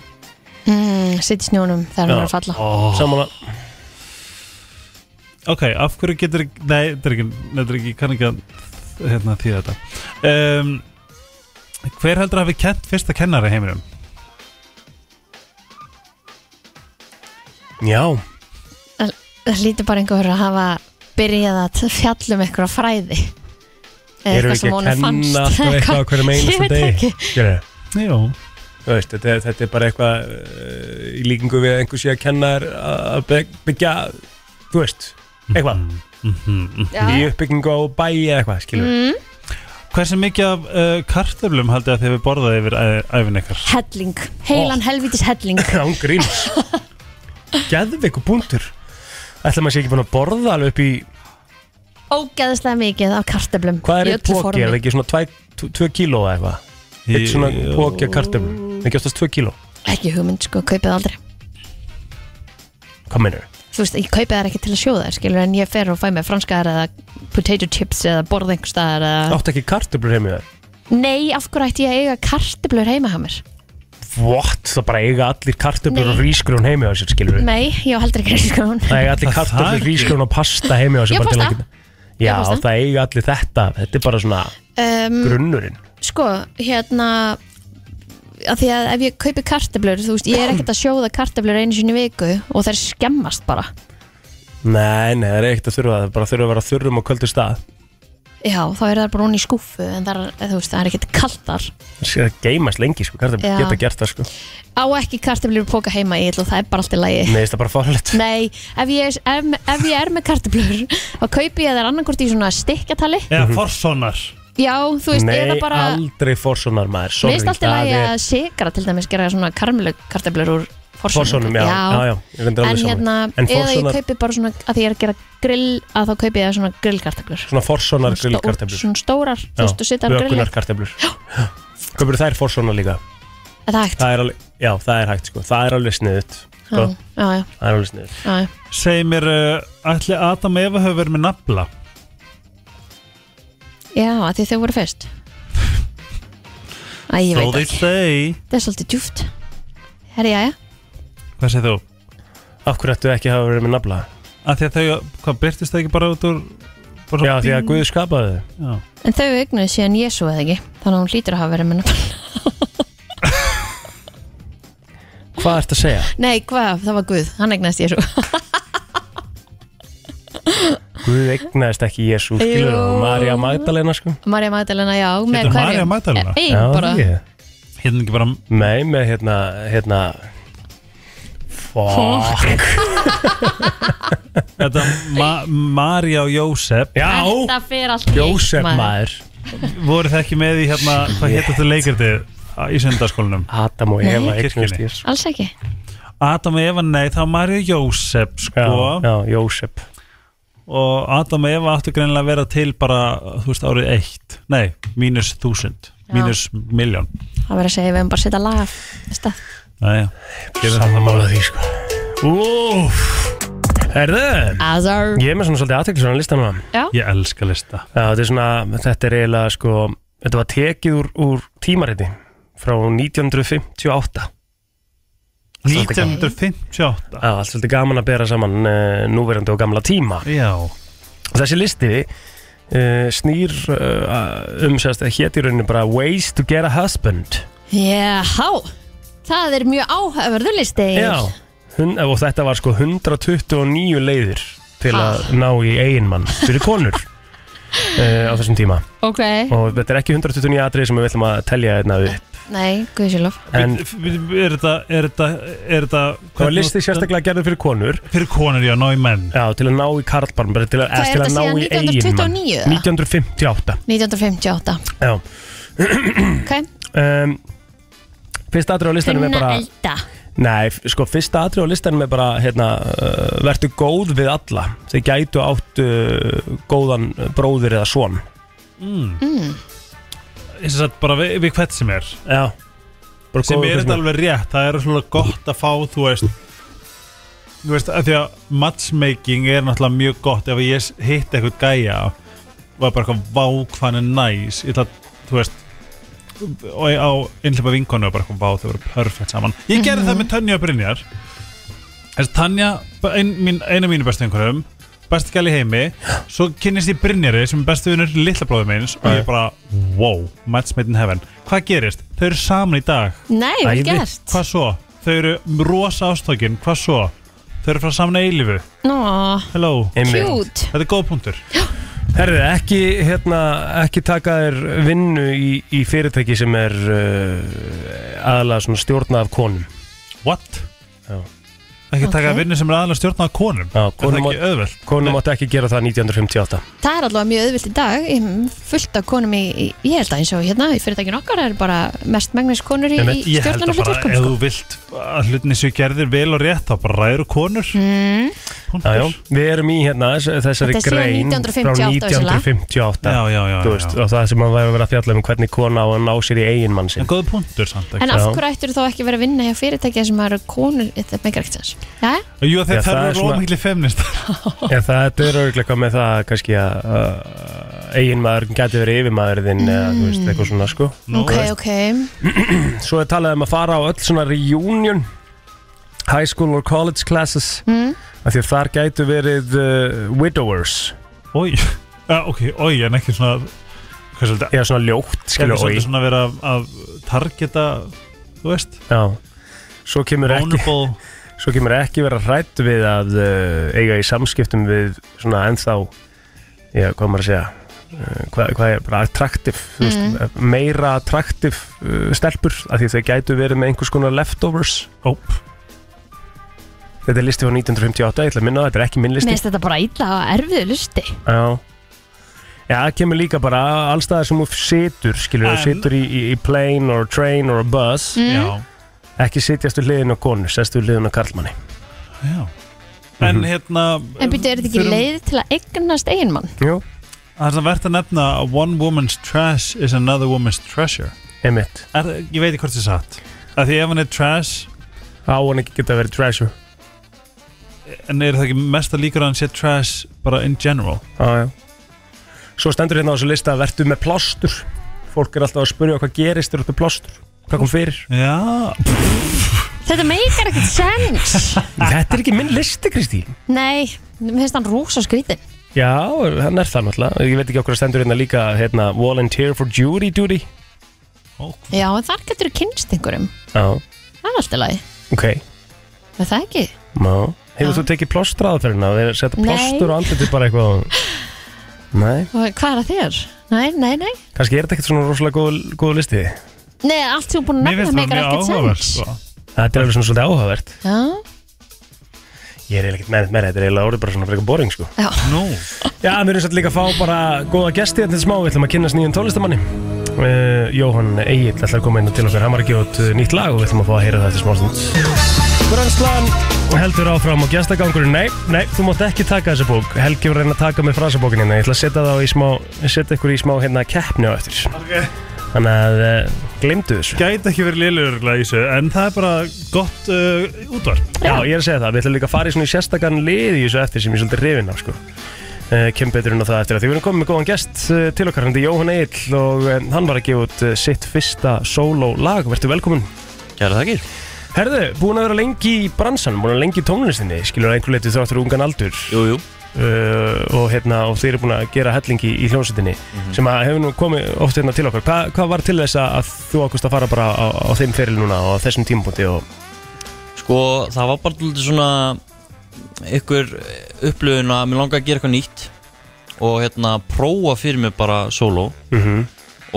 S2: Mm, Sitt í snjónum þegar hann
S1: Já.
S2: var að falla
S1: Saman að,
S3: Ok, af hverju getur Nei, þetta er ekki, þetta er ekki kann ekki að hérna, þýða þetta um, Hver heldur að hafi kent fyrsta kennari í heiminum?
S1: já,
S2: Það lítur bara einhver að hafa byrjað að fjalla um einhverja fræði Eða
S1: erum við ekki
S2: eitthvað sem
S1: að
S2: honum fannst,
S1: kenna alltaf
S2: (laughs)
S1: eitthvað á hverjum
S2: Ég
S1: einastum
S2: veit
S1: degi
S2: ekki.
S1: Skilurðu?
S3: Jú
S1: Þú veist, þetta, er- þetta er bara eitthvað uh, í líkingu við að einhver sé að kenna þér að bygg- byggja, þú veist, eitthvað,
S3: Mhm,
S1: í
S2: Mhm. Já.
S1: uppbyggingu á bæi eða eitthvað, skilur við.
S3: Hversu mikið af uh, kartöflum haldið að þið hefur borðað yfir æ- ævin ykkar?
S2: Helling, heilan helvítis helling
S1: Án gríns. Geðveiku búndur. Ætla maður sé ekki búin að borða alveg upp í,
S2: Ógeðslega mikið af kartöflum
S1: hvað er
S2: í
S1: eitt
S2: öllu
S1: póki,
S2: formi.
S1: er það ekki svona 2 kíló eða eitthvað? Eitt svona póki að kartum, ekki oftast 2 kíló.
S2: Ekki hugmynd, sko, kaupið aldrei
S1: Hvað meinar við?
S2: Þú veist, ég kaupið þær ekki til að sjóða þær, skilur En ég fer og fæ mér franskaðar eða potato chips eða borð einhvers staðar eða...
S1: Áttu ekki kartumlur heim í þær?
S2: Nei, af hverju ætti ég að eiga kartöflur heima hjá mér?
S1: What? Það bara eiga allir kartumlur
S2: Nei.
S1: og rísgrjón heim í þær, skilur við.
S2: Nei, ég á heldur ekki sko hún
S1: Það eiga allir
S3: Það
S1: kartoflur,
S3: þakir.
S1: rísgrjón og pasta heimi á
S2: Já,
S1: sér bara til að
S2: pasta.
S1: geta Já,
S2: Já, pasta.
S1: það eiga allir þetta Þetta er bara svona
S2: um,
S1: grunnurinn
S2: sko, hérna að því að ef ég kaupi karteblur þú veist, ég er ekkert að sjóða karteblur einu sinni í viku og þær skemmast bara
S1: Nei, nei, það er ekkert að þurfa það Það bara þurfa að vera þurrum á kvöldu stað
S2: já, þá er þær bara hún í skúfu en þar, þú veist, það er ekkert kalt þar
S1: Það sé að geimast lengi, sko, kartoflur
S2: Já.
S1: geta gert það, sko
S2: á ekki karteblur í póka heima ég ætla að það er bara allt í lagi
S1: Nei, það er bara farlegt
S2: nei, ef ég, ef, ef ég er með karteblur þá kaupi ég þær annarkort í svona stikkatali
S3: Eða
S1: Mhm.
S3: forssonar
S2: já, þú veist,
S1: Nei,
S2: eða bara
S1: aldrei fórsonar maður
S2: mér
S1: sorry,
S2: finnst allt í
S1: það
S2: lagi
S1: er
S2: að sigra til dæmis gera svona karmelu karteblur úr
S1: Forsonum, já, já, já, ég reyndar
S2: en
S1: alveg saman
S2: hérna,
S1: En
S2: eða ég
S1: forsonar,
S2: kaupi bara svona að því ég er að gera grill að þá kaupi ég svona grillkartöflur
S1: svona forsonar
S2: Svona stó-
S1: grillkarteflur
S2: svona stórar, þú veist, þú setjar á grillin
S1: Bökunarkarteflur Kaupir þær forsonar líka
S2: er það hægt?
S1: Það er alveg, já, það er hægt, sko Það er alveg sniðut,
S2: Já,
S1: sko
S2: já, já,
S1: Það er alveg sniðut
S2: já, já.
S3: Segir mér, uh, ætli Adam og Eva hefur verið með nafla
S2: já, að því þau voru fyrst Æ, ég
S3: So
S2: veit
S3: they
S2: ekki,
S3: say
S2: það er svolítið djúft Herri, já, já,
S3: Hvað segir þú?
S1: Af hverju ættu ekki að hafa verið með nafla?
S3: Að því að þau, hvað byrtist þau ekki bara út úr Bara
S1: Já,
S3: svona
S1: því að Guð skapaði þau
S3: Já.
S2: En þau eignuðu síðan Jésu eða ekki Þannig að hún hlýtur að hafa verið með nafn
S1: Hvað ertu að segja?
S2: (laughs) Nei, hvað, það var Guð, hann eignast Jésu
S1: Guð eignaðist ekki Jésu, skilur
S2: Jú.
S1: þú Marja Magdalena, sko
S2: (laughs) María Magdalena, já
S3: Heitir María Magdalena?
S2: Ei,
S1: Já,
S2: bara
S1: það ekki.
S3: Hérna ekki bara
S1: Nei, með hérna, hérna Fuck
S3: Þetta Ma Marja og Jósef
S1: Já,
S2: Þetta fer allt í eitt,
S1: Jósef maður
S3: Voru það ekki með í hérna Hvað hétt þetta leikartið á- í sundarskólanum?
S1: Adam og
S2: Nei.
S1: Eva eignast
S3: Kirkjunni.
S1: Jésu
S2: Alls ekki
S3: Adam og Eva, nei, það var Marja og Jósef sko
S1: Já, já, Jósef
S3: Og Adam og Eva áttu greinilega að vera til bara Þú veist, árið eitt Nei, mínus þúsund
S2: Já.
S3: Mínus miljón
S2: Það verður að segja, við hefum bara að setja lag af stað
S3: Næja, gerum það
S1: Sammála því, sko Úf Herðu,
S2: Azar
S1: ég er með svona svolítið aðteklisvöna lista núna
S3: Ég elska lista
S1: Já, þetta er svona, þetta er eiginlega sko, þetta var tekið úr, úr tímariti frá 1958 Já,
S3: 1958
S1: allt svolítið gaman að bera saman uh, núverandi og gamla tíma
S3: Já,
S1: Þessi listi uh, snýr uh, um sérst hétt í rauninni bara Ways to get a husband
S2: Jáhá Það er mjög áhverður listi
S1: hun, og þetta var sko 129 leiðir til
S2: Ha.
S1: að ná í eiginmann fyrir konur uh, á þessum tíma
S2: Ok
S1: og þetta er ekki 129 atrið sem við ætlum að telja hérna upp
S2: Nei, guðsjólof
S1: en
S3: Við- við- er þetta, er þetta, er þetta
S1: það var listi sérstaklega gerður fyrir konur
S3: Fyrir konur, já, ná í menn
S1: Já, til að ná í karlbarn bara til að,
S2: Hvað er
S1: til að
S2: þetta
S1: ná í
S2: síðan
S1: eiginmann
S2: 1929 eða?
S1: 1958
S2: 1958
S1: Já
S2: Ok
S1: um, Fyrsta atrið á listanum er bara
S2: elda
S1: Nei, f- sko, fyrsta atrið á listanum er bara hérna, uh, Vertu góð við alla Þeir gætu átt uh, góðan bróðir eða son
S3: Mm.
S1: Mm.
S3: Ég sem sagt bara við, við hvert sem er
S1: Já bara
S3: sem
S1: góður
S3: er
S1: við
S3: þetta
S1: son.
S3: alveg rétt það er svona gott að fá þú veist þú veist að því að matchmaking er náttúrulega mjög gott ef ég hitt eitthvað gæja og er bara eitthvað vákvæðan er næs ég ætla að, þú veist og ég á innhlepa vinkonu og bara eitthvað vá þau verður perfekt saman ég gerði það með Tönja Brynjar þess að Tanja ein, mín, eina mínu bestu einhverjum bestu gæli heimi svo kynnist ég Brynjari sem er bestu vinnur litla bróðu minns og ég bara wow match made in heaven hvað gerist? þau eru saman í dag
S2: Nei, vel
S1: Æði.
S2: gert
S3: Hvað svo? Þau eru rosa ástókin, hvað svo? Þau eru frá saman eilifu,
S2: Nó,
S3: hello
S1: Einmitt.
S2: cute
S3: Þetta er góð punktur
S1: Herðu, ekki, hérna, ekki taka þér vinnu í, í fyrirtæki sem er uh, aðalega svona stjórna af konum
S3: What?
S1: Já.
S3: Ekki
S2: Ok.
S3: taka vinnu sem er aðalega stjórnað af konum
S1: Já,
S3: Er
S1: konum
S3: það ekki auðvelt?
S1: Konum áttu ekki gera það 1958
S2: Það er allavega mjög auðvilt í dag Ég hef fullt af konum í, í- ég held að eins og hérna í fyrirtækinu okkar er bara mest megnis konur í,
S1: Einmitt.
S2: í
S3: Ég held
S2: stjórnarnar
S3: að bara
S2: hlutverkum
S3: ef
S2: sko.
S3: þú vilt að hlutinni séu gerðir vel og rétt þá bara ræður þú konur
S2: mm,
S1: Já, já,
S3: Punktur
S1: við erum í hérna þess- þessari
S2: Þetta er síðan
S1: grein
S2: 1958
S1: frá 1958
S2: vissulega.
S3: Já, já, já,
S1: þú veist,
S3: já.
S1: og það sem að væri að vera að fjalla um hvernig kona á að ná sér í eigin mann sinn
S3: En góð punktur samt ekki
S2: En af
S1: Já.
S2: hverju ættir þú þá ekki verið að vinna hjá fyrirtækja sem eru konur Þetta meikar ekkert sens Jæja?
S3: Jú, þeir
S1: Já, það
S3: þarf
S1: er
S3: að
S1: svona-
S3: róma mikli feminist
S1: Já, það þetta er auðvitað eitthvað með það kannski að uh, eigin maður geti verið yfirmaður þinn eða þú veist, eitthvað svona sko
S3: Nú,
S2: Ok,
S3: veist.
S2: ok
S1: Svo er talað um að fara á öll svona reunion high school or college classes
S2: Mm.
S1: af því að þar gætu verið uh, widowers
S3: Ói, Já, ok, ói, en ekki svona Hvað svolítið
S1: eða svona ljótt,
S3: Ekki
S1: skilur
S3: svolítið
S1: og
S3: svona vera að- að targeta Þú veist,
S1: Já, svo kemur ekki
S3: vulnerable
S1: Svo kemur ekki vera hrætt við að uh, eiga í samskiptum við svona ennþá, já, hvað á maður að segja, uh, hvað, hvað er bara attraktiv, mm. veist, meira attraktiv uh, stelpur af því þau gætu verið með einhvers konar leftovers.
S3: Óp
S1: Þetta er listi frá 1958, ég ætla að minna á það, þetta er ekki minn
S2: Mér
S1: listi.
S2: finnst þetta bara illa og erfiðu lusti
S1: Já. Já, það kemur líka bara allstaðar sem þú situr, skilur, þú
S3: En-
S1: situr í, í, í plane or train or a bus,
S2: Mm.
S3: Já,
S1: ekki sitjast við hliðin á konu, sest við hliðin á karlmanni.
S3: já En hérna
S2: En byrju, er þetta ekki
S3: þurfum-
S2: leið til að eignast eiginmann?
S1: Jú,
S3: Það er svona verðt að nefna að One woman's trash is another woman's treasure
S1: einmitt.
S3: er, Ég veit ekki hvort það er satt Af því ef hann er trash
S1: Á hann ekki geta verið treasure.
S3: En er það ekki mesta líkur að hann sé trash bara in general
S1: Já, já. Svo stendur hérna á þessu lista að verðu með plástur Fólk er alltaf að spurja hvað gerist þér upp með plástur Hvað kom fyrir?
S3: Já
S2: Þetta meikar ekkert sens (laughs)
S1: Þetta er ekki minn listi, Kristín
S2: Nei, mér finnst hann rosa skrítin
S1: Já, hann er það náttúrulega Ég veit ekki okkur að stendur hérna líka hérna, Volunteer for jury duty
S2: Já, en þar getur þú kynst einhverjum
S1: Já,
S2: Það er alltaf lagi,
S1: ok
S2: er það ekki?
S1: Má. Hefur
S2: Já.
S1: þú tekið plostraðferðina hérna? Þeir setja
S2: Nei.
S1: plostur og andlitið bara eitthvað á- Nei,
S2: Og hvað er að þér? Nei, nei, nei
S1: kannski er þetta ekkert svona rosalega góð, góð listi
S2: Nei, allt sem þú er búin að
S3: Mér
S2: nefna
S3: finnst það
S2: meikar
S3: mjög
S2: ekkert
S3: áhugavert
S2: sens
S3: sko.
S1: Þetta er alveg svona svolítið áhugavert
S2: Já,
S1: Ég er eiginlega ekkert með þetta meira, þetta er eiginlega orðið bara svona frekar boring sko
S2: já,
S3: Nú,
S1: Já, við erum svolítið líka að fá bara góða gesti hérna til smá, við ætlum að kynast nýjum tónlistamanni uh, Jóhann Egil ætlar að koma inn og til okkar, hann var að gefa út uh, nýtt lag og við ætlum að fá að heyra það eftir smástund Brönnslan heldur áfram og gestagangurinn, nei, nei, þú mátt ekki taka þessa bók Helgi var að reyna að taka með frasabókinni hérna, ég ætla að setja það í smá, setja ykkur í smá hérna keppni á eftir
S3: Ok.
S1: Þannig að uh, glemdu þessu
S3: gæti ekki verið liðlur í þessu En það er bara gott uh, útvarp
S1: Já, ég er að segja það, við ætlum líka að fara í svona í sérstakann lið í þessu eftir sem ég er svolítið rifinn af sko. uh, kem betur en á það eftir að því við erum komið með góðan gest uh, til okkar, hann er Jóhann Egil og uh, hann var að gefa út uh, sitt fyrsta solo lag, verður velkomin
S8: Kæra þakkir
S1: Herðu, búin að vera lengi í bransanum, búin að vera lengi í tónlistinni skilur að einhver leiti þráttur ungan aldur
S8: Jú, jú
S1: uh, og, hérna, og þeir eru búin að gera hellingi í hljónsutinni
S8: Mhm.
S1: sem að hefur nú komið oft hérna til okkar Hva, hvað var til þess að að þú ákvist að fara bara á, á þeim feril núna og á þessum tímapunkti og
S8: Sko, það var bara lítið svona ykkur upplöfun að mér langaði að gera eitthvað nýtt og hérna prófa fyrir mig bara solo
S1: mm
S8: Mhm,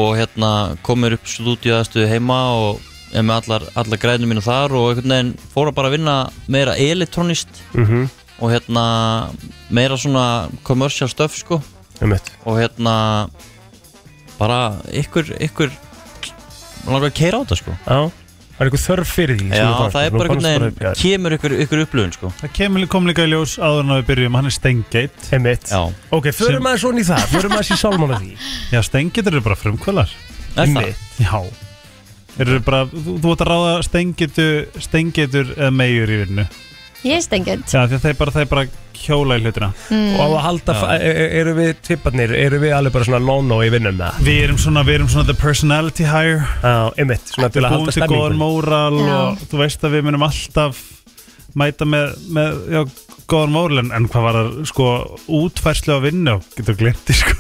S8: og hérna kom mér upp stúdíu heima og er með allar, allar græðinu mínu þar og einhvern veginn fóra bara að vinna meira elektronist og hérna meira svona commercial stuff sko
S1: um
S8: og hérna bara ykkur, ykkur langar að keira á þetta sko
S1: Já, það er einhver þörf fyrir því sem
S8: Já,
S1: þú fannst,
S8: það er
S1: þú
S8: bara
S1: fannst
S8: einhvern
S1: bara-
S8: veginn, kemur ykkur, ykkur upplöfun sko
S3: Það kemur kom líka í ljós áður en að við byrjum Hann er steingeit
S1: Já, Einmitt
S8: Já,
S1: Ok, förum
S3: Sem-
S1: aðeins svona í það, förum aðeins í sálmána því
S3: Já, steingeit eru bara frumkvölar
S8: er það?
S1: Einmitt.
S3: Já Eru bara, þú, þú ert að ráða steingetu, steingetur eða meigur í vinnu
S2: ég er stengend
S3: Já, því að þeir bara, þeir bara kjóla í hlutina
S1: Og á að halda, fa- e- e- eru við tipparnir, eru við alveg bara svona lono í vinnum með það
S3: Við erum svona, við erum svona the personality hire
S1: Já, einmitt, svona til
S3: Við
S1: að
S3: búum
S1: halda
S3: til góðan
S1: stemmingun
S3: móral
S2: Já.
S3: og þú veist að við munum alltaf mæta með, með já, góðan móral en, en hvað var það, sko, útfærslu á vinnu getur glimti, sko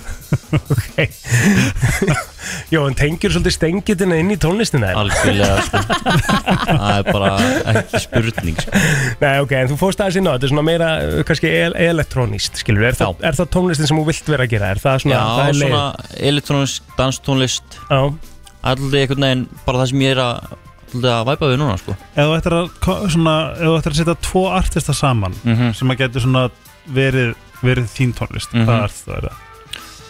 S1: Jó, en tengjur svolítið stengitina inn í tónlistina þér
S8: Algjörlega sko (laughs) Það er bara ekki spurning sko
S1: Nei, ok, en þú fórst aðeins inn á þetta er svona meira, uh, kannski el elektrónist, skilur er, það, er það tónlistin sem þú vilt vera að gera? Er það svona,
S8: Já,
S1: það er leið?
S8: svona elektrónist, danstónlist
S1: Já,
S8: Allir einhvern veginn bara það sem ég er að, svolítið að væpa við núna sko
S3: Ef þú ættir að, ko- svona, ef þú ættir að setja tvo artista saman
S8: -hmm.
S3: sem að getur svona verið, verið þín tónlist mm
S8: Mhm.
S3: -hmm. Hvað artista er það?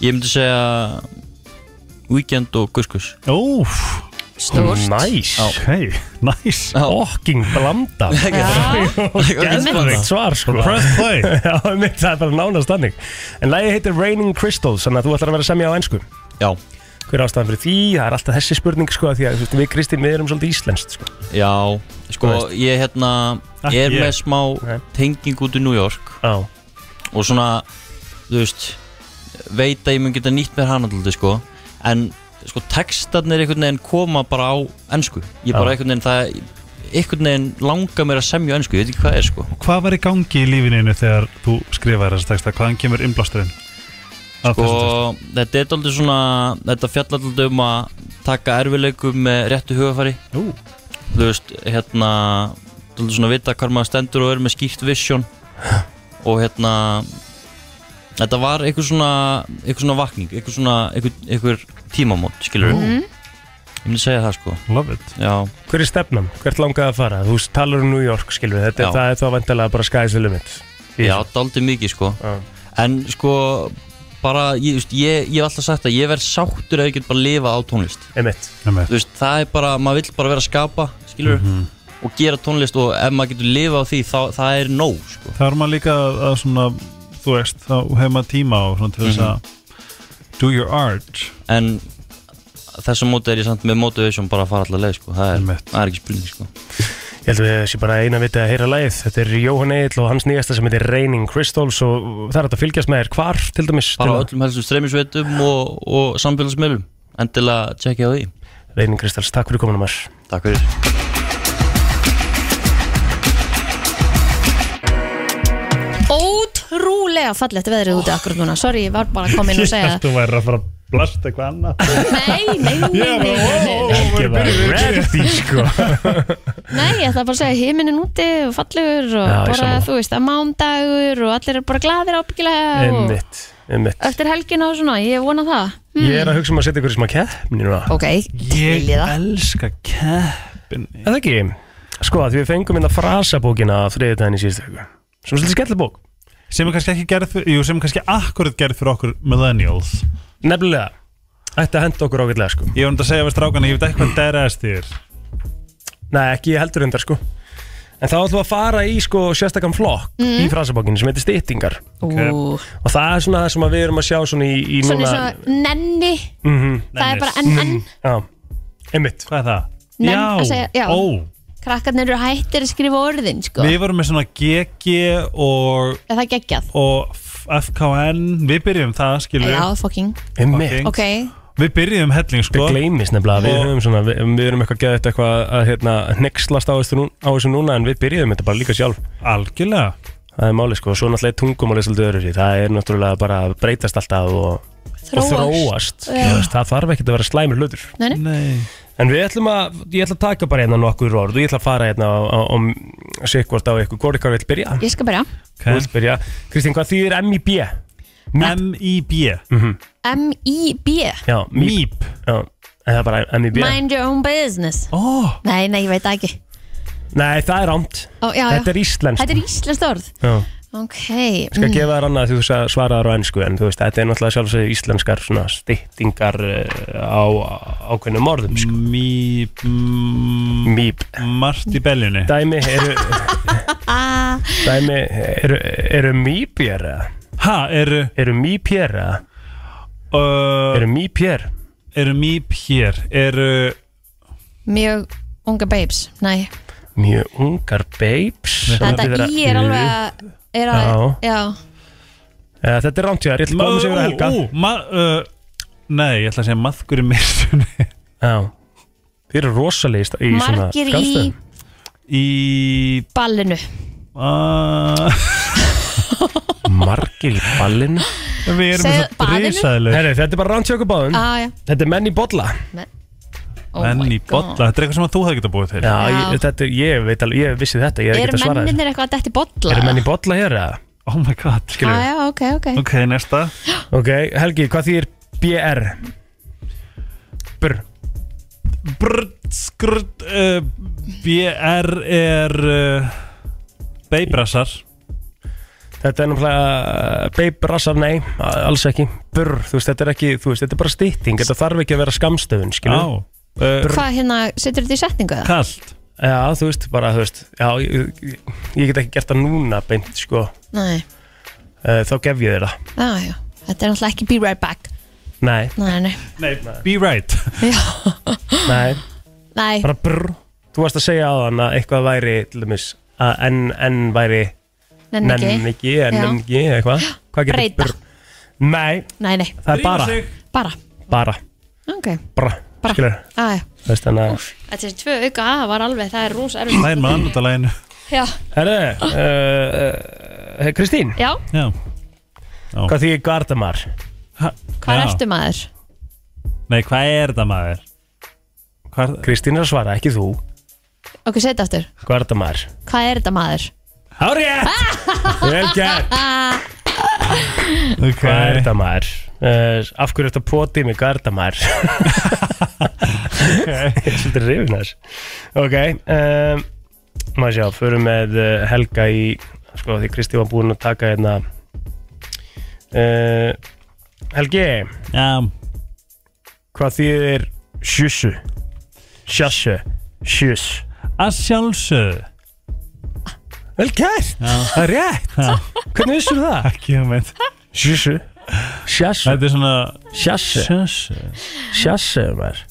S8: Ég myndi segja Weekend og Guskus
S3: Óf,
S2: Stórt
S1: Næs,
S8: Já.
S3: hei, (laughs) næs
S8: Já.
S1: okking blanda
S8: (laughs)
S2: Já,
S1: Gæðveikt svar svona
S3: Press play
S1: (laughs) Já, mitt, það er bara nánast þannig En lagið heitir Raining Crystals Þannig að þú ætlar að vera að semja á ennsku
S8: Já,
S1: Hver er ástæðan fyrir því? Það er alltaf þessi spurning sko af Því að þú veist, við Kristín, við erum svolítið íslenskt sko.
S8: já Sko,
S1: Þú
S8: ég hérna
S3: Ekki
S8: Ég er
S3: ég.
S8: með smá
S1: Nei.
S8: tenging út í New York
S1: Já,
S8: Og svona, þú veist Veit að ég mun geta nýtt mér hana alltaf sko En sko, textarnir einhvern veginn koma bara á ennsku Ég bara
S1: Já.
S8: einhvern veginn það einhvern veginn langar mér að semja á ennsku, ég veit ekki hvað er sko
S3: Hvað var í gangi í lífininu þegar þú skrifaði þessa texta? Hvaðan kemur innblásturinn? Af
S8: sko,
S3: þessum texta?
S8: þetta er aldrei svona þetta fjallar aldrei um að taka erfileikum með réttu hugafari
S3: Ú.
S8: þú veist, hérna aldrei svona vita hvað maður stendur og er með skýrt vision og hérna þetta var einhver svona einhver svona vakning, einhver svona einhver, einhver tímamót, skilur við ég myndi segja það sko,
S3: Love it
S8: já,
S1: hver er stefnan? Hvert langaði að fara? Þú veist, talar um New York, skilur við Þetta
S8: Já.
S1: er, það er þá vantilega bara sky's the limit Í
S8: já,
S1: þessu.
S8: þetta aldrei mikið sko
S1: Já.
S8: en sko bara, ég, þú veist, ég, ég hef alltaf sagt að ég verð sáttur ef ég get bara lifa á tónlist
S1: Einmitt
S3: Nefnir.
S8: þú veist, það er bara, maður vill bara vera að skapa skilur, og gera tónlist og ef maður getur lifa á því, þá, það er nóg sko.
S3: Það er maður líka að- að svona, þú veist, þá hefur maður tíma á svona til þess
S8: Mhm.
S3: að do your art
S8: en þessum móti er ég samt með motivation bara að fara allar leið, sko. það, er,
S3: Einmitt.
S8: það er ekki spurning sko.
S1: Ég held að við sé bara eina viti að heyra lagið Þetta er Jóhann Egil og hans nýjasta sem heitir Raining Crystals og það er hægt að fylgjast með þér hvar, til dæmis
S8: bara á
S1: til að-
S8: öllum helstum streymisveitum og, og samfélagsmiðlum endilega tjekkja á því
S1: Raining Crystals, takk fyrir kominum þar
S8: Takk fyrir
S2: ótrúlega ótrúlega fallegt veðrið úti akkur núna Sorry, ég var bara að koma inn og
S3: Ég (laughs)
S2: segja
S3: held þú væri að fara að blasta eitthvað annað
S2: Nei, nei, nei,
S3: Ég
S2: nei, nei,
S3: bara, ó, ó,
S2: nei.
S3: ó,
S1: Ekki
S3: við
S1: var
S3: byrjum við-
S1: ready sko
S2: Nei, ég ætla bara að segja heiminin úti og fallegur og
S1: Já, ég
S2: bara,
S1: sammála.
S2: þú veist, að mándagur og allir er bara glaðir ábyggilega og
S1: Einmitt, einmitt
S2: eftir helgina og svona, ég vona það
S1: Ég
S2: Mm.
S1: er að hugsa um að setja ykkur í smá keppni núna
S2: Ok, til í
S3: Ég
S2: það
S3: elska keppinni
S1: Er það ekki? Sko, því við fengum inn að frasabókina þriðutæðin í síðustu viku Sem er svolítið skellibók
S3: Sem er kannski ekki gerð fyrir, jú, sem er kannski akkurat gerð fyrir okkur millennials
S1: Nefnilega Ætti að henda okkur ágætlega sko
S3: Ég var um þetta að segja við strákana, ég veit ekki hvað derraðist þér
S1: Nei, ekki ég heldur undar sko En þá ætlum við að fara í sko sérstakann flokk
S2: Mm.
S1: Í frasabókinu sem heitir styttingar
S2: Ú,
S1: Og það er svona það sem að við erum að sjá svona í, í
S2: Svona
S1: núna
S2: eins og nenni
S1: Mhm.
S2: Það er bara enn,
S3: Mm.
S2: enn
S1: Já, einmitt
S3: Hvað er það?
S2: Nenn að segja- já.
S3: ó
S2: Krakkarnir eru hættir að skrifa orðin, sko
S3: Við vorum með svona GG og,
S2: Er það geggjað?
S3: og FKN Við byrjum það, skilur
S2: Já, fucking
S1: Einmitt
S2: Ok,
S3: Við byrjum helling, sko
S1: Það gleymis nefnilega, við
S3: Og-
S1: höfum svona, við, við erum eitthvað geðið eitthvað að hérna nexlast á þessu, nú, á þessu núna en við byrjuðum þetta bara líka sjálf,
S3: Algjörlega
S1: það er máli sko, og svo náttúrulega er tungumálið svolítið öðru það er náttúrulega bara að breytast alltaf og, og þróast,
S2: Já.
S1: Þú veist, það þarf ekkert að vera slæmur hlutur.
S2: Nei, nei.
S3: Nei
S1: En við ætlum að, ég ætla að taka bara hérna nokkur orð og ég ætla að fara hérna á- á- og sé hvort á ykkur, hvort ykkar vil byrja,
S2: Ég skal byrja
S1: þú vilt byrja, Kristín hvað þýðir MIB?
S3: M-I-B
S2: M-I-B
S1: Já, MIB,
S3: Mýb
S1: já, en það er bara MIB.
S2: Mind your own business
S3: Ó,
S2: Nei, nei, ég veit það ekki
S1: Nei, það er rámt,
S2: Ó, já,
S1: þetta
S2: já.
S1: er íslenskt.
S2: Þetta er íslenskt orð
S1: Já.
S2: Ok Mm,
S1: skal gefa þér annað því þú sa- svaraðar á ennsku en þú veist, þetta er náttúrulega sjálfsög íslenskar svona styttingar eh, á ákveðnum orðum sko.
S3: mýb
S1: Mýp
S3: Margt í beljunni
S1: Dæmi eru Dæmi eru, eru mýpjér eða?
S3: Ha, eru
S1: Eru mýpjér eða?
S3: uh,
S1: Eru mýpjér?
S3: Eru mýb hér Eru
S2: Mjög unga babes Nei
S1: Mjög ungar babes
S2: Þetta í er alveg að- er að, já.
S1: ja, Þetta er rámt hjá þér, ég ætla að koma sér að helga
S3: Ó, ó, ma- uh, Nei, ég ætla að segja maðgur í myrstunni
S1: Já Þið eru rosalegist í svona
S2: Margir í
S1: skamstöðum.
S3: Í
S2: ballinu
S3: uh,
S1: Margir í
S2: (laughs)
S1: ballinu
S3: Við erum með
S2: Segðu
S3: svo
S2: baðinu?
S3: brisaðileg
S1: Herri, Þetta er bara rámt hjá okkur báðum
S2: ah, já.
S1: Þetta er menn í bolla
S2: Oh
S3: Menn
S2: my
S3: í
S2: God.
S3: bolla, þetta er eitthvað sem að þú hefði getað búið til
S1: Já,
S2: Já.
S1: Ég, þetta, ég veit alveg, ég vissi þetta, ég er
S2: Eru
S1: ekkert að svara þér
S2: menninir eitthvað að detti bolla?
S1: Eru menn í bolla hér eða?
S3: Oh my god, skilur
S2: ah,
S3: við
S2: já, ok, ok
S3: Ok, næsta
S1: Ok, Helgi, hvað þýr BR? Brr,
S3: Brrrt, skrrt uh, BR er uh, Beibrassar
S1: þetta er náttúrulega Beib rassar, nei, a- alls ekki Brr, þú veist, þetta er ekki, þú veist, þetta er bara stytting Þetta þarf ekki að vera skamstöfun,
S3: Já
S1: skilur
S3: uh,
S2: Hvað hérna, setur þetta í setningu það?
S3: Kallt
S1: Já, þú veist, bara, þú veist Já, ég, ég- ég get ekki gert það núna beint, sko
S2: Nei,
S1: Eh, Þá gef ég þér það
S2: já, já Þetta er náttúrulega ekki be right back
S1: Nei,
S2: Nei, nei,
S3: Nei, be (laughs) right
S1: nei,
S2: nei
S1: bara brr Þú varst að segja á hann að eitthvað væri, til dæmis að enn, enn væri
S2: nenni
S1: nenn
S2: ekki
S1: ekki,
S2: Já.
S1: nenn ekki, eitthvað Hvað getur
S2: Breyta.
S1: brr? Nei,
S2: Nei, nei,
S1: það er bara,
S2: bara
S1: bara,
S2: Ok,
S1: bara,
S2: Bara.
S1: skilur
S2: já, já
S1: Þú veist þannig að
S2: Þetta er tvö auka að var alveg, það er rosa erfið
S3: Læn með annutalaginu
S2: Já,
S1: Herðu, uh, uh, Kristín,
S2: já,
S3: Já
S1: hvað þýðir gardamar?
S2: hvað ertu maður?
S3: Nei, hvað er það maður? Hvað er
S1: Kristín er að svara, ekki þú
S2: Ok, setja aftur
S1: Gardamar
S2: Hvað er þetta maður?
S1: Hárið! Vel gert
S3: það? Okay.
S1: Gardamar uh, Af hverju ertu að poti mig gardamar? Ég er svolítið rifin þess Ok um, Má sjá, förum með eh, Helga í Sko, því Kristi var búin að taka hérna uh, Helgi
S3: Já,
S1: Hvað þýðir sjussu? Sjassu Sjuss
S3: að sjálfsögðu
S1: Vel gert, það er rétt Hvernig vissur það?
S3: Ekki um veit
S1: Sjussu Sjassu
S3: Þetta er svona
S1: Sjassu
S3: Sjálfsögðu
S1: Sjassu maður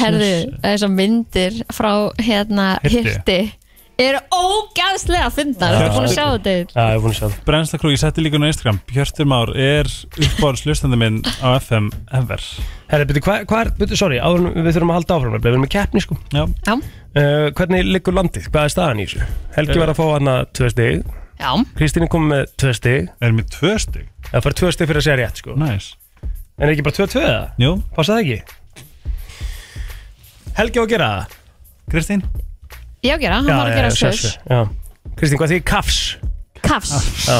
S2: Herðu, þessar myndir frá hérna
S3: Hirti.
S2: hirti eru ógæðslega að finna Þú ert búin að sjá þetta
S1: Já, ég er búin að sjá það
S3: Brennstakrú, ég setti líka á Instagram Hjörtur Már er uppbáðs hlustandi minn á FM ever
S1: Herri, byrju, hvað hva er, byrju, sorry, áður, en við þurfum að halda áfram nefnilega, Við erum með keppni sko Eh,
S3: Já,
S2: Já,
S1: uh, Hvernig liggur landið? Hvað er staðan í þessu? Helgi var að fá hana tvö stig
S2: Já,
S1: Kristín er komið með tvö stig
S3: Er mér tvö stig?
S1: Það fara tvö stig fyrir að segja rétt sko
S3: Næs
S1: En er ekki bara tvö tvö eða?
S3: Jú,
S1: Passa það ekki? Helgi á að gera það?
S3: Kristín
S2: ég á að gera, hann var að gera
S1: sjálfsögðu,
S2: skus
S1: já. Kristín, hvað því kafs?
S2: Kafs,
S1: Já.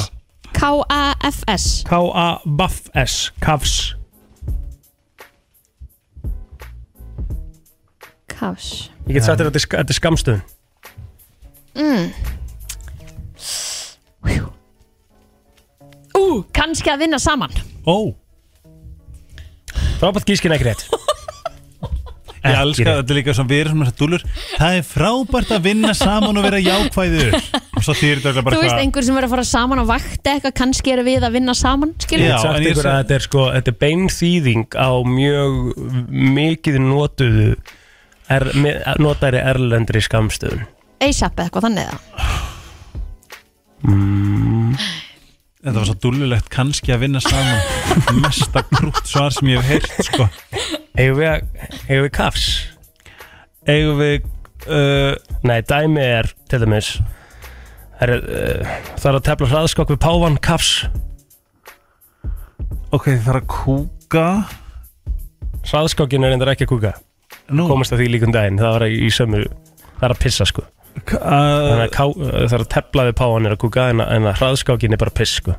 S2: K-A-F-S
S1: K-A-B-A-F-S Kafs
S2: Kafs
S1: Ég get sagt þér að þetta er sk- þetta er skamstöðun
S2: Ú, kannski að vinna saman
S3: Ó,
S1: Frábært gískin ekki rétt
S3: ég elska að þetta er líka svona við erum svona þessar dúlur Það er frábært að vinna saman og vera jákvæður Og svo þýr þetta
S2: Þú
S3: bara
S2: veist, einhver sem er að fara saman á vakti eitthvað, kannski er við að vinna saman, skilur
S1: Ég
S3: Já,
S1: get sagt
S3: en ég
S1: ykkur
S3: sé-
S1: að þetta er sko Þetta er beinþýðing á mjög mikið notuðu er, með- notari erlendri skamstöðun
S2: ASAP eða eitthvað þannig eða
S3: Þetta var svo dúlulegt kannski að vinna saman Mesta krútt svar sem ég hef heyrt sko.
S1: Eigum við, að- eigum við kafs?
S3: Eigum við uh,
S1: Nei, dæmi er til dæmis Það er, uh, það er að tefla hraðskokk við Pávan Kafs
S3: Ok, það er að kúka
S1: Hraðskokkin er reyndar ekki að kúka
S3: Nú,
S1: Komast að því líkum daginn, það var í sömu Það er að pissa sko
S3: uh,
S1: Þannig að ká, það er að tefla við Pávan er að kúka En, að- en að hraðskokkin er bara piss sko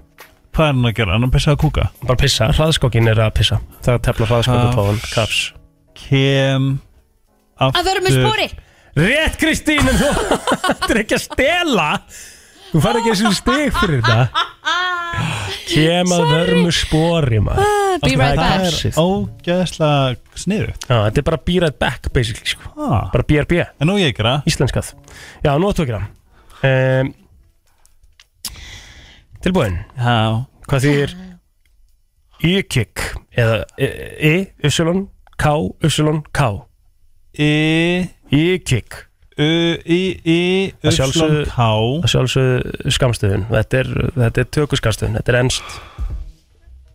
S3: hvað er hann að gera? Hann er að pissa að kúka
S1: Bara pissa, hraðskokkin er að pissa Ah. Það er að tefla hraðskokk við
S3: Kafs.
S1: Pávan Kafs
S3: Kem aftur
S2: Að vera með spori
S1: Rétt Kristín, en þú Þetta er ekki að stela Þú fær ekki eins og stig fyrir þetta Kem að vörmu spori maður
S2: Be right
S3: Það
S2: back
S1: Kafs.
S3: er ógeðslega sniðu
S1: Já, þetta er bara be right back basically sko.
S3: ah.
S1: Bara BRB,
S3: En nú ég að gera
S1: íslenskað Já, nú áttu að gera um, Tilbúin
S3: Já
S1: Hvað þýðir Y-kick Eða E, E-Y-K-Y-K
S3: I
S1: Y-kick
S3: U E, I I
S1: Að
S3: Upslón
S1: sjálfsögðu-
S3: K
S1: Það sjálfsögðu skamstöðun Þetta er, þetta er tökuskamstöðun Þetta er ennst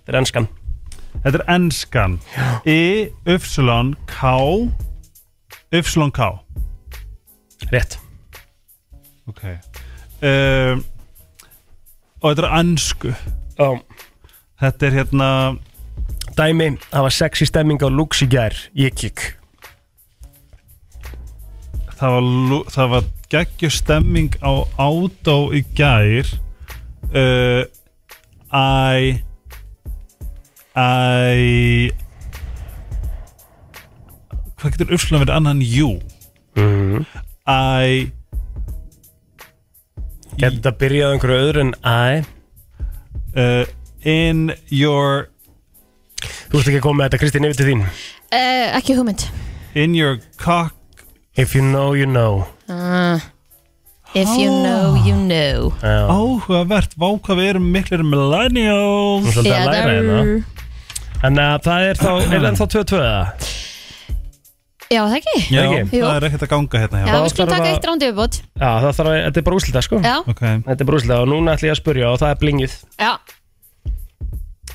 S1: Þetta er ennskan
S3: Þetta er enskan I Upslón K Upslón K
S1: Rétt
S3: Ok um, Og þetta er ansku
S1: Já.
S3: Þetta er hérna
S1: Dæmi, það var sexy stemming á Lux í gær Y-kick
S3: Það var, lú- það var geggjur stemming á átó í gær uh, Æ Æ Hvað getur uppslunum verið annan jú? Æ
S1: Getur þetta byrjað á einhverju öðru en Æ
S3: uh, In your
S1: Þú veist ekki að koma með þetta, Kristín, yfir til þín
S2: uh, Ekki hugmynd
S3: In your cock
S1: If you know, you know
S2: uh, If you know, you know
S1: Já.
S3: Áhugavert, vá hvað við erum miklir
S1: Hún
S3: millennials
S1: er svolítið að
S2: Eða-
S1: læra hérna En að það er þá, er ennþá 2-2 eða?
S2: Já, það ekki
S3: Já,
S1: ekki?
S2: Jú.
S3: það er ekkert að ganga hérna hjá
S2: Já,
S1: Þá
S2: við skulum
S1: þarf
S2: taka
S1: að-
S2: eitt rándi yfirbót
S1: Já, það þarf að, þetta er bara úslita sko
S2: Já,
S3: Ok,
S1: Þetta er bara úslita og núna ætlum ég að spurja og það er blingið
S2: já,
S1: af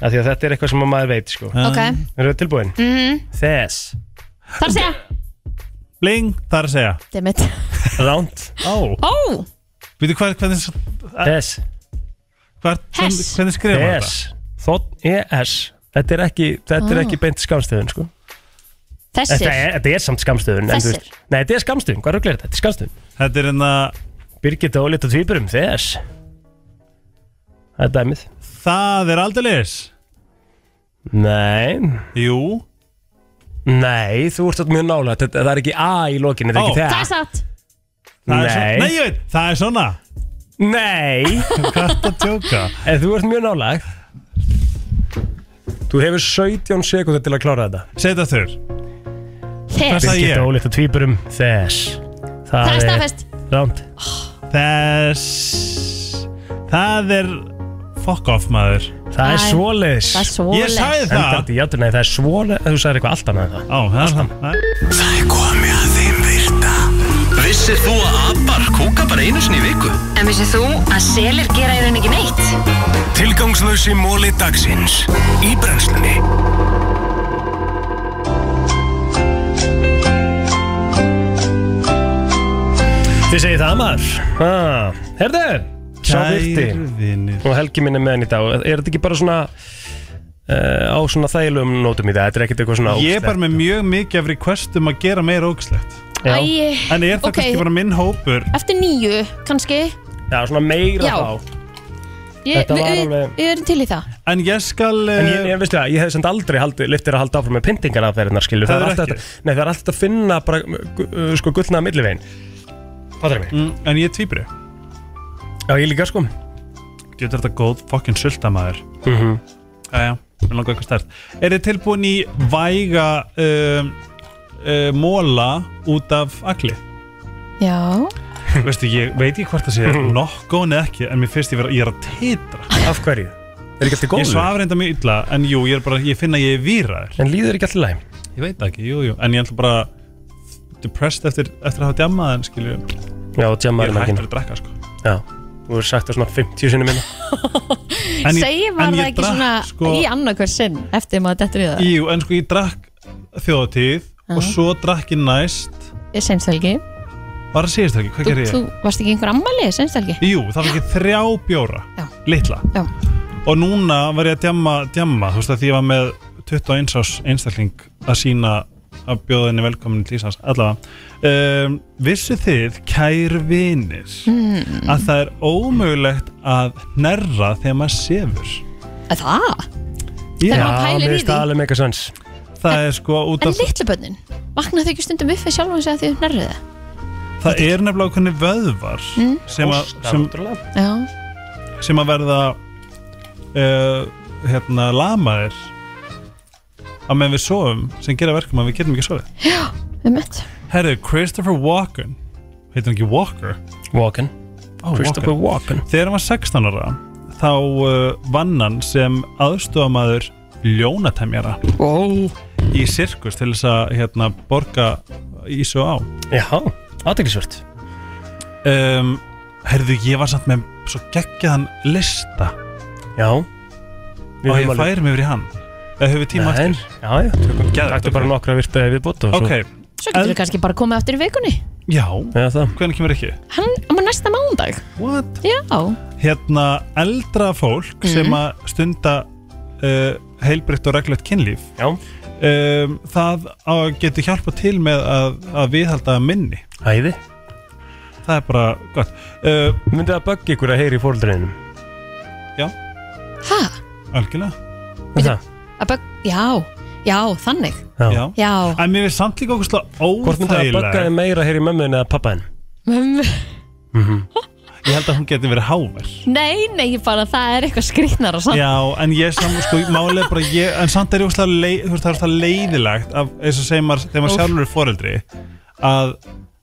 S1: Því að þetta er eitthvað sem að maður veit sko
S2: ok
S1: Eru þið tilbúin? Mm -hmm. Þess
S2: Þar segja
S3: bling, það er að segja
S2: Dimmit
S1: Ránt
S3: Ó,
S2: Ó,
S3: veitu hvað, hvernig,
S1: Þess
S3: hvað, hvernig,
S2: Hess.
S3: hvernig skrifa þetta?
S1: Þess Þótt ES Þetta er ekki, þetta
S2: Ah.
S1: er ekki beint skamstöðun sko
S2: þessir
S1: Þetta er, þetta er samt skamstöðun en þú
S2: Þessir.
S1: veist- Nei, þetta er skamstöðun, hvað ruglir þetta? Þetta er skamstöðun
S3: Þetta er hérna
S1: Birgitta og lita tvíburum, þess Það er dæmið
S3: Það er aldeilis
S1: Nei,
S3: Jú
S1: Nei, þú ert satt mjög nála þetta, Það er ekki A í lokinu, þetta
S3: Ó.
S1: er
S2: Það
S1: ekki
S2: er satt
S3: það er
S1: Nei.
S3: svona- Nei, ég veit, það er svona
S1: það Nei,
S3: (laughs) Hvað er þetta að tjóka?
S1: en þú ert mjög nála Þú hefur 17 sekúndur til að klára þetta
S3: Segð það þurr Hvað
S2: Þess
S3: sagði ég?
S1: Birgitta og lita tvíburum, E þess
S2: Það er staðfest
S1: Ránt
S3: Þess Það er Fuck off maður
S1: Það er
S2: Æ,
S1: svoleiðis
S2: Það er svo
S3: Ég sagði það
S1: Endandi, já, nei, það er svoleiðis Þú sagðir eitthvað allt annað en það
S3: Ó, það er það
S4: Það er komið að þeim virta Vissir þú að abar kúka bara einu sinni í viku?
S5: En vissið þú að selir gera í raun ekki neitt?
S4: Tilgangslösi móli dagsins Í brennslunni
S1: Þið segið það maður ah, Herðu, sá virti
S3: vinir
S1: og Helgi minn er með henni í dag er þetta ekki bara svona uh, á svona þægilegum nótum í það þetta er ekkert eitthvað svona
S3: Ég er bara með mjög mikið af requestum að gera meira ógislegt
S1: já,
S2: Æ,
S3: En er það
S2: Ok.
S3: kannski bara minn hópur
S2: eftir nýju, kannski
S1: já, svona meira
S2: Já.
S1: þá
S2: ég,
S1: Þetta
S2: við,
S1: var
S2: við,
S1: alveg-
S2: við erum til í það
S3: En ég skal
S1: en
S3: eh,
S1: ég, ég veistu það, ég hef semt aldrei haldið, liftir að halda áfram með pyntingar að þeirra skilju
S3: Það er
S1: alltaf,
S3: ekki.
S1: þetta- nei, það er alltaf að finna bara, gu- uh, sko gullnaða millivegin hvað er mig?
S3: mm, En ég er tvíbri
S1: já, ég líka sko
S3: Getur þetta góð fokkin sultamaður
S1: Mhm.
S3: Jæja, við langar eitthvað stert Er þið tilbúin í væga um, uh, móla út af agli?
S2: já,
S3: (laughs) Veistu, ég veit ekki hvort það sé (laughs) nokkón eða ekki En mér finnst ég vera, ég er að titra
S1: af hverju? er ekki alltaf
S3: Ég
S1: góður?
S3: svaf reynda mjög illa En jú, ég er bara, ég finna að ég er víraður
S1: en líður ekki alltaf læm?
S3: Ég veit það ekki, jú, jú En ég ætla bara depressed eftir, eftir að hafa djammað En skilju,
S1: já,
S3: ég
S1: tjamaður
S3: er hættur
S1: mækin
S3: að drekka sko
S1: já, þú er sagt það svona hérna. 50 sinni minna
S3: En ég-
S2: segi
S3: en
S2: var það
S3: ég
S2: ekki
S3: drakk,
S2: svona
S3: sko-
S2: í annarkvör sinn eftir maður dettur í það,
S3: Jú, en sko ég drakk þjóðatíð og svo drakk ég næst
S2: ég senst helgi
S3: var að síðast ekki, hvað
S2: þú,
S3: gerir ég?
S2: þú varst ekki einhver ammali, senst helgi
S3: Jú, það var ekki þrjá bjóra
S2: Já.
S3: litla
S2: Já.
S3: og núna var ég að djamma, djamma þú veist að því ég var með 21 ás einstakling að sína að bjóða henni velkomin til Íslands, allavega um, vissu þið, kær vinir
S2: Hmm.
S3: að það er ómögulegt að nerra þegar maður sefur
S2: að það,
S3: Já,
S2: maður pælir í
S1: mér finnst
S2: því.
S1: það alveg mega sens
S3: það er sko út
S2: en
S3: af
S2: litlu bönnin vakna þau ekki stundum upp við sjálfum sig að því nærrið
S3: það er nefnilega okkur vöðvar
S2: Hmm.
S3: sem, að, sem,
S1: náttúrulega.
S2: það já,
S3: sem að verða uh, hérna lamaðir á meðan við sofum sem gera verkum að við getum ekki sofið
S2: um mitt
S3: Herru, Christopher Walken heitir hann ekki Walker?
S1: Walken,
S3: Oh,
S1: Christopher Walken
S3: Þegar hann var 16 ára þá uh, vann hann sem aðstofamaður ljónatemjara
S2: wow.
S3: í sirkus til þess að hérna, borga í svo á
S1: já, aðteglisvört
S3: um, Herðu, ég var samt með svo geggjaðan lista
S1: já Við höfum
S3: og ég
S1: alveg-
S3: færi mig yfir í hann eða höfum við tíma
S1: Nei,
S3: eftir?
S1: Já, já,
S3: Geðveikt,
S1: taktu
S3: ok.
S1: bara nokkra virta við bóta
S3: Ok,
S2: svo getur
S3: En-
S2: við kannski bara komið aftur í vikunni
S3: já,
S1: Já, það
S3: hvernig kemur ekki?
S2: hann, hann var næsta mándag
S3: What?
S2: já,
S3: hérna eldra fólk
S1: Mhm.
S3: sem að stunda uh, heilbritt og reglulegt kynlíf
S1: Já
S3: um, það á- getur hjálpa til með að, að viðhalda minni
S1: Æði
S3: það er bara gott uh,
S1: Myndi það böggi ykkur að heyri í fóreldreinum
S2: hæ,
S3: algjörlega,
S1: Það
S2: að bög já, já, þannig
S1: Já
S3: já
S2: já,
S3: en mér finnst samt líka okkur slá
S1: Hvort myndi það bögga
S3: óþægilega
S1: þið meira að heyri mömmuðin eða pappaðin?
S2: Mömmu-
S3: ég held að hún getur verið háver
S2: nei, nei, bara það er eitthvað skrýtnar og samt
S3: já, en ég samt sko, málið er bara ég, en samt er ég óslega leið, þú veist, það er það leiðilegt af, eins og segir maður, þegar maður sjálfur er foreldri að,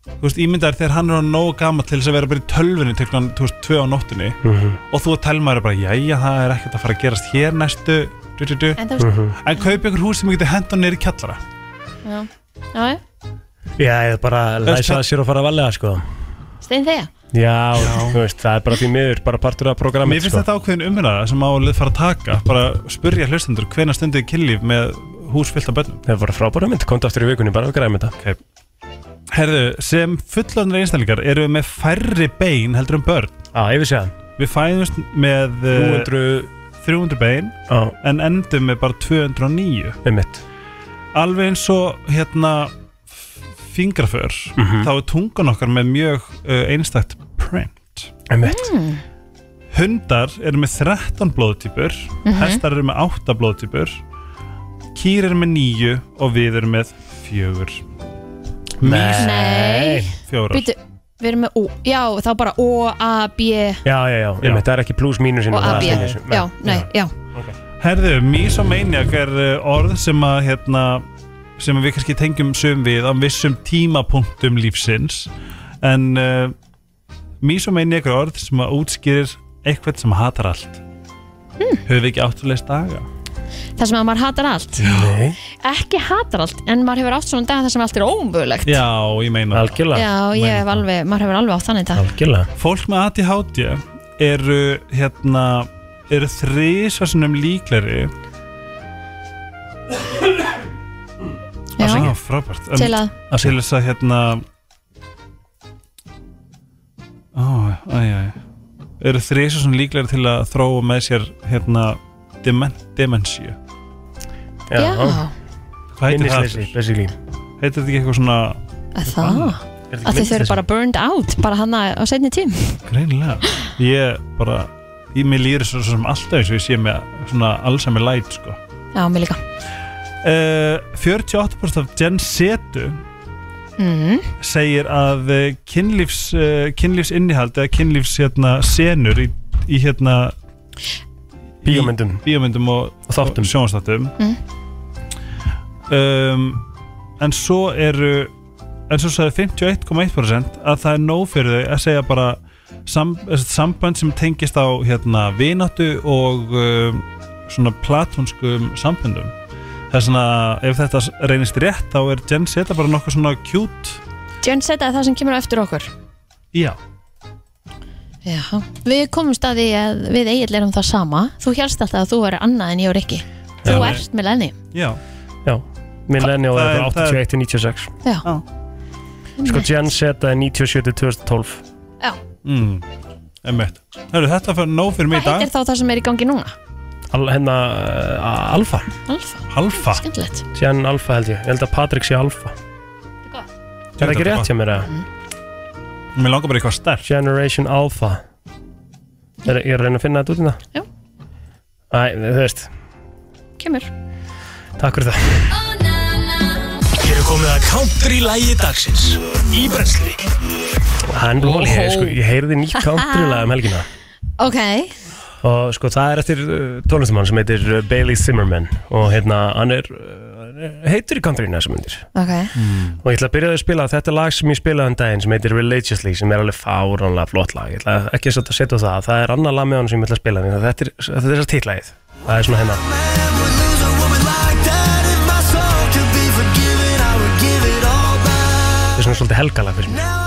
S3: þú veist, ímyndar þegar hann er á nógu gammal til þess að vera bara í tölvunni til hann, þú veist, tvö á nóttunni og þú að telma er bara, jæja, það er ekkert að fara að gerast hér næstu du, du, du.
S2: en það veist,
S3: en kaupi ykkur hús sem getur hendan neyri kjallara
S2: já, já,
S1: Já, ég bara læsa það sér og fara að valega, sko
S2: stein þegar
S1: Já, þú veist, það er bara því miður, bara partur af sko. programmi
S3: mér finnst þetta ákveðin umræða sem á að fara að taka bara spurja hlustendur hvena stundið kynlíf með hús fyllt af börnum
S1: Það var frábæra mynd, komdu aftur í vikunni, bara við græðum þetta
S3: okay. Herðu, sem fullorðnir einstaklingar eru við með færri bein heldur um börn
S1: Já, ég vissi það
S3: Við fæðumst með eh,
S1: 300
S3: 300 bein
S1: Já,
S3: en endum með bara 209
S1: um mitt
S3: Alveg eins og hérna f- fingraför þá er tungan okkar með mjög uh, einstakt print
S1: Um mitt
S3: Hundar eru með 13 blóðtýpur hestar eru með 8 blóðtýpur kýr eru með 9 og við eru með 4
S2: Mm, Nei.
S3: Fjórar
S2: Býtu, við erum með O, já, þá bara O, A, B
S1: Já, já, já, um
S3: Já.
S1: mitt, það er ekki pluss mínus
S2: og A, B Já, nei, já,
S3: Herðu, misomaniak er uh, orð sem að hérna, sem við kannski tengjum sum við á vissum tímapunktum lífsins en uh, misomaniak er orð sem að útskýrir eitthvað sem hatar allt
S2: Hmm.
S3: Höfum við ekki áttulegst daga?
S2: það sem að maður hatar allt
S1: Nei,
S2: Ekki hatar allt, en maður hefur átt svona dag þar sem allt er ómögulegt
S3: Já, ég meina það.
S1: algjörlega
S2: Já, ég hef alveg, maður hefur alveg átt þannig dag
S1: Algjörlega
S3: Fólk með ADHD eru hérna eru þrísvarsinum líklari
S2: Já,
S3: frábært
S2: til að
S3: að til þess að hérna ó, æj, æj eru þrísu svona líklega til að þróa með sér hérna demen, demensíu
S2: Já,
S3: hvað heitir það?
S1: Minnisleysi, basically
S3: heitir þetta ekki eitthvað svona
S2: að það að þið þau eru bara burned out bara hann á setni tím
S3: greinilega ég bara, ég mér líður svo sem alltaf eins og ég sé með svona allsami læt sko
S2: Já, mér líka
S3: uh, 48% af Gen Setu
S2: mm.
S3: segir að eh, kynlífs, uh, kynlífs innihald eða kynlífs hérna, senur í, í hérna í
S1: Bíómyndum
S3: bíómyndum og
S1: og þáttum
S3: sjónastáttum
S2: Mm.
S3: um, en svo eru en svo sagði 51,1% að það er nóg fyrir þau að segja bara sam, sem sagt, samband sem tengist á hérna vináttu og um, svona platonskum sambundum það er svona, ef þetta reynist rétt þá er Gen Z bara nokkuð svona cute
S2: Jön setta það sem kemur á eftir okkur
S3: já,
S2: Já. Við komumst að því að við eiginlega erum það sama Þú hélst alltaf að þú er annað en ég og Rikki Þú
S3: Já, nei.
S2: ert með lenni
S3: já,
S1: Já, millennial
S3: Það
S1: er
S3: er-
S1: bara
S3: það er-
S1: 81 til 96
S2: Já.
S3: Já.
S1: Sko Gen Z er 97 til 2012
S3: mm, emmett Hörru, þetta fyrir nóg fyrir mig í
S2: Hvað
S3: dag
S2: heitir þá það sem er í gangi núna?
S1: Al, Hérna uh, Alfa
S2: Alfa,
S3: Alfa
S2: skemmtilegt
S1: Gen Alfa held ég Ég held að Patrik sé Alfa Er það ekki rétt hjá mér eða?
S2: Mm.
S3: Mér langar bara í eitthvað sterk
S1: Generation Alpha er, Ég er að reyna að finna þetta út í það
S2: Já.
S1: Æ, þú veist
S2: Kemur
S1: Takk fyrir það
S4: Hér er komið að country lægi dagsins Í brensli
S1: Hann, oh. ég, sko, ég heyrði nýtt country lag um helgina
S2: Ok,
S1: Og sko það er eftir uh, tónlistumann sem heitir uh, Bailey Zimmerman og hérna hann er, uh, hann er heitur í countryinu þessum myndir
S2: ok
S1: og ég ætla að byrja að spila þetta er lag sem ég spilaði um daginn sem heitir Religiously sem er alveg fáránlega flott lag ég ætla ekki að setja- setja á það það er annar lag með hann sem ég ætla að spila þannig að þetta er, þetta er þess að titlaðið það er svona hérna, hennar
S9: Hmm?
S1: þetta er svona svolítið helgalag fyrir mig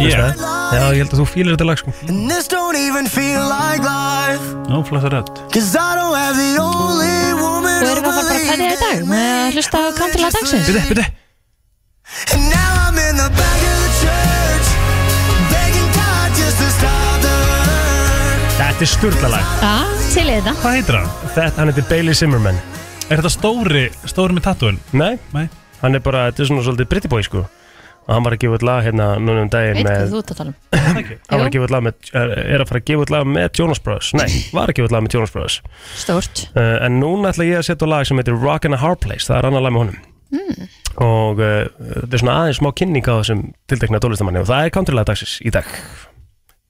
S3: Yeah.
S1: já ég held að þú fýlir þetta lag sko
S9: This don't even feel like life
S3: Nú, flottur rödd
S9: Cause I don't have the only woman
S2: Þú erum við bara að fæðið í dag með að hlusta á kantilega dagsins
S1: byrja, byrja
S9: And now I'm in the back of the church Begging God just to stop the hurt
S1: þetta er sturla lag
S2: Já, til í þetta
S3: Hvað heitir hann?
S1: þetta, hann heitir Bailey Zimmerman
S3: Er þetta stóri, stóri með tattúin?
S1: Nei,
S3: Nei.
S1: hann er bara, þetta er svona svolítið pretty boy sko og hann var að gefa út lag hérna núna um daginn
S2: Veit hvað
S1: með,
S2: þú ert að tala um
S1: hann var
S2: Jú.
S1: að gefa út lag með er, er að fara að gefa út lag með Jonas Brothers nei, var að gefa út lag með Jonas Brothers uh,
S2: Stórt
S1: en núna ætla ég að setja á lag sem heitir Rockin' a Hard Place, það er annar lag með honum mm. og uh, þetta er svona aðeins smá kynning á þessum tiltekna tólistamanni og það er country lag dagsins í dag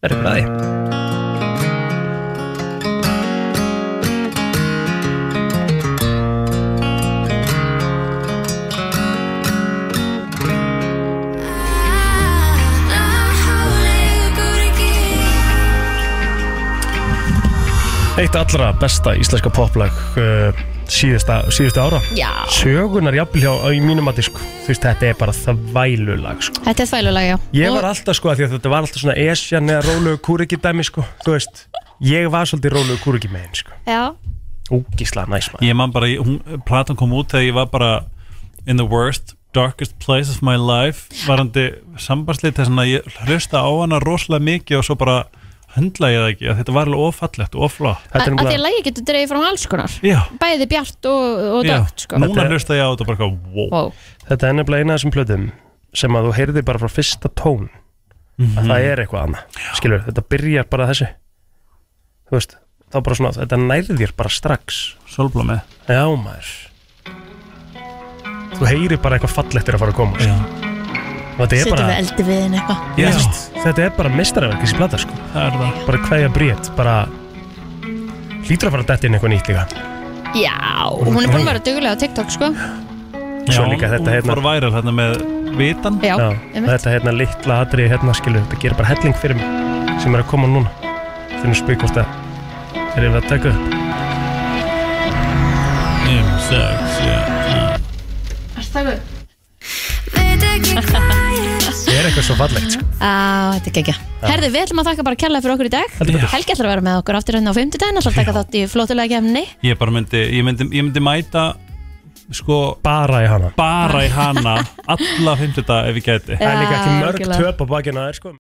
S1: er ekki ræði
S5: Ah,
S1: eitt allra besta íslenska poplag uh, síðasta, síðasta ára
S2: Já
S1: sögunar jafnvel hjá í mínum að sko. þú veist þetta er bara þvælulag sko.
S2: Þetta er þvælulega, já
S1: ég var alltaf sko að því að þetta var alltaf svona esjan eða rólegu kúriki dæmi sko þú veist ég var svolítið rólegu kúriki með henn sko
S2: Já,
S1: úgisla næs maður
S3: Ég man bara, hún, platan kom út þegar ég var bara In the worst, darkest place of my life Varandi sambarslið þess að ég hlusta á hana rosalega mikið Og svo bara höndla ég það ekki að Þetta var alveg ofallegt, oflott
S2: að
S1: þetta er
S2: að því að
S1: nefnilega
S2: lægi getur dreigð frá alls konar
S3: Já,
S2: Bæði bjart og, og
S3: já,
S2: dögt, sko
S3: núna
S1: Þetta er-
S3: hlusta ég á þetta bara eitthvað, wow.
S2: Wow.
S1: þetta er nefnilega eina af þessum plöðum sem að þú heyrðir bara frá fyrsta tón
S3: Mhm.
S1: að það er eitthvað annað skilur þetta byrjar bara þessi þú veist þá bara svona þetta nærðir bara strax
S3: Sólblómi
S1: já maður þú heyrir bara eitthvað fallegt er að fara að koma sko.
S3: Já.
S1: og þetta er
S2: Settum við
S1: bara
S2: eldi við henni eitthvað
S1: Já,
S3: Já.
S1: veist, þetta er bara mistaraverk þessi plata sko
S3: Það er það
S1: bara hverja brét, bara hlýtur að fara að detti inn eitthvað nýtt líka
S2: Já, hún er búin að vera dugulega á TikTok sko
S1: Svo líka þetta
S3: hún
S1: hérna-
S3: fór væral þarna með vitan
S2: Já,
S1: Já,
S2: einmitt.
S1: þetta hérna litla atrið hérna skilur, þetta gerir bara helling fyrir mig sem er að koma núna þegar spyr hvort að er yfir að taka upp
S3: Fimm, sex, sjö, tíu.
S1: það er eitthvað svo fallegt sko.
S2: Á, þetta er gekkja Herði, við ætlum að þakka bara kærlega fyrir okkur í dag
S1: Heldur betur.
S2: Helgi ætlar að vera með okkur aftur hérna á 50 daginn ætlar að taka þátt í flottulega kemni
S3: Ég bara myndi, ég myndi, ég myndi mæta Sko,
S1: bara í hana
S3: bara í hana alla 50 ef ég gæti
S1: það er líka ekki
S2: Já,
S1: mörg
S2: algjörlega.
S1: töp á bakina þær sko